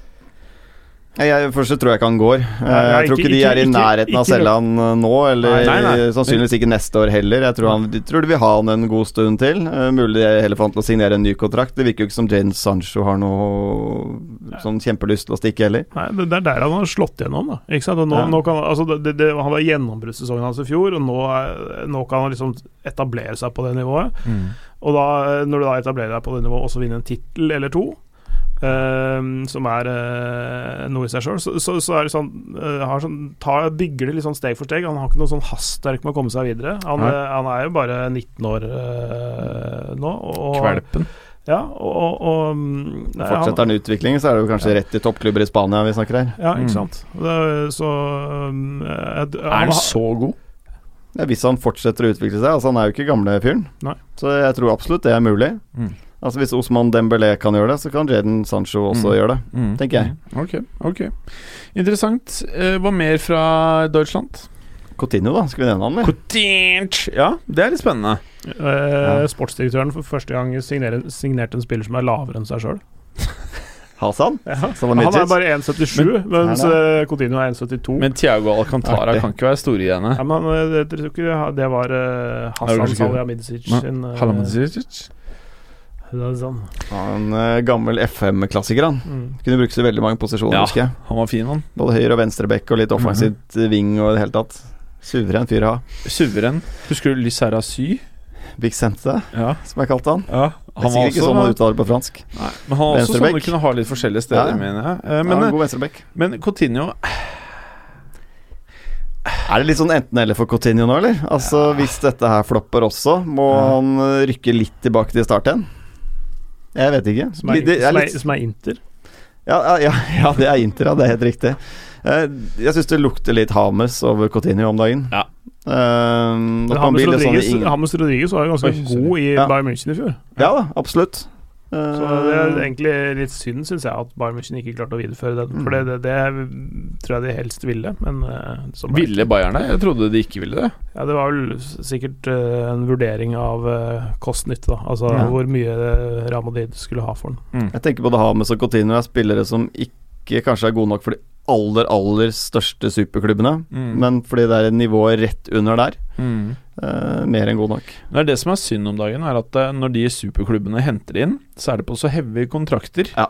Speaker 4: Nei, Jeg, først så tror jeg ikke han går. Eh,
Speaker 5: nei,
Speaker 4: jeg tror
Speaker 5: ikke-
Speaker 4: ikke de er
Speaker 5: ikke-
Speaker 4: i
Speaker 5: ikke-
Speaker 4: nærheten av å
Speaker 5: ikke
Speaker 4: selge han eh, nå, eller
Speaker 3: Nei, nei, nei.
Speaker 4: sannsynligvis ikke neste år heller. Jeg tror, han, de tror de vil ha han en god stund til. Eh, mulig jeg heller får han til å signere en ny kontrakt. Det virker jo ikke som Jane Sancho har noe sånn kjempelyst til å stikke heller.
Speaker 5: Nei, det, det er der han har slått gjennom. Da. Ikke sant? Og Nå,
Speaker 4: Ja.
Speaker 5: nå kan, altså, det, det, det- han var gjennombruddssesongen hans i fjor, og nå, er- nå kan han liksom etablere seg på det nivået. Og da, eh, når du da etablerer deg på det nivået, også vinne en tittel eller to, eh, som er eh, noe i seg sjøl, så, så, så er det sånn, eh, har sånn ta, bygger det litt sånn steg for steg. Han har ikke noe sånn hastverk med å komme seg videre. Han,
Speaker 3: Nei.
Speaker 5: eh, han er jo bare 19 år eh, nå. Og,
Speaker 3: Kvelpen.
Speaker 5: Ja, og, og, og mm, nei, han-
Speaker 4: Fortsetter han utviklingen, så er det jo kanskje rett i toppklubber i Spania vi snakker her.
Speaker 5: ja,
Speaker 3: Mm.
Speaker 5: ikke sant. Det, er- så um, jeg,
Speaker 3: Er han så god?
Speaker 4: Ja, hvis han fortsetter å utvikle seg. Altså, han er jo ikke gamle fyren.
Speaker 5: Nei.
Speaker 4: Så jeg tror absolutt det er mulig.
Speaker 3: Mm.
Speaker 4: Altså Hvis Osman Dembélé kan gjøre det, så kan Jaden Sancho også
Speaker 3: Mm.
Speaker 4: gjøre det.
Speaker 3: Mm.
Speaker 4: Tenker jeg.
Speaker 3: Mm. Ok, ok. Interessant. Eh, hva mer fra Deutschland?
Speaker 4: Coutinho da, skal vi nevne han? eller?
Speaker 3: Coutinho. Ja, det er litt spennende.
Speaker 5: eh, Sportsdirektøren for første gang signerer, signerte en spiller som er lavere enn seg sjøl.
Speaker 4: Hasan?
Speaker 5: Han er
Speaker 4: Salamidzic?
Speaker 5: bare 1,77, mens eh, Coutinho er 1,72. Men,
Speaker 3: Men Thiago Alcantara
Speaker 4: Artig.
Speaker 3: kan ikke være store i henne.
Speaker 5: ja, men eh, det- jeg tror ikke det- det var eh,
Speaker 3: Er
Speaker 5: Hassan
Speaker 3: det ikke-
Speaker 5: Salihamidzic
Speaker 3: Nei,
Speaker 5: sin eh,
Speaker 3: Halamadzic?
Speaker 5: det er sånn.
Speaker 4: Han eh, gammel FM-klassiker, han.
Speaker 5: Mm.
Speaker 4: Kunne brukes i veldig mange posisjoner,
Speaker 3: Ja.
Speaker 4: husker jeg.
Speaker 3: Han var fin, han.
Speaker 4: Både høyre- og venstrebekk og litt offensivt
Speaker 3: Mhm.
Speaker 4: eh, ving og i det hele tatt. Suveren fyr å ha.
Speaker 3: Suveren. Husker du Lysera Sy?
Speaker 4: Vicente,
Speaker 3: Ja.
Speaker 4: som jeg kalte han.
Speaker 3: Han
Speaker 4: det er
Speaker 3: var
Speaker 4: sikkert ikke
Speaker 3: også
Speaker 4: sånn man uttaler det på fransk.
Speaker 3: Nei, men han var også sånn du
Speaker 4: Venstrebekk.
Speaker 3: kunne ha litt forskjellige steder,
Speaker 4: Ja.
Speaker 3: mener jeg. Eh,
Speaker 4: ja,
Speaker 3: men,
Speaker 4: god venstrebekk.
Speaker 3: men Coutinho
Speaker 4: Er det litt sånn enten-eller for Coutinho nå, eller? Altså, Hvis dette her flopper også, må
Speaker 3: Ja.
Speaker 4: han eh, rykke litt tilbake til start igjen? Jeg vet ikke.
Speaker 5: Som, er,
Speaker 4: Litt- det er
Speaker 5: som,
Speaker 4: litt-
Speaker 5: er, som er Inter.
Speaker 4: Ja, ja, ja, ja, det er Inter, ja. Det er helt riktig. Eh, Jeg syns det lukter litt Hames over Coutinho om dagen.
Speaker 3: Ja.
Speaker 4: Eh,
Speaker 5: Men
Speaker 4: at man
Speaker 5: James
Speaker 4: blir litt sånn i
Speaker 5: Rodriguez,
Speaker 4: ingen-
Speaker 5: James Rodriguez var jo ganske
Speaker 3: Oi, sorry.
Speaker 5: god i
Speaker 4: Ja.
Speaker 5: Bayern München i fjor.
Speaker 4: Ja da, absolutt. Eh,
Speaker 5: Så
Speaker 3: Um.
Speaker 5: det er egentlig litt synd, syns jeg, at Bayern München ikke klarte å videreføre den.
Speaker 3: Mm.
Speaker 5: For det, det, det tror jeg de helst ville, men eh, som ble-
Speaker 3: ville Bayern det. Jeg trodde de ikke ville det.
Speaker 5: Ja, det var vel s- sikkert eh, en vurdering av eh, kost-nytte, da. Altså
Speaker 4: Ja.
Speaker 5: hvor mye eh, Real Madrid skulle ha for den.
Speaker 4: Jeg tenker både Hames og Coutinho er spillere som ikke kanskje er gode nok for de aller, aller største superklubbene,
Speaker 3: Mm.
Speaker 4: men fordi det er nivået rett under der,
Speaker 3: Mm.
Speaker 4: eh, mer enn god nok.
Speaker 3: Det er det som er synd om dagen, er at eh, når de superklubbene henter inn, så er det på så heavy kontrakter
Speaker 4: Ja.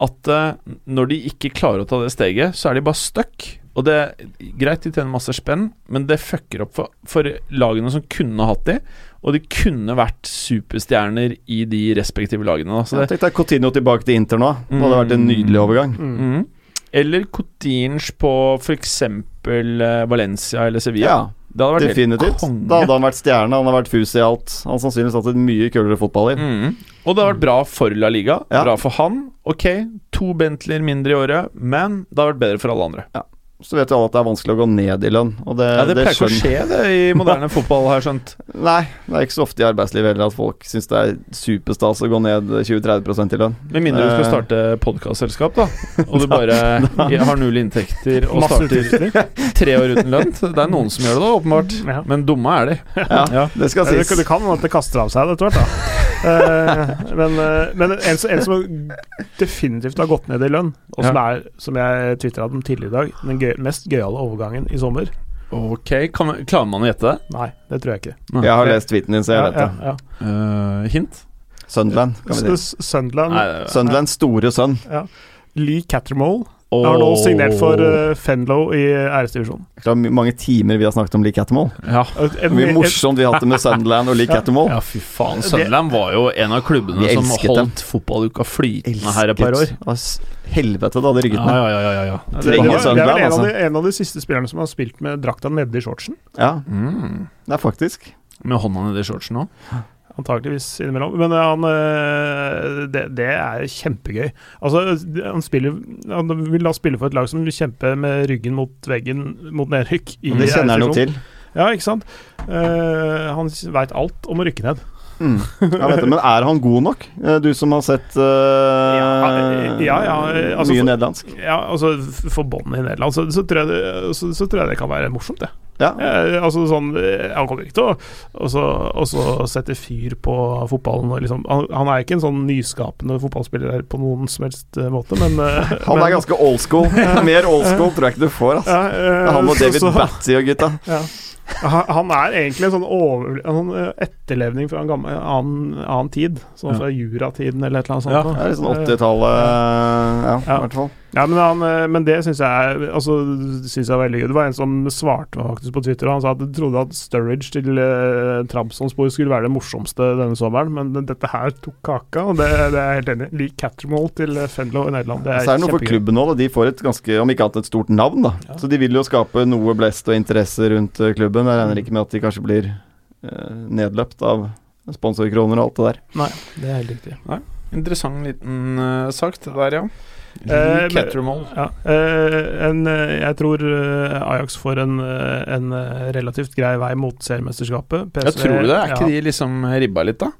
Speaker 3: at eh, når de ikke klarer å ta det steget, så er de bare stuck. Og det er greit, de tjener masse spenn, men det fucker opp for, for lagene som kunne hatt de, og de kunne vært superstjerner i de respektive lagene. Da. Så det,
Speaker 4: Tenk deg Coutinho tilbake til Inter nå. Det hadde vært en
Speaker 3: Mm.
Speaker 4: nydelig overgang.
Speaker 3: mm. Eller Coutinho på f.eks. Valencia eller Sevilla.
Speaker 4: Ja,
Speaker 3: det hadde vært helt
Speaker 4: definitivt.
Speaker 3: konge.
Speaker 4: Da hadde han vært stjerne, han hadde vært fus i alt. Han hadde sannsynligvis hatt et mye kulere fotballliv.
Speaker 3: Mm. Og det har vært bra for La Liga,
Speaker 4: Ja.
Speaker 3: bra for han. Ok, to Bentleyer mindre i året, men det har vært bedre for alle andre.
Speaker 4: så vet jo alle at det er vanskelig å gå ned i lønn. Og det,
Speaker 3: Ja, det,
Speaker 4: det
Speaker 3: pleier ikke å
Speaker 4: skjønner-
Speaker 3: skje det i moderne fotball, har jeg skjønt.
Speaker 4: Nei, det er ikke så ofte i arbeidslivet heller at folk syns det er superstas å gå ned 20-30 i lønn.
Speaker 3: Med mindre du skal starte podkastselskap, da. Og du bare har null inntekter og
Speaker 5: Masse
Speaker 3: starter tre år uten lønn. Det er noen som gjør det, da, åpenbart.
Speaker 5: Ja.
Speaker 3: Men dumme er de.
Speaker 4: Ja,
Speaker 3: Ja.
Speaker 4: Det skal
Speaker 5: Det,
Speaker 4: sies.
Speaker 5: det kan hende at det kaster av seg det etter hvert, da. Eh, men eh, men en, som- en som definitivt har gått ned i lønn, og som er, som jeg tvitra om tidligere i dag, den gøy, mest gøyale overgangen i sommer
Speaker 3: Ok, kan, Klarer man å gjette det?
Speaker 5: Nei, det tror jeg ikke.
Speaker 4: Jeg har lest tweeten din, så jeg vet det.
Speaker 5: Ja, ja,
Speaker 3: Eh, hint?
Speaker 4: Sunderland.
Speaker 5: ja.
Speaker 4: Kan vi si.
Speaker 5: S- Sunderland,
Speaker 3: Nei, det-
Speaker 4: Sunderlands store sønn.
Speaker 5: Lee Cattermole, har nå signert for eh, Fenlo i æresdivisjonen.
Speaker 4: Det er mange timer vi har snakket om Lee Cattermall.
Speaker 3: Ja.
Speaker 4: Mye morsomt vi har hatt det med Sunderland og Lee Cattermall.
Speaker 3: ja, fy faen. Sunderland var jo en av klubbene
Speaker 4: Vi
Speaker 3: som
Speaker 4: elsket
Speaker 3: holdt fotballuka flytende her et par år.
Speaker 4: Ass, Helvete, det hadde rygget
Speaker 3: Ja,
Speaker 4: ned.
Speaker 3: ja, ja, ja, ja.
Speaker 5: Det, det,
Speaker 4: Trenger
Speaker 5: var, det er vel
Speaker 4: Sunderland,
Speaker 5: en av,
Speaker 4: altså.
Speaker 5: de, en av de siste spillerne som har spilt med drakta nede i shortsen.
Speaker 4: Ja,
Speaker 3: Mm.
Speaker 4: det er faktisk.
Speaker 3: Med hånda nedi shortsen òg.
Speaker 5: Antakeligvis innimellom. Men han eh, det, det er kjempegøy. Altså, han spiller Han vil da spille for et lag som kjemper med ryggen mot veggen mot nedrykk. i
Speaker 4: Det kjenner han jo
Speaker 5: R16.
Speaker 4: til.
Speaker 5: Ja, ikke sant? Eh, han veit alt om å rykke ned.
Speaker 4: Mm. Ja, vet du, men er han god nok? Eh, Du som har sett eh,
Speaker 5: Ja, ja, ja, altså,
Speaker 4: mye
Speaker 5: for-
Speaker 4: nederlandsk.
Speaker 5: Ja, altså, f- For båndet i Nederland, så, så, tror jeg det, så, så tror jeg det kan være morsomt, det.
Speaker 4: Ja.
Speaker 5: Eh, altså sånn, eh, Han kommer ikke til å og så- og så sette fyr på fotballen. Og liksom, han, han er ikke en sånn nyskapende fotballspiller her på noen som helst eh, måte, men eh,
Speaker 4: Han
Speaker 5: men,
Speaker 4: er ganske old school. Mer old school tror jeg ikke du får. ass.
Speaker 5: ja, eh,
Speaker 4: Han og
Speaker 5: så-
Speaker 4: David
Speaker 5: så-
Speaker 4: Batty og gutta.
Speaker 5: ja. Han han er egentlig en sånn over, en sånn eh, etterlevning fra en gammel, annen, annen tid. Sånn fra juratiden eller et eller annet sånt.
Speaker 3: Ja.
Speaker 5: da.
Speaker 4: Det er litt sånn
Speaker 5: Eh,
Speaker 4: 80-tallet, ja, i
Speaker 5: Ja.
Speaker 4: hvert fall.
Speaker 5: Ja, men, han, eh, men det syns jeg, er- altså, synes jeg er veldig gøy. Det var en som svarte faktisk på Twitter, og han sa at han trodde at Sturridge til eh, Trabzonspor skulle være det morsomste denne sommeren, men dette her tok kaka, og det, det er jeg helt enig i. Lik Cattermall til eh, Fenlo i Nederland. Det er,
Speaker 4: Så Altså, er det noe for
Speaker 5: kjempegøy.
Speaker 4: klubben òg, da. De får et ganske, om ikke annet, et stort navn, da. Så de vil jo skape noe blest og interesse rundt eh, klubben. Jeg regner ikke med at de kanskje blir eh, nedløpt av sponsorkroner og alt det der.
Speaker 5: Nei, det er helt riktig.
Speaker 3: Interessant liten eh, sak, det der, ja.
Speaker 5: Eh,
Speaker 3: Lee Kettermall.
Speaker 5: Ja, eh, en, eh, jeg tror eh, Ajax får en, eh, en eh, relativt grei vei mot seriemesterskapet. PSG,
Speaker 3: Jeg tror det. Er
Speaker 5: ja.
Speaker 3: ikke de liksom ribba litt, da?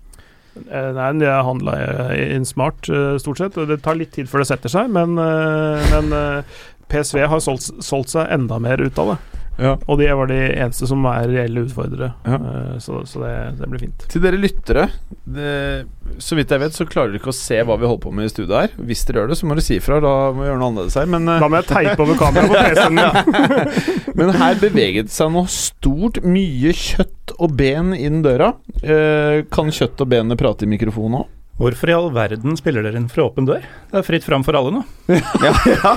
Speaker 5: Eh, Nei, de har handla inn smart, eh, stort sett. og Det tar litt tid før det setter seg, men, eh, men eh, PSV har solgt, solgt seg enda mer ut av det.
Speaker 3: Ja.
Speaker 5: Og de var de eneste som er reelle utfordrere,
Speaker 3: Ja.
Speaker 5: Eh, så, så det, det blir fint.
Speaker 3: Til dere lyttere, det, så vidt jeg vet, så klarer dere ikke å se hva vi holder på med i studio her. Hvis dere gjør det, så må dere si ifra. Da må vi gjøre noe annerledes her. Men, eh,
Speaker 5: Da må jeg teipe over kameraet på PC-en min.
Speaker 3: men her beveget det seg noe stort. Mye kjøtt og ben inn døra. Eh, kan kjøtt og benene prate i mikrofonen òg?
Speaker 1: Hvorfor i all verden spiller dere inn fra åpen dør? Det er fritt fram for alle nå.
Speaker 4: Ja, ja.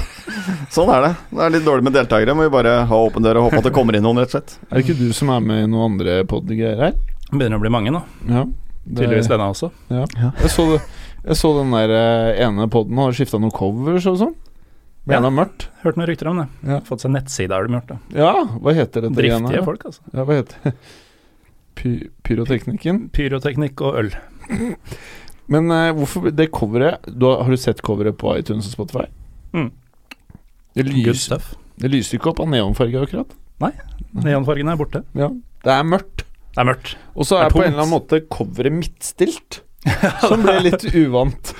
Speaker 4: Sånn er det. Det er litt dårlig med deltakere. Må vi bare ha åpen dør og håpe at det kommer inn noen, rett og slett.
Speaker 3: Er det ikke du som er med i noen andre podgreier her?
Speaker 1: Det begynner å bli mange nå.
Speaker 3: Ja.
Speaker 1: Tydeligvis denne også.
Speaker 3: Jeg så, det- jeg så den der eh, ene poden har skifta noen covers og sånn. Ble
Speaker 1: Ja.
Speaker 3: enda mørkt.
Speaker 1: Hørt noen rykter om det.
Speaker 3: Ja.
Speaker 1: Fått seg nettside, har de gjort det.
Speaker 3: Ja, hva heter dette greiene her,
Speaker 1: Driftige
Speaker 3: da?
Speaker 1: folk, altså.
Speaker 3: Ja, hva heter Py Pyroteknikken?
Speaker 1: Pyroteknikk og øl.
Speaker 3: Men eh, hvorfor det coveret du har, har du sett coveret på iTunes og Spotify?
Speaker 1: Mm.
Speaker 3: Det,
Speaker 1: Good
Speaker 3: lyser,
Speaker 1: stuff.
Speaker 3: det lyser ikke opp av neonfarge, akkurat.
Speaker 1: Neonfargene er borte.
Speaker 3: Ja. Det er mørkt.
Speaker 1: Det er mørkt.
Speaker 3: Og så
Speaker 1: Det er
Speaker 3: er på
Speaker 1: tungt.
Speaker 3: en eller annen måte coveret midtstilt. Som ble litt uvant.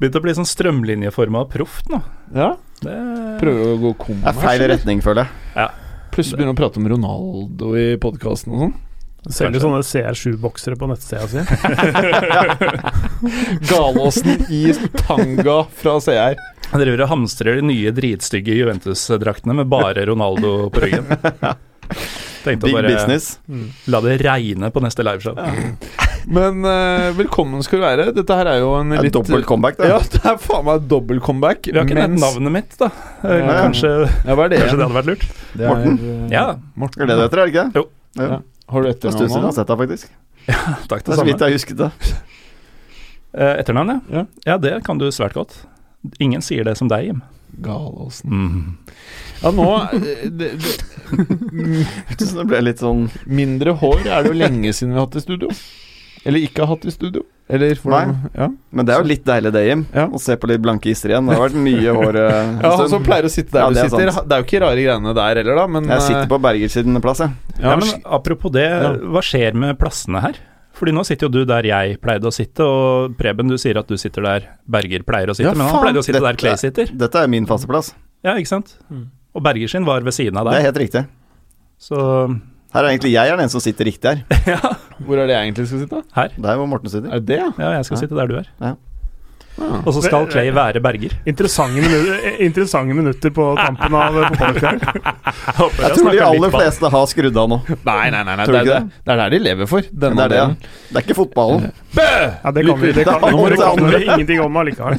Speaker 1: Begynt å bli sånn strømlinjeforma og proft nå.
Speaker 3: Ja,
Speaker 1: Det
Speaker 3: Prøver å gå
Speaker 4: Det er feil
Speaker 3: kommers.
Speaker 4: retning, føler jeg.
Speaker 3: Plutselig begynner å prate om Ronaldo i podkasten og sånn.
Speaker 5: Selger sånne CR7-boksere på nettsida si.
Speaker 3: Galåsen i tanga fra CR.
Speaker 1: Jeg driver og hamstrer de nye dritstygge Juventus-draktene med bare Ronaldo på ryggen. Tenkte å
Speaker 4: Big
Speaker 1: bare
Speaker 4: business.
Speaker 5: Mm.
Speaker 1: la det regne på neste liveshow.
Speaker 3: Men eh, velkommen skal du være. Dette her er jo en
Speaker 4: Det er
Speaker 3: litt eh,
Speaker 4: dobbelt comeback,
Speaker 3: Ja,
Speaker 4: det.
Speaker 3: det er faen meg dobbel comeback.
Speaker 1: Vi har ikke nevnt
Speaker 3: mens-
Speaker 1: navnet mitt, da. Eh,
Speaker 3: Ja, ja.
Speaker 1: Kanskje,
Speaker 3: Ja, hva er det?
Speaker 1: kanskje
Speaker 3: igjen?
Speaker 1: det hadde vært lurt?
Speaker 3: Det er, eh,
Speaker 1: Ja,
Speaker 3: Morten.
Speaker 4: Er det det heter, er det ikke? det?
Speaker 3: Har du
Speaker 4: Det er stund siden altså. jeg har
Speaker 3: etternavn?
Speaker 4: sett deg, faktisk.
Speaker 1: takk
Speaker 4: Det
Speaker 1: det
Speaker 4: er så
Speaker 1: samme.
Speaker 4: vidt jeg husket det.
Speaker 1: Eh, Etternavn,
Speaker 3: Ja.
Speaker 1: ja. Ja, det kan du svært godt. Ingen sier det som deg, Jim.
Speaker 3: Galåsen.
Speaker 1: Mm.
Speaker 3: Ja, nå eh, det, det,
Speaker 4: Så det ble litt sånn
Speaker 3: Mindre hår er det jo lenge siden vi har hatt i studio. Eller ikke har hatt i studio. Eller hvordan ja.
Speaker 4: Men det er jo litt deilig, det, Jim.
Speaker 3: Ja.
Speaker 4: Å se på litt blanke ister igjen. Det har vært mye hår eh, en
Speaker 3: ja, han
Speaker 4: stund.
Speaker 3: som pleier å sitte der
Speaker 4: Ja,
Speaker 3: du
Speaker 4: det er
Speaker 3: sitter.
Speaker 4: sant.
Speaker 3: Det er jo ikke rare greiene der heller, da, men
Speaker 4: Jeg sitter på Berger sin plass, jeg.
Speaker 3: ja,
Speaker 1: Ja,
Speaker 3: men,
Speaker 1: men apropos det,
Speaker 3: Ja.
Speaker 1: hva skjer med plassene her? Fordi nå sitter jo du der jeg pleide å sitte, og Preben, du sier at du sitter der Berger pleier å sitte,
Speaker 3: Ja,
Speaker 1: men han
Speaker 3: faen,
Speaker 1: pleide å sitte der
Speaker 4: dette-
Speaker 1: Clay sitter.
Speaker 4: Dette er min faste plass.
Speaker 1: Ja, ikke sant?
Speaker 5: Mm.
Speaker 1: Og Berger sin var ved siden av
Speaker 4: Det er
Speaker 1: deg,
Speaker 4: helt riktig.
Speaker 1: så
Speaker 4: Her er egentlig jeg er den som sitter riktig her.
Speaker 1: ja.
Speaker 3: Hvor er det jeg egentlig skal sitte?
Speaker 4: Der hvor Morten sitter.
Speaker 3: Er det det, ja?
Speaker 1: Ja, jeg skal
Speaker 4: Ja.
Speaker 1: sitte der du er.
Speaker 4: Ja.
Speaker 1: Og så skal Clay være berger.
Speaker 5: Interessante minutter, interessante minutter på tampen av fotballkarrieren.
Speaker 4: Jeg tror de aller fleste har skrudd av nå.
Speaker 3: Nei, nei, nei. nei
Speaker 4: Tror
Speaker 3: det,
Speaker 4: du
Speaker 3: er,
Speaker 4: ikke
Speaker 3: det, det er der de lever for. Denne
Speaker 4: Det er det,
Speaker 3: delen.
Speaker 4: ja. Det er ikke fotballen.
Speaker 5: Ja, det kan vi, det kan, nå må det kan vi ingenting om allikevel.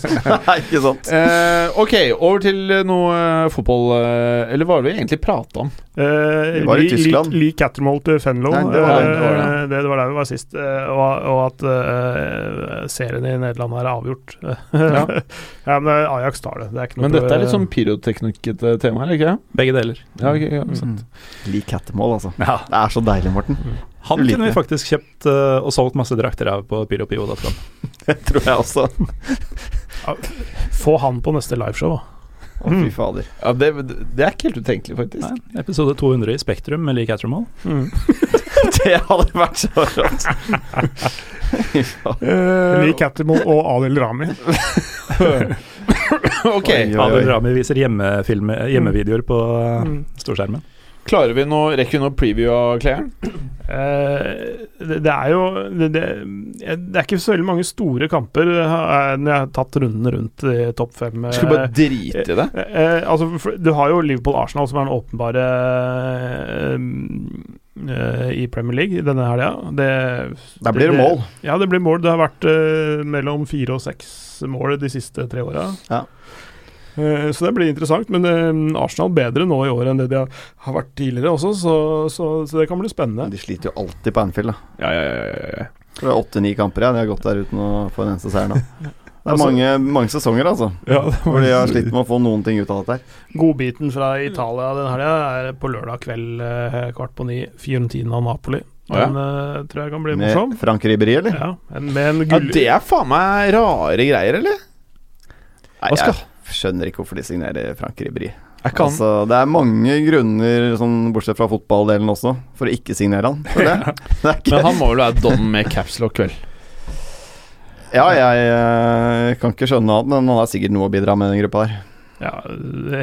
Speaker 4: Nei, ikke sant.
Speaker 3: Eh, ok, over til eh, noe eh, fotball eh, Eller hva var det vi egentlig prata om?
Speaker 5: Eh,
Speaker 4: Vi var i
Speaker 5: Lee-
Speaker 4: Tyskland.
Speaker 5: Lee, Lee Cattermole til Fenlo.
Speaker 4: Nei,
Speaker 5: Eh,
Speaker 4: det
Speaker 5: det,
Speaker 3: det var
Speaker 4: var-
Speaker 5: det, var der vi var sist. Eh, og, og at eh, serien i Nederland her er avgjort. ja.
Speaker 3: Ja.
Speaker 5: men eh, Ajax tar det. Det er ikke noe
Speaker 3: Men dette er litt sånn pyroteknikkete tema, eller ikke?
Speaker 1: Begge deler.
Speaker 3: Ja, ok, ja, sant.
Speaker 4: Lik hattemål, altså.
Speaker 1: Ja.
Speaker 4: Det er så deilig, Morten.
Speaker 1: Han
Speaker 4: Ulike.
Speaker 1: kunne vi faktisk kjøpt eh, og solgt masse drakter av på pyropio.com.
Speaker 4: Det tror jeg også. Å,
Speaker 5: Få han på neste liveshow. da.
Speaker 4: fy fader.
Speaker 3: Ja, det, det er ikke helt utenkelig, faktisk.
Speaker 1: Nei, Episode 200 i Spektrum med Lee Cattermall.
Speaker 3: Mm.
Speaker 4: Det hadde vært så rått. Fy faen.
Speaker 5: Lee Cattermole og Adil Rami.
Speaker 3: Ok,
Speaker 4: Oi, oi,
Speaker 1: Adel
Speaker 4: oi.
Speaker 1: Rami viser hjemmefilme- hjemmevideoer på eh,
Speaker 5: Mm.
Speaker 1: storskjermen.
Speaker 3: klarer vi nå, Rekker vi noe preview av klærne?
Speaker 5: Eh, det, det er jo det, det, det er ikke så veldig mange store kamper eh, når jeg har tatt runden rundt i topp fem. eh,
Speaker 3: Skulle bare drite i det.
Speaker 5: Eh, eh, altså, for- du har jo Liverpool-Arsenal, som er den åpenbare eh, eh, i Premier League denne helga. Det,
Speaker 4: Der blir det mål.
Speaker 5: Ja, det blir mål. Det har vært eh, mellom fire og seks mål de siste tre åra.
Speaker 4: Ja.
Speaker 5: Eh, så det blir interessant. Men eh, Arsenal bedre nå i år enn det de har, har vært tidligere også, så, så, så det kan bli spennende.
Speaker 4: De sliter jo alltid på Anfield, da.
Speaker 3: Ja, ja, ja, ja, ja.
Speaker 4: Det er åtte-ni kamper, ja. De har gått der uten å få en eneste seier nå. Det er
Speaker 5: Altså-
Speaker 4: mange, mange sesonger, altså. Hvor de har slitt med å få noen ting ut av dette her.
Speaker 5: Godbiten fra Italia den helga er på lørdag kveld eh, kvart på ni. Fiorentina Napoli.
Speaker 3: Å, ja.
Speaker 5: Den eh, tror jeg kan bli morsom.
Speaker 4: Med Frank Ribéry, eller?
Speaker 5: Ja, en- med en
Speaker 3: ja,
Speaker 5: gull...
Speaker 3: det er faen meg rare greier, eller?
Speaker 4: Nei,
Speaker 3: Hva skal-
Speaker 4: jeg skjønner ikke hvorfor de signerer Frank Ribéry.
Speaker 3: Jeg kan
Speaker 4: Altså, det er mange grunner, sånn, bortsett fra fotballdelen også, for å ikke signere han. For det. Det er ikke,
Speaker 3: Men han må vel være don med capslock, vel?
Speaker 4: ja, jeg eh, kan ikke skjønne annet, men han har sikkert noe å bidra med i den gruppa her.
Speaker 5: Ja,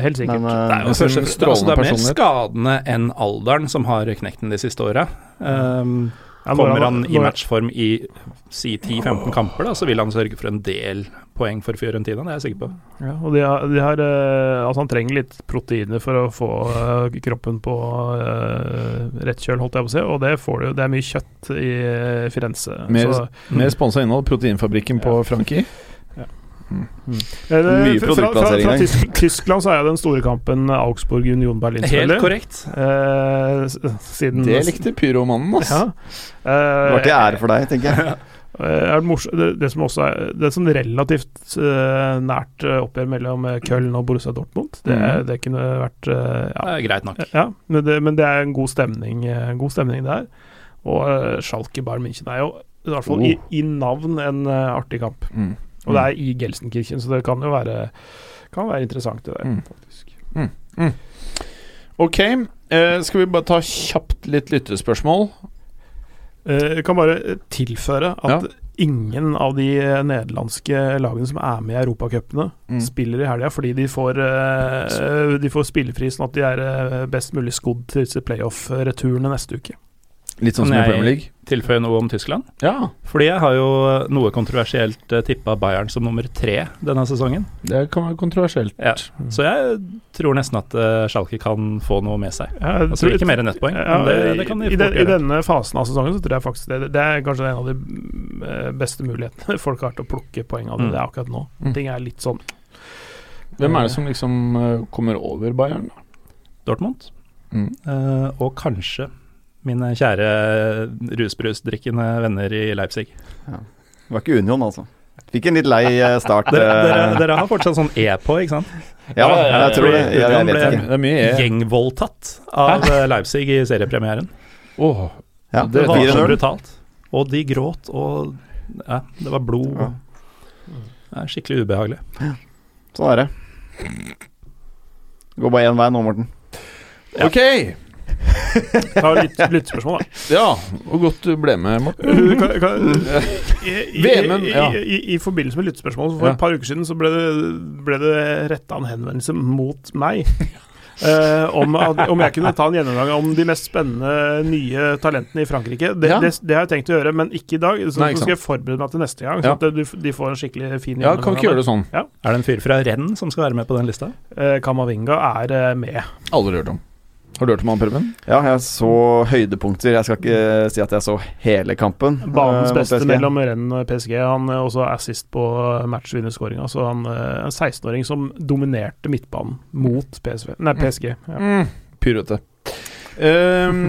Speaker 5: helt sikkert.
Speaker 4: Men, eh,
Speaker 3: jo først og fremst
Speaker 1: altså, det er mer
Speaker 3: personlighet.
Speaker 1: skadene enn alderen som har knekt den de siste åra. Um,
Speaker 5: Ja, når
Speaker 1: Kommer han i
Speaker 5: når-
Speaker 1: matchform i si 10-15 kamper, da, så vil han sørge for en del poeng for Fiorentina. Det er jeg sikker på.
Speaker 5: Ja, og de har, de har eh, Altså, han trenger litt proteiner for å få eh, kroppen på eh, rett kjøl, holdt jeg på å si, og det får du. Det er mye kjøtt i eh, Firenze.
Speaker 3: Mer-
Speaker 5: så-
Speaker 3: Med sponsa innhold, Proteinfabrikken på Frankie.
Speaker 5: Eh, det-
Speaker 4: mye
Speaker 5: fra- fra-
Speaker 4: produktplassering
Speaker 5: Fra
Speaker 4: der.
Speaker 5: Tysk, Tyskland så er jo den store kampen Augsburg-Union Berlin,
Speaker 1: Helt
Speaker 5: selvfølgelig.
Speaker 1: korrekt.
Speaker 5: Eh, s- siden
Speaker 3: Det likte pyromannen, ass.
Speaker 5: Ja.
Speaker 4: Det
Speaker 5: Eh,
Speaker 4: var til ære for deg, tenker jeg.
Speaker 5: Eh, er det, morsom, det, det som også er Det som relativt eh, nært eh, oppgjør mellom eh, Köln og Borussia Dortmund, det,
Speaker 3: Mhm.
Speaker 5: det kunne vært eh,
Speaker 1: Det
Speaker 5: ja,
Speaker 1: er greit nok.
Speaker 3: Sånn
Speaker 5: ja, men, det, men det er en god stemning, eh, god stemning der. Og eh, Schalke Bayern München er jo i hvert fall i, i navn en eh, artig kamp.
Speaker 3: Oh. Mm.
Speaker 5: Og det er i Gelsenkirchen, så det kan jo være kan være interessant, det der.
Speaker 3: Mm.
Speaker 5: faktisk.
Speaker 3: Ok, eh, skal vi bare ta kjapt litt lyttespørsmål?
Speaker 5: Eh, Jeg kan bare eh, tilføre at
Speaker 3: Ja.
Speaker 5: ingen av de eh, nederlandske lagene som er med i europacupene,
Speaker 3: Mm.
Speaker 1: Mm.
Speaker 5: spiller i helga fordi de får, eh, de får spillefri, sånn at de er eh, best mulig skodd til disse playoff-returene neste uke.
Speaker 3: Litt
Speaker 1: Kan
Speaker 3: sånn som i
Speaker 1: jeg-
Speaker 3: Premier League?
Speaker 1: Tilføye noe om Tyskland.
Speaker 3: Ja,
Speaker 1: Fordi jeg har jo noe kontroversielt tippa Bayern som nummer tre denne sesongen.
Speaker 3: det kan være kontroversielt.
Speaker 1: Ja. Så jeg tror nesten at eh, Schalke kan få noe med seg.
Speaker 5: Jeg
Speaker 1: Altså ikke mer enn ett poeng,
Speaker 5: Mm. Ja,
Speaker 1: men det, det kan de
Speaker 5: i,
Speaker 1: fort
Speaker 5: den, I
Speaker 1: gjøre.
Speaker 5: denne fasen av sesongen så tror jeg faktisk det. Det er kanskje en av de mm, eh, beste mulighetene folk har til å plukke poeng av det.
Speaker 1: Mm.
Speaker 5: Det er akkurat nå.
Speaker 3: Mm.
Speaker 5: Ting er litt sånn
Speaker 3: Hvem er det som liksom eh, kommer over Bayern, da?
Speaker 1: Dortmund.
Speaker 3: Mm.
Speaker 1: Eh, og kanskje mine kjære rusbrusdrikkende venner i Leipzig.
Speaker 4: Det var ikke Union, altså. Fikk en litt lei eh, start.
Speaker 1: Dere, dere,
Speaker 4: eh,
Speaker 1: dere har fortsatt sånn E på, ikke sant?
Speaker 4: ja, jeg tror det. Jeg, jeg
Speaker 1: Union
Speaker 4: vet
Speaker 1: ble-
Speaker 4: ikke.
Speaker 3: Det er mye E.
Speaker 1: Gjengvoldtatt av eh, Leipzig i seriepremieren.
Speaker 3: Åh,
Speaker 4: Ja,
Speaker 3: Det
Speaker 1: Det var så
Speaker 4: 4-0.
Speaker 1: brutalt. Og de gråt, og ja, det var blod. og- Det er skikkelig ubehagelig.
Speaker 4: Sånn er det. Det går bare én vei nå, Morten.
Speaker 3: Ok!
Speaker 5: Ta litt lyttespørsmål, da.
Speaker 3: Ja, hvor godt du ble med, Morten.
Speaker 5: Du kan, kan, i, i,
Speaker 3: Vemund,
Speaker 5: i,
Speaker 3: ja.
Speaker 5: i, I forbindelse med lyttespørsmål for
Speaker 3: Ja.
Speaker 5: et par uker siden så ble det, ble det retta en henvendelse mot meg. eh, om, at- om jeg kunne ta en gjennomgang om de mest spennende nye talentene i Frankrike. Det,
Speaker 3: Ja.
Speaker 5: det, det har jeg tenkt å gjøre, men ikke i dag. Så,
Speaker 3: Nei, ikke
Speaker 5: så skal jeg forberede meg til neste gang,
Speaker 3: Ja.
Speaker 5: så at du, f- de får en skikkelig fin
Speaker 3: Ja, kan vi ikke gjøre det sånn?
Speaker 1: Er det en fyr fra Renn som skal være med på den lista?
Speaker 5: Eh, Kamavinga er eh, med.
Speaker 3: Aldri hørt om. Har du hørt om han, Preben?
Speaker 4: Ja, jeg så høydepunkter. Jeg skal ikke si at jeg så hele kampen.
Speaker 5: Banens
Speaker 4: eh, mot
Speaker 5: beste
Speaker 4: PSG.
Speaker 5: mellom renn og PSG. Han er også assist på matchvinnerskåringa. Så han er en 16-åring som dominerte midtbanen mot PSV. Nei, PSG. Ja.
Speaker 3: Mm, Pyrete. Ehm,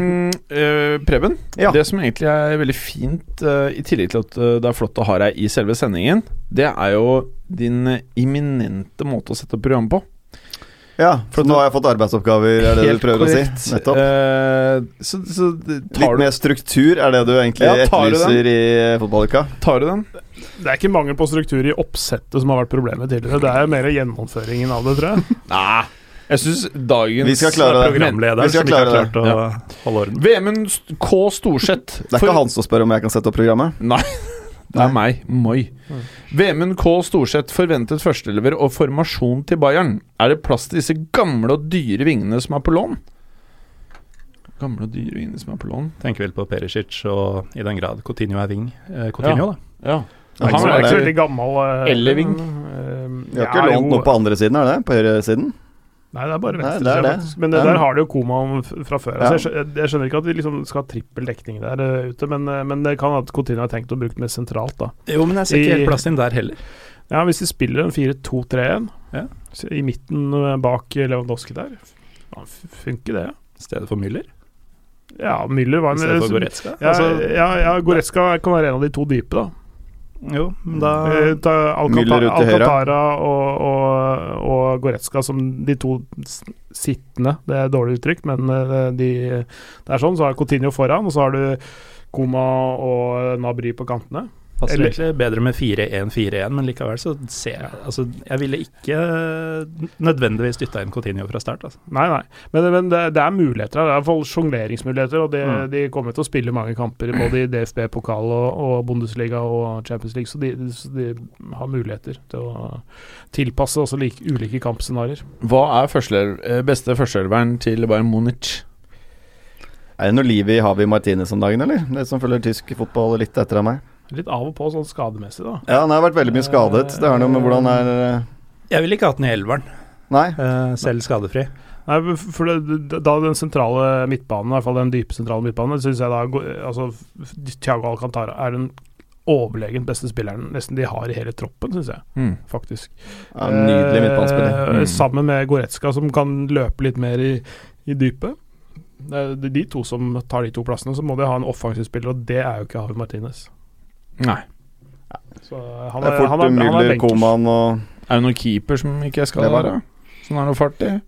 Speaker 3: eh, Preben,
Speaker 4: Ja.
Speaker 3: det som egentlig er veldig fint, eh, i tillegg til at eh, det er flott å ha deg i selve sendingen, det er jo din eh, imminente måte å sette opp programmet på.
Speaker 4: Ja, for nå har jeg fått arbeidsoppgaver, er det du prøver å si? Nettopp.
Speaker 3: Eh, så så
Speaker 4: Litt
Speaker 3: tar, du,
Speaker 4: mer struktur er det du egentlig
Speaker 3: Ja, tar du
Speaker 4: etterlyser i fotballuka?
Speaker 3: tar du den?
Speaker 5: Det er ikke mangel på struktur i oppsettet som har vært problemet tidligere. Det er mer gjennomføringen av det, tror jeg.
Speaker 3: Nei. Jeg syns dagens
Speaker 4: Vi skal klare det.
Speaker 1: Programlederen
Speaker 4: Vi skal
Speaker 1: som ikke har
Speaker 4: klare det.
Speaker 1: klart å holde orden.
Speaker 3: Vemund St- K. Storseth.
Speaker 4: Det er ikke han som spør om jeg kan sette opp programmet.
Speaker 3: Nei. Det er meg. Moi. Vemund K. Storseth forventet førstelever og formasjon til Bayern. Er det plass til disse gamle og dyre vingene som er på lån? Gamle og dyre vingene som er på lån?
Speaker 1: Tenker vel på Perisic og i den grad Coutinho er wing. Eh, Coutinho, da.
Speaker 3: Ja.
Speaker 4: Ja,
Speaker 5: Han
Speaker 4: så
Speaker 5: er
Speaker 4: er
Speaker 5: ikke
Speaker 4: det-
Speaker 5: så veldig gammel. eh,
Speaker 3: Elleving.
Speaker 5: men, eh,
Speaker 4: Vi har ikke
Speaker 5: ja,
Speaker 4: lånt
Speaker 5: jo.
Speaker 4: noe på andre siden, er det? På høyre siden?
Speaker 5: Nei, det er bare
Speaker 4: Nei,
Speaker 5: venstre.
Speaker 4: det er det.
Speaker 5: faktisk. Men det,
Speaker 4: Ja.
Speaker 5: der har de jo Koma om f- fra før.
Speaker 4: Ja.
Speaker 5: Altså, jeg, skjønner, jeg skjønner ikke at de liksom skal ha trippel dekning der eh, ute, men, eh, men det kan at Coutinho har tenkt å bruke det mer sentralt, da.
Speaker 1: Jo, men jeg ser
Speaker 5: I-
Speaker 1: ikke helt plass til den der heller.
Speaker 5: Ja, hvis de spiller en 4-2-3-1
Speaker 1: Ja.
Speaker 5: så i midten eh, bak Lewandowski der, ja, f- funker det.
Speaker 1: I stedet for Müller.
Speaker 5: Ja, Müller var
Speaker 1: I stedet for
Speaker 5: en
Speaker 1: Goretzka.
Speaker 5: ja, eh,
Speaker 1: altså,
Speaker 5: ja, ja, Goretzka kan være en av de to dype, da.
Speaker 1: jo, men da
Speaker 5: Eh, ta
Speaker 4: Müller
Speaker 5: Alcantara,
Speaker 4: ut til høyre.
Speaker 5: Alcantara og, og, og Goretzka som de to s- sittende. Det er dårlig uttrykk, men eh, de, det er sånn. Så har Coutinho foran, og så har du Koma og Nabry på kantene.
Speaker 1: passer
Speaker 5: eller-
Speaker 1: det egentlig bedre med 4-1-4-1, men likevel så ser jeg Altså, jeg ville ikke eh, nødvendigvis dytta inn Coutinho fra start, altså.
Speaker 5: Nei, nei. Men, men det, det er muligheter her. Det er iallfall sjongleringsmuligheter. Og det,
Speaker 1: Mm.
Speaker 5: de kommer til å spille mange kamper, både i DFB, pokal og, og Bundesliga og Champions League. Så de, så de har muligheter til å tilpasse også like, ulike kampscenarioer.
Speaker 3: Hva er førstelø- eh, beste førsteelveren til Bayern Munich?
Speaker 4: Er det noe liv i Havi Martinez om dagen, eller? Det som følger tysk fotball litt etter av meg.
Speaker 5: Litt av og på sånn skademessig, da.
Speaker 4: Ja, han har vært veldig mye skadet. Det har noe med hvordan er eh,
Speaker 1: Jeg ville ikke hatt den i elveren,
Speaker 4: Nei.
Speaker 1: eh, selv skadefri.
Speaker 5: Nei, men f- for det, da den sentrale midtbanen, i hvert fall den dype sentrale midtbanen, syns jeg da går- altså, f- Thiago Alcantara er den overlegent beste spilleren nesten de har i hele troppen, syns jeg,
Speaker 3: Mm.
Speaker 5: faktisk.
Speaker 4: Ja, nydelig midtbanespiller.
Speaker 5: Eh,
Speaker 3: Mm.
Speaker 5: Sammen med Goretzka, som kan løpe litt mer i, i dypet. Det er det er de to som tar de to plassene. Så må de ha en offensiv spiller, og det er jo ikke Havi Martinez.
Speaker 3: Nei.
Speaker 5: Så eh, han
Speaker 4: Det
Speaker 5: er,
Speaker 4: er fort
Speaker 5: han er, han er,
Speaker 4: Müller,
Speaker 5: benkers.
Speaker 4: Koman og
Speaker 3: Er det noen keeper som ikke er skada
Speaker 4: Det var-
Speaker 3: der, da? Som har noe fart i?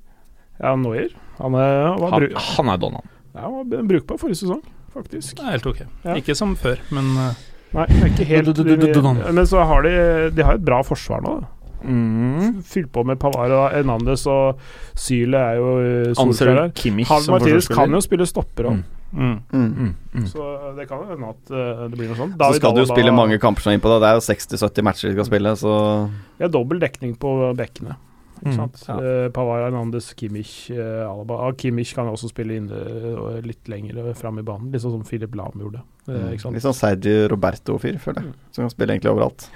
Speaker 5: Ja, Neuer. Han er, var,
Speaker 3: Han,
Speaker 5: bru,
Speaker 3: han er Donald.
Speaker 5: ja, han var brukbar forrige sesong, faktisk.
Speaker 1: Det er helt ok.
Speaker 5: Ja.
Speaker 1: Ikke som før, men eh,
Speaker 5: Nei, det er ikke helt
Speaker 3: Du- du- du- du- du-
Speaker 5: Men så har de De har et bra forsvar nå. da.
Speaker 3: Mm.
Speaker 5: Fylt på med Pavar og Hernandez, og Syle er jo eh,
Speaker 3: Anser
Speaker 5: solskjær
Speaker 3: du
Speaker 5: her.
Speaker 3: Kimmich
Speaker 5: Havi
Speaker 3: som
Speaker 5: Martinez kan
Speaker 3: forsvarsspiller?
Speaker 5: jo spille stopper òg,
Speaker 3: Mm.
Speaker 1: mm.
Speaker 4: mm.
Speaker 3: Mm. Mm.
Speaker 5: så det kan jo hende at eh, det blir noe sånt.
Speaker 4: Så skal du jo
Speaker 5: Alaba-
Speaker 4: spille mange kamper som er innpå deg. Det er jo 60-70 matcher du skal spille, så
Speaker 5: Ja, dobbel dekning på bekkene. Ikke
Speaker 3: Mm,
Speaker 5: sant?
Speaker 3: ja.
Speaker 5: Eh, Pavar, Hernandez, Kimmich, eh, Alaba. Ah, Kimmich kan også spille inne eh, litt lenger fram i banen, litt sånn som Philip Lahm gjorde.
Speaker 3: Mm.
Speaker 5: Eh, ikke sant?
Speaker 4: Litt sånn Sergi Roberto-fyr, føler jeg. Som kan spille egentlig overalt.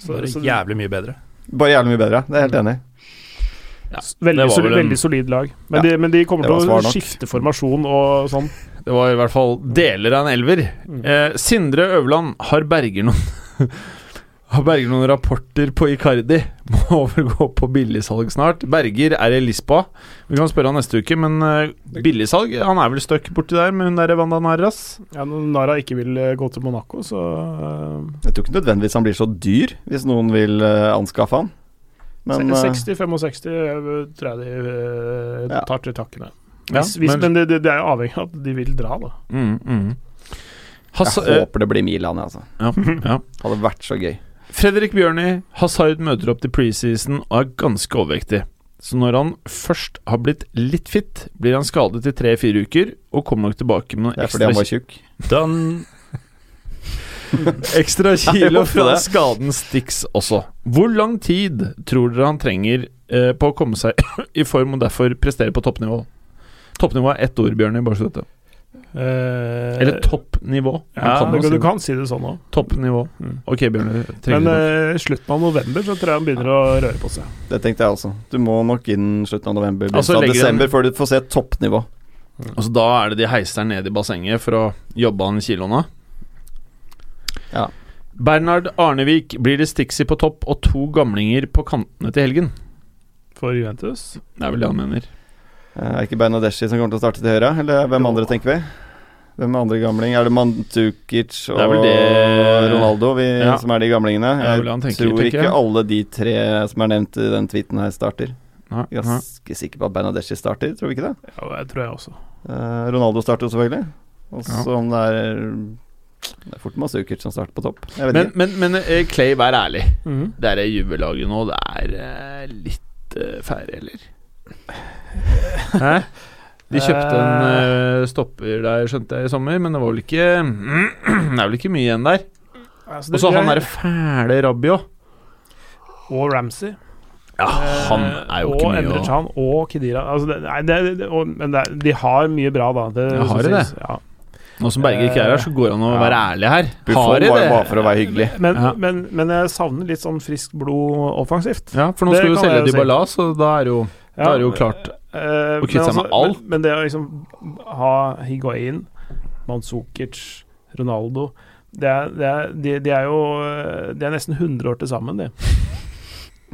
Speaker 1: Så
Speaker 5: Så,
Speaker 1: er det
Speaker 5: så,
Speaker 1: jævlig mye bedre.
Speaker 4: Bare jævlig mye bedre. Det er jeg helt enig i.
Speaker 5: veldig,
Speaker 3: det var vel
Speaker 5: solid,
Speaker 3: en-
Speaker 5: veldig solid lag. Men,
Speaker 4: Ja,
Speaker 5: de, men de kommer
Speaker 4: det var
Speaker 5: til
Speaker 4: svar
Speaker 5: å
Speaker 4: nok.
Speaker 5: skifte formasjon og sånn.
Speaker 3: Det var i hvert fall deler av en elver.
Speaker 5: Mm.
Speaker 3: Eh, Sindre Øverland, har Berger noen Har Berger noen rapporter på Icardi? Må vel gå på billigsalg snart. Berger er i Lisboa. Vi kan spørre han neste uke, men eh, billigsalg Han er vel stuck borti der med hun derre Vandanaras?
Speaker 5: Ja, når Nara ikke vil eh, gå til Monaco, så eh,
Speaker 4: Jeg tror ikke nødvendigvis han blir så dyr, hvis noen vil eh, anskaffe han. Men eh,
Speaker 5: 60-65 tror jeg de eh,
Speaker 4: Ja,
Speaker 5: tar til takkene.
Speaker 3: Ja,
Speaker 5: hvis, hvis,
Speaker 3: men-
Speaker 5: men det, det det er jo avhengig av at de vil dra, da.
Speaker 3: Mm, mm. Hass,
Speaker 4: jeg håper det blir Milan, jeg, altså.
Speaker 3: ja, ja.
Speaker 4: Hadde vært så gøy.
Speaker 3: Fredrik Bjørni Hazard møter opp til preseason og er ganske overvektig. Så når han først har blitt litt fit, blir han skadet i tre-fire uker og kommer nok tilbake med
Speaker 4: Det
Speaker 3: noen
Speaker 4: er
Speaker 3: ekstra,
Speaker 4: fordi han var tjukk.
Speaker 1: Done.
Speaker 3: ekstra
Speaker 4: Ja, jeg
Speaker 3: kilo
Speaker 4: håper
Speaker 3: fra
Speaker 4: det.
Speaker 3: skaden Stix også. Hvor lang tid tror dere han trenger eh, på å komme seg i form og derfor prestere på toppnivå. Toppnivå er ett ord, Bjørn. Bare så du vet det.
Speaker 5: Eh,
Speaker 3: Eller toppnivå.
Speaker 5: Ja,
Speaker 3: Man
Speaker 5: du,
Speaker 3: jo si
Speaker 5: kan- du
Speaker 3: det. Mm.
Speaker 5: kan si det sånn òg.
Speaker 3: Toppnivå. Ok, Bjørn. du trenger ikke
Speaker 5: Men
Speaker 3: noe.
Speaker 5: eh, i slutten av november så tror jeg han begynner å røre på seg.
Speaker 4: Det tenkte jeg også. Du må nok inn slutten av november,
Speaker 3: Altså,
Speaker 4: begynnelsen av
Speaker 3: legger den-
Speaker 4: desember, før du får se toppnivå.
Speaker 3: Altså, da er det de heiser den ned i bassenget for å jobbe han kiloen av.
Speaker 4: Ja.
Speaker 3: Bernhard Arnevik blir det Stixi på topp og to gamlinger på kantene til helgen.
Speaker 5: For Juventus.
Speaker 3: Det er vel det han mener.
Speaker 4: Eh, Er ikke Bernadeshi som kommer til å starte til høyre? Eller hvem andre tenker vi? Hvem er andre gamling? Er det Mantukic og
Speaker 3: er vel det-
Speaker 4: Ronaldo vi,
Speaker 3: Ja.
Speaker 4: som er de gamlingene?
Speaker 3: Det er
Speaker 4: Jeg
Speaker 3: vel det han tenker,
Speaker 4: tror
Speaker 3: tenker
Speaker 4: ikke
Speaker 3: jeg.
Speaker 4: alle de tre som er nevnt i den tweeten her, starter.
Speaker 3: Nei,
Speaker 4: Jeg er
Speaker 3: nei.
Speaker 4: Ganske sikker på at Bernadeshi starter, tror vi ikke det?
Speaker 5: Ja, det tror jeg også.
Speaker 4: Eh, Ronaldo starter jo selvfølgelig. Og så
Speaker 3: Ja.
Speaker 4: om det er Det er fort Mantukic som starter på topp. Jeg vet
Speaker 3: Men,
Speaker 4: ikke.
Speaker 3: men, men eh, Clay, vær ærlig. Det er juvelaget nå, det er eh, litt eh, færre, eller? Hæ? De kjøpte en eh, stopper der, skjønte jeg, i sommer, men det var vel ikke Det er vel ikke mye igjen der.
Speaker 5: Altså,
Speaker 3: Og
Speaker 5: det-
Speaker 3: så han
Speaker 5: jeg-
Speaker 3: derre fæle Rabbio.
Speaker 5: Og Ramsey. Eh,
Speaker 3: Ja, Ah, han er jo
Speaker 5: og
Speaker 3: ikke mye
Speaker 5: Emre
Speaker 3: å
Speaker 5: Can og Kedira. Altså, det, nei, det, det, og, men det, er- de har mye bra, da. Det,
Speaker 3: Ja, har de
Speaker 5: synes- Ja.
Speaker 3: Nå som Berger ikke er her, så går han å
Speaker 5: Ja.
Speaker 3: være ærlig her.
Speaker 4: Buffon
Speaker 3: Har de
Speaker 4: var
Speaker 3: det?
Speaker 4: jo bare for å være hyggelig.
Speaker 5: Men,
Speaker 3: Ja.
Speaker 5: men, men jeg savner litt sånn friskt blod offensivt.
Speaker 3: Ja, for nå
Speaker 5: Det
Speaker 3: skal du
Speaker 5: kan
Speaker 3: selge
Speaker 5: jeg jo si.
Speaker 3: Dybala, så da er det jo, da er det jo klart å kvitte
Speaker 5: Eh, men
Speaker 3: seg med
Speaker 5: altså-
Speaker 3: alt.
Speaker 5: Men, men det å liksom ha Higuain, Manzukic, Ronaldo det er, det er, de, de er jo eh, De er nesten 100 år til sammen, de.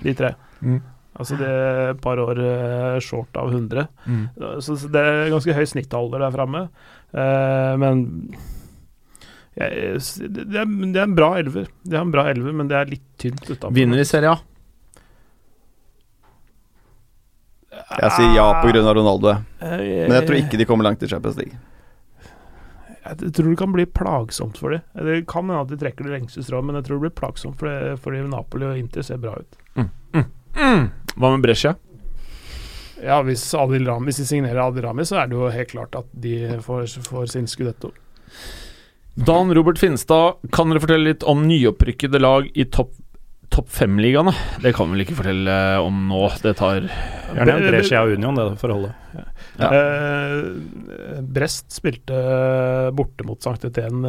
Speaker 5: De tre.
Speaker 3: Mm.
Speaker 5: Altså det er et par år eh, short av 100.
Speaker 3: Mm.
Speaker 5: Så så det er ganske høy snittalder der framme. Eh, men jeg, det, det er, det er en bra elver. Det er en bra elver, men det er litt tynt utafor.
Speaker 3: Vinner i Serie A.
Speaker 4: Jeg sier ja pga. Ronaldo,
Speaker 5: Eh,
Speaker 4: men jeg tror ikke de kommer langt i Champions League.
Speaker 5: Jeg tror det kan bli plagsomt for dem. Det kan hende at de trekker det lengste strået, men jeg tror det blir plagsomt for det, fordi Napoli og Inter ser bra ut.
Speaker 3: Hva med Brescia?
Speaker 5: Ja, hvis, Adil Rami, hvis de signerer Adil Rami, så er det jo helt klart at de får, får sin skudetto.
Speaker 3: Dan Robert Finstad, kan dere fortelle litt om nyopprykkede lag i topp Topp fem-ligaene? Det kan vi vel ikke fortelle eh, om nå. Det tar
Speaker 1: Gjerne en Brescia og Union, det forholdet.
Speaker 3: Ja.
Speaker 5: Eh, Brest spilte borte mot Sankt Etienne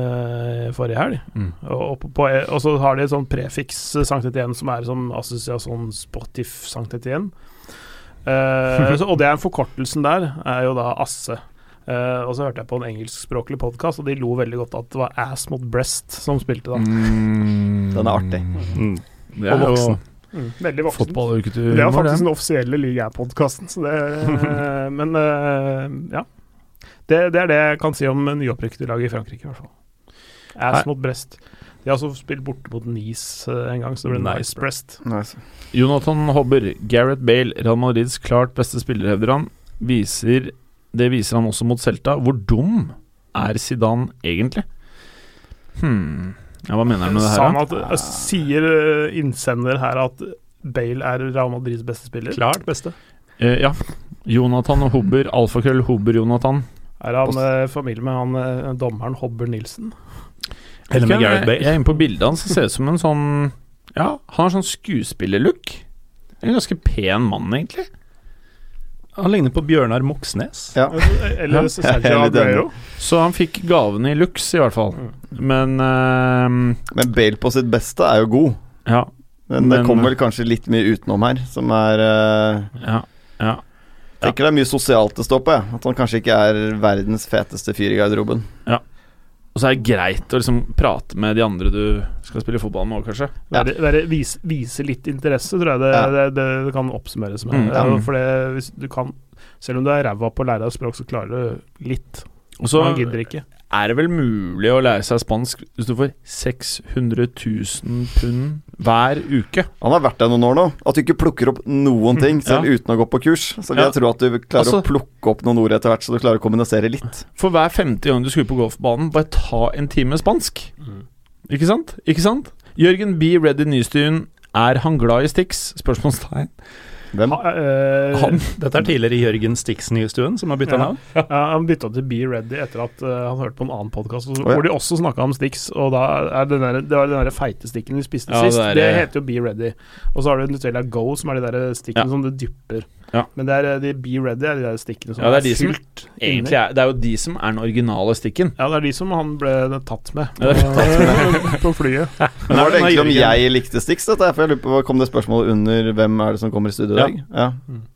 Speaker 5: eh, forrige helg.
Speaker 3: Mm.
Speaker 5: Og, og, på, og så har de et sånt prefiks eh, Sankt Etienne som er som assosiasjon Sportif Sankt Etienne. Eh, så, og det er forkortelsen der, er jo da Asse. Eh, og så hørte jeg på en engelskspråklig podkast, og de lo veldig godt at det var Ass mot Breast som spilte
Speaker 3: Mm.
Speaker 5: da.
Speaker 4: Den er artig.
Speaker 1: Mm.
Speaker 3: Det er
Speaker 1: Og
Speaker 3: jo
Speaker 1: voksen.
Speaker 5: Veldig voksen.
Speaker 3: fotball er jo ikke til
Speaker 5: Det
Speaker 3: humor,
Speaker 5: er
Speaker 3: det.
Speaker 5: faktisk den offisielle Liga-podkasten, så det eh, Men eh, ja. Det, det er det jeg kan si om nyopprykkede lag i Frankrike, i hvert fall. Ass
Speaker 3: Her-
Speaker 5: mot Brest. De har også spilt borte mot Nice eh, en gang, så det ble
Speaker 1: Nice.
Speaker 5: Nice Brest.
Speaker 4: Nice.
Speaker 3: Jonathan Hobber, Gareth Bale, Real Madrids klart beste spiller, hevder han. Viser, det viser han også mot Celta. Hvor dum er Zidane egentlig? Hm ja, Hva mener han med det
Speaker 5: Sa
Speaker 3: her?
Speaker 5: han
Speaker 3: da?
Speaker 5: at, eh, sier eh, innsender her at Bale er Real Madrids beste spiller?
Speaker 1: Klart beste.
Speaker 3: Eh, ja. Jonathan Hobber, alfakrøll Hobber-Jonathan.
Speaker 5: Er han eh, familie med han eh, dommeren Hobber Nilsen?
Speaker 1: Eller med
Speaker 3: Jeg-
Speaker 1: Gareth Bale.
Speaker 3: Jeg er inne på bildet hans. Det ser ut som en sånn Ja, han har sånn skuespillerlook. En ganske pen mann, egentlig.
Speaker 1: Han ligner på Bjørnar Moxnes.
Speaker 4: Ja.
Speaker 5: Eller
Speaker 4: Jeg
Speaker 5: Sergio
Speaker 4: er litt
Speaker 5: Aguero? Mm.
Speaker 3: Så han fikk gavene i looks, i hvert fall. Men eh,
Speaker 4: Men Bale på sitt beste er jo god.
Speaker 3: Ja.
Speaker 4: Men, det
Speaker 3: Men-
Speaker 4: kommer vel kanskje litt mye utenom her, som er eh,
Speaker 3: ja.
Speaker 4: Jeg tenker det er mye sosialt det står på, jeg. At han kanskje ikke er verdens feteste fyr i garderoben.
Speaker 3: Og så er det greit å liksom prate med de andre du skal spille fotball med òg, kanskje.
Speaker 4: Ja.
Speaker 5: Være, være, vise, vise litt interesse, tror jeg det,
Speaker 4: Ja.
Speaker 5: det, det, det kan oppsummeres
Speaker 3: Mm,
Speaker 5: med.
Speaker 3: ja.
Speaker 5: Eh, For det, hvis du kan, selv om du er ræva på å lære deg språk, så klarer du litt.
Speaker 3: Og så
Speaker 5: Man gidder ikke.
Speaker 3: er det vel mulig å lære seg spansk hvis du får 600 000 pund hver uke.
Speaker 4: Han har vært der noen år nå. At du ikke plukker opp noen ting, selv uten å gå på kurs. Så
Speaker 3: Ja.
Speaker 4: jeg tror at du klarer
Speaker 3: Altså-
Speaker 4: å plukke opp noen ord etter hvert, så du klarer å kommunisere litt.
Speaker 3: For hver femte gang du skulle på golfbanen, bare ta en time spansk. Ikke sant? Ikke sant? Jørgen B. Reddy Nystuen, er han glad i Stix? Spørsmålstegn.
Speaker 4: Hvem?
Speaker 5: Ha- eh,
Speaker 1: Han. Dette er tidligere Jørgen Stixen-justuen som har bytta
Speaker 5: Ja.
Speaker 1: navn.
Speaker 5: ja, han bytta til Be Ready etter at eh, han hørte på en annen podkast
Speaker 4: ja.
Speaker 5: hvor de også snakka om Stix. Og da er den der, det var den der feite stikken vi spiste
Speaker 3: Ja,
Speaker 5: sist.
Speaker 3: det er,
Speaker 5: Det,
Speaker 3: eh,
Speaker 5: heter jo Be Ready. Og så har du Nutella Go, som er de der stikkene
Speaker 3: Ja.
Speaker 5: som du dypper.
Speaker 3: Ja.
Speaker 5: Men det er eh, de Be Ready er de der stikkene som
Speaker 3: Ja, det er de som
Speaker 5: fylt inni.
Speaker 3: egentlig er, det er jo de som er den originale stikken.
Speaker 5: Ja, det er de som han ble tatt med
Speaker 3: Ja, det er
Speaker 5: på, på flyet.
Speaker 4: Men
Speaker 3: Nei,
Speaker 4: var det
Speaker 3: men
Speaker 4: egentlig om
Speaker 3: Jørgen-
Speaker 4: jeg likte Stix? dette her? For jeg lurer på, Kom det spørsmålet under 'Hvem er det som kommer i studio i
Speaker 3: Ja.
Speaker 4: dag'? Ja.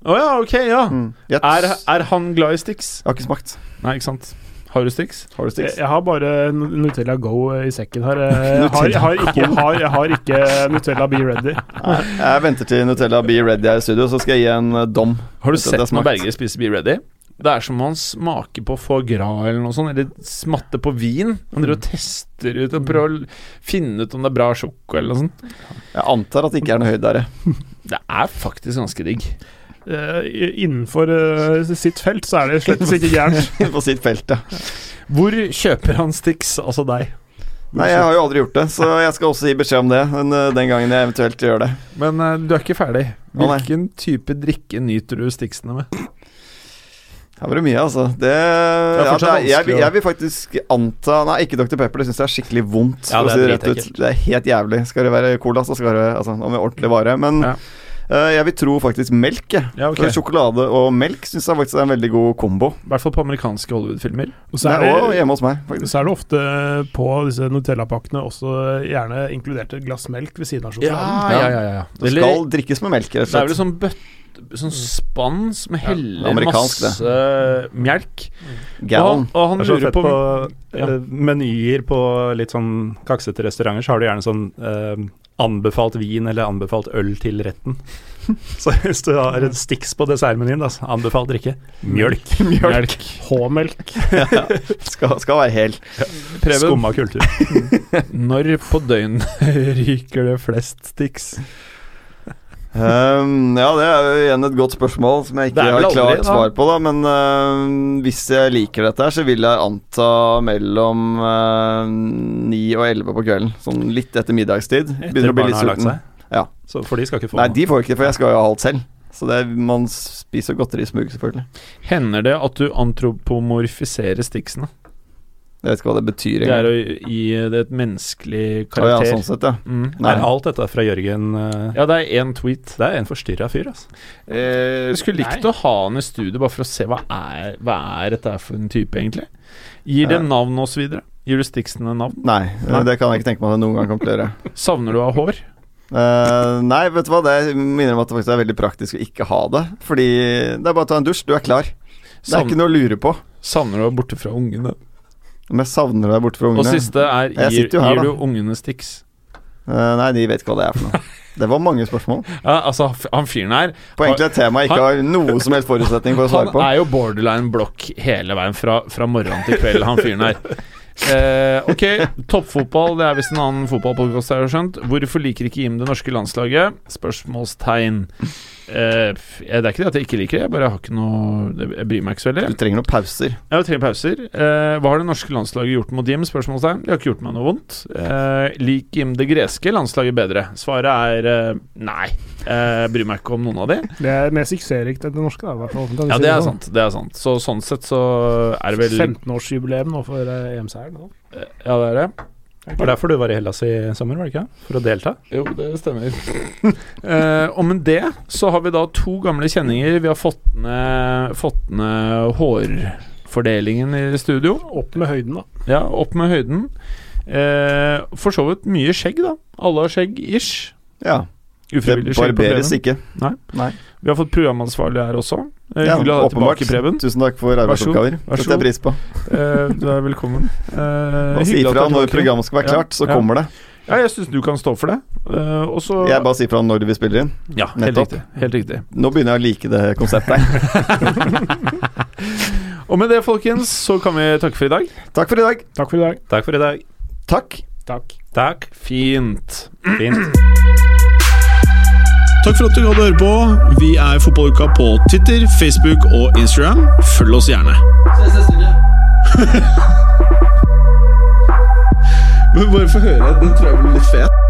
Speaker 3: Å ja, ok, ja.
Speaker 4: Mm. Jeg,
Speaker 3: Er,
Speaker 4: jeg
Speaker 3: er han glad i Stix?
Speaker 4: har ikke smakt.
Speaker 3: Nei, ikke sant. Har du Stix?
Speaker 4: Har du
Speaker 5: Jeg,
Speaker 4: Stix?
Speaker 5: jeg har bare Nu- Nutella Go eh, i sekken her. Jeg har, jeg har, ikke, jeg har, jeg har ikke Nutella Be Ready.
Speaker 4: Nei, Jeg venter til Nutella Be Ready er i studio, så skal jeg gi en eh, dom.
Speaker 3: Har du
Speaker 4: Dette- det
Speaker 3: sett
Speaker 4: har
Speaker 3: når
Speaker 4: smakt.
Speaker 3: Berger spiser Be Ready? Det er som om han smaker på foie gras eller noe sånt, eller smatter på vin. Han driver og tester ut og prøver å l- finne ut om det er bra sjoko eller noe sånt.
Speaker 4: Jeg antar at det ikke er noe høydere.
Speaker 3: Det er faktisk ganske digg.
Speaker 5: Eh, i- innenfor eh, sitt felt så er det slett ikke gærent.
Speaker 4: På sitt felt, ja.
Speaker 3: Hvor kjøper han Stix, altså deg?
Speaker 4: Nei, jeg har jo aldri gjort det, så jeg skal også gi beskjed om det men, eh, den gangen jeg eventuelt gjør det.
Speaker 3: Men eh, du er ikke ferdig.
Speaker 4: Å, nei.
Speaker 3: Hvilken type drikke nyter du Stixene med?
Speaker 4: Her var det mye, altså. Det,
Speaker 3: er
Speaker 4: ja, det
Speaker 3: fortsatt
Speaker 4: er, jeg,
Speaker 3: vanskelig å-
Speaker 4: jeg vil faktisk anta Nei, ikke Dr. Pepper, det syns jeg er skikkelig vondt.
Speaker 1: Ja,
Speaker 4: for å
Speaker 1: det er
Speaker 4: si det, rett ut.
Speaker 1: dritekkelt.
Speaker 4: det er helt jævlig. Skal det være cola, så skal det altså, om det er ordentlig vare. Men
Speaker 3: Ja.
Speaker 4: eh, jeg vil tro faktisk melk, jeg.
Speaker 3: Ja,
Speaker 4: For Sjokolade og melk syns jeg faktisk er en veldig god kombo.
Speaker 3: I hvert fall på amerikanske Hollywood-filmer.
Speaker 5: Og så
Speaker 4: Det
Speaker 5: er
Speaker 4: er også
Speaker 5: det,
Speaker 4: hjemme hos meg, faktisk.
Speaker 5: så er det ofte på disse Nutella-pakkene også eh, gjerne inkludert et glass melk ved siden av sjokoladen.
Speaker 3: Ah,
Speaker 4: ja, Det
Speaker 3: Eller-
Speaker 4: skal drikkes med melk, rett og
Speaker 3: Det er vel
Speaker 4: slett.
Speaker 3: sånn bøtte Sånn spann som heller
Speaker 4: amerikansk, det.
Speaker 3: masse eh, mjelk.
Speaker 4: Gallon.
Speaker 3: Og, og han
Speaker 1: Det er så
Speaker 3: lurer
Speaker 1: fett
Speaker 3: på,
Speaker 1: på,
Speaker 3: på
Speaker 1: eh, menyer på litt sånn kaksete restauranter, så har du gjerne sånn eh, anbefalt vin eller anbefalt øl til retten. Så hvis du har en Stix på dessertmenyen, da, så anbefalt drikke mjølk.
Speaker 3: mjelk.
Speaker 5: H-melk.
Speaker 4: Skal, skal være hel.
Speaker 3: Preben,
Speaker 1: Skumma kultur.
Speaker 3: når på døgnet ryker det flest Stix?
Speaker 4: Ehm, ja, det er jo igjen et godt spørsmål som jeg
Speaker 3: Det
Speaker 4: ikke
Speaker 3: er
Speaker 4: har
Speaker 3: vel
Speaker 4: klart
Speaker 3: aldri, da.
Speaker 4: svar på, da. Men ehm, hvis jeg liker dette her, så vil jeg anta mellom ehm, 9 og 11 på kvelden. Sånn litt etter middagstid.
Speaker 1: Etter barna har lagt seg.
Speaker 4: Ja.
Speaker 1: Så, for de skal ikke få
Speaker 4: Nei,
Speaker 1: noe.
Speaker 4: de får ikke det, for jeg skal jo ha alt selv. Så det, er- man spiser jo godteri i smug, selvfølgelig.
Speaker 3: Hender det at du antropomorfiserer Stixene?
Speaker 4: Jeg vet ikke hva det betyr
Speaker 3: Det er
Speaker 4: engang.
Speaker 3: å gi det et menneskelig
Speaker 4: Å ja,
Speaker 3: karakter.
Speaker 4: sånn sett, ja.
Speaker 3: mm.
Speaker 4: Nei.
Speaker 1: Er alt dette fra Jørgen eh,
Speaker 3: ja, det er én tweet.
Speaker 1: Det er en forstyrra fyr, altså.
Speaker 3: Eh, skulle likt å ha han i studio bare for å se hva er, hva er dette her for en type, egentlig. Gir det
Speaker 4: Ja.
Speaker 3: navn og så videre? Gir du Stixen en navn?
Speaker 4: Nei, det kan jeg ikke tenke meg at jeg noen gang kommer til å gjøre.
Speaker 3: Savner du å ha hår?
Speaker 4: Eh, nei, vet du hva, det minner om at det faktisk er veldig praktisk å ikke ha det. Fordi det er bare å ta en dusj, du er klar. Det er
Speaker 3: Savn-
Speaker 4: ikke noe å lure på.
Speaker 3: Savner du å være borte fra ungene?
Speaker 4: Om jeg savner deg borte fra
Speaker 3: Og
Speaker 4: ungene
Speaker 3: siste er
Speaker 4: Jeg
Speaker 3: gir,
Speaker 4: sitter jo her,
Speaker 3: gir
Speaker 4: da.
Speaker 3: du ungene Stix?
Speaker 4: Eh, Nei, de vet ikke hva det er for noe. Det var mange spørsmål.
Speaker 3: Ja, altså, f- han fyren her
Speaker 4: På egentlig et tema jeg ikke har noe som helst forutsetning for å
Speaker 3: Han
Speaker 4: svare på.
Speaker 3: er jo borderline blokk hele veien fra, fra morgen til kveld, han fyren her. Eh, ok, toppfotball, det er visst en annen fotballpodkast jeg har skjønt. Hvorfor liker ikke Jim det norske landslaget? Spørsmålstegn. Eh, f- det er ikke det at jeg ikke liker det, jeg bare har ikke noe Jeg bryr meg ikke så veldig.
Speaker 4: Du trenger noen pauser.
Speaker 3: Jeg har tre pauser. Eh, hva har det norske landslaget gjort mot Jim? Spørsmålstegn. De har ikke gjort meg noe vondt. Eh, liker Jim det greske landslaget bedre? Svaret er eh, nei. Eh, jeg bryr meg ikke om noen av de.
Speaker 5: Det er mer suksessrikt enn det norske, da, i hvert fall.
Speaker 3: Ja, det er sant. Det er sant. Så sånn sett så er det vel
Speaker 5: 15-årsjubileum nå for eh, EM-seieren. nå.
Speaker 3: Ja, det er det.
Speaker 1: Det var derfor du var i Hellas i sommer, var det ikke? For å delta?
Speaker 3: Jo, det stemmer. eh, og med det så har vi da to gamle kjenninger. Vi har fått ned, fått ned hårfordelingen i studio.
Speaker 5: Opp med høyden, da.
Speaker 3: Ja, opp med høyden. Eh, for så vidt mye skjegg, da. Alle har skjegg ish.
Speaker 4: Ja. Det
Speaker 3: Ufrivillig skjegg på
Speaker 4: barberes
Speaker 3: Preben.
Speaker 4: ikke.
Speaker 3: Vi har fått programansvarlig her også. Eh,
Speaker 4: Ja,
Speaker 3: hyggelig å ha deg
Speaker 4: åpenbart.
Speaker 3: tilbake, Preben.
Speaker 4: Tusen takk for arbeidsoppgaver.
Speaker 3: Vær så
Speaker 4: Det setter jeg pris på.
Speaker 3: Eh, du er velkommen. Eh,
Speaker 4: Og si
Speaker 3: hyggelig at du
Speaker 4: ifra
Speaker 3: er
Speaker 4: når
Speaker 3: tilbake.
Speaker 4: programmet skal være
Speaker 3: Ja,
Speaker 4: klart, så
Speaker 3: ja.
Speaker 4: kommer det.
Speaker 3: Ja, jeg syns du kan stå for det. Eh, og så
Speaker 4: Jeg bare sier fra når vi spiller inn.
Speaker 3: Ja, helt
Speaker 4: Nettopp.
Speaker 3: riktig. Helt riktig.
Speaker 4: Nå begynner jeg å like det konseptet her.
Speaker 3: Og med det, folkens, så kan vi takke for i dag.
Speaker 4: Takk for i dag.
Speaker 5: Takk for i dag.
Speaker 1: Takk for i dag.
Speaker 4: Takk.
Speaker 5: Takk.
Speaker 1: Takk.
Speaker 3: Fint.
Speaker 1: Fint.
Speaker 6: Takk for at du hadde høre på. Vi er Fotballuka på Twitter, Facebook og Instagram. Følg oss gjerne. Men bare få høre. Den tror jeg blir litt fet.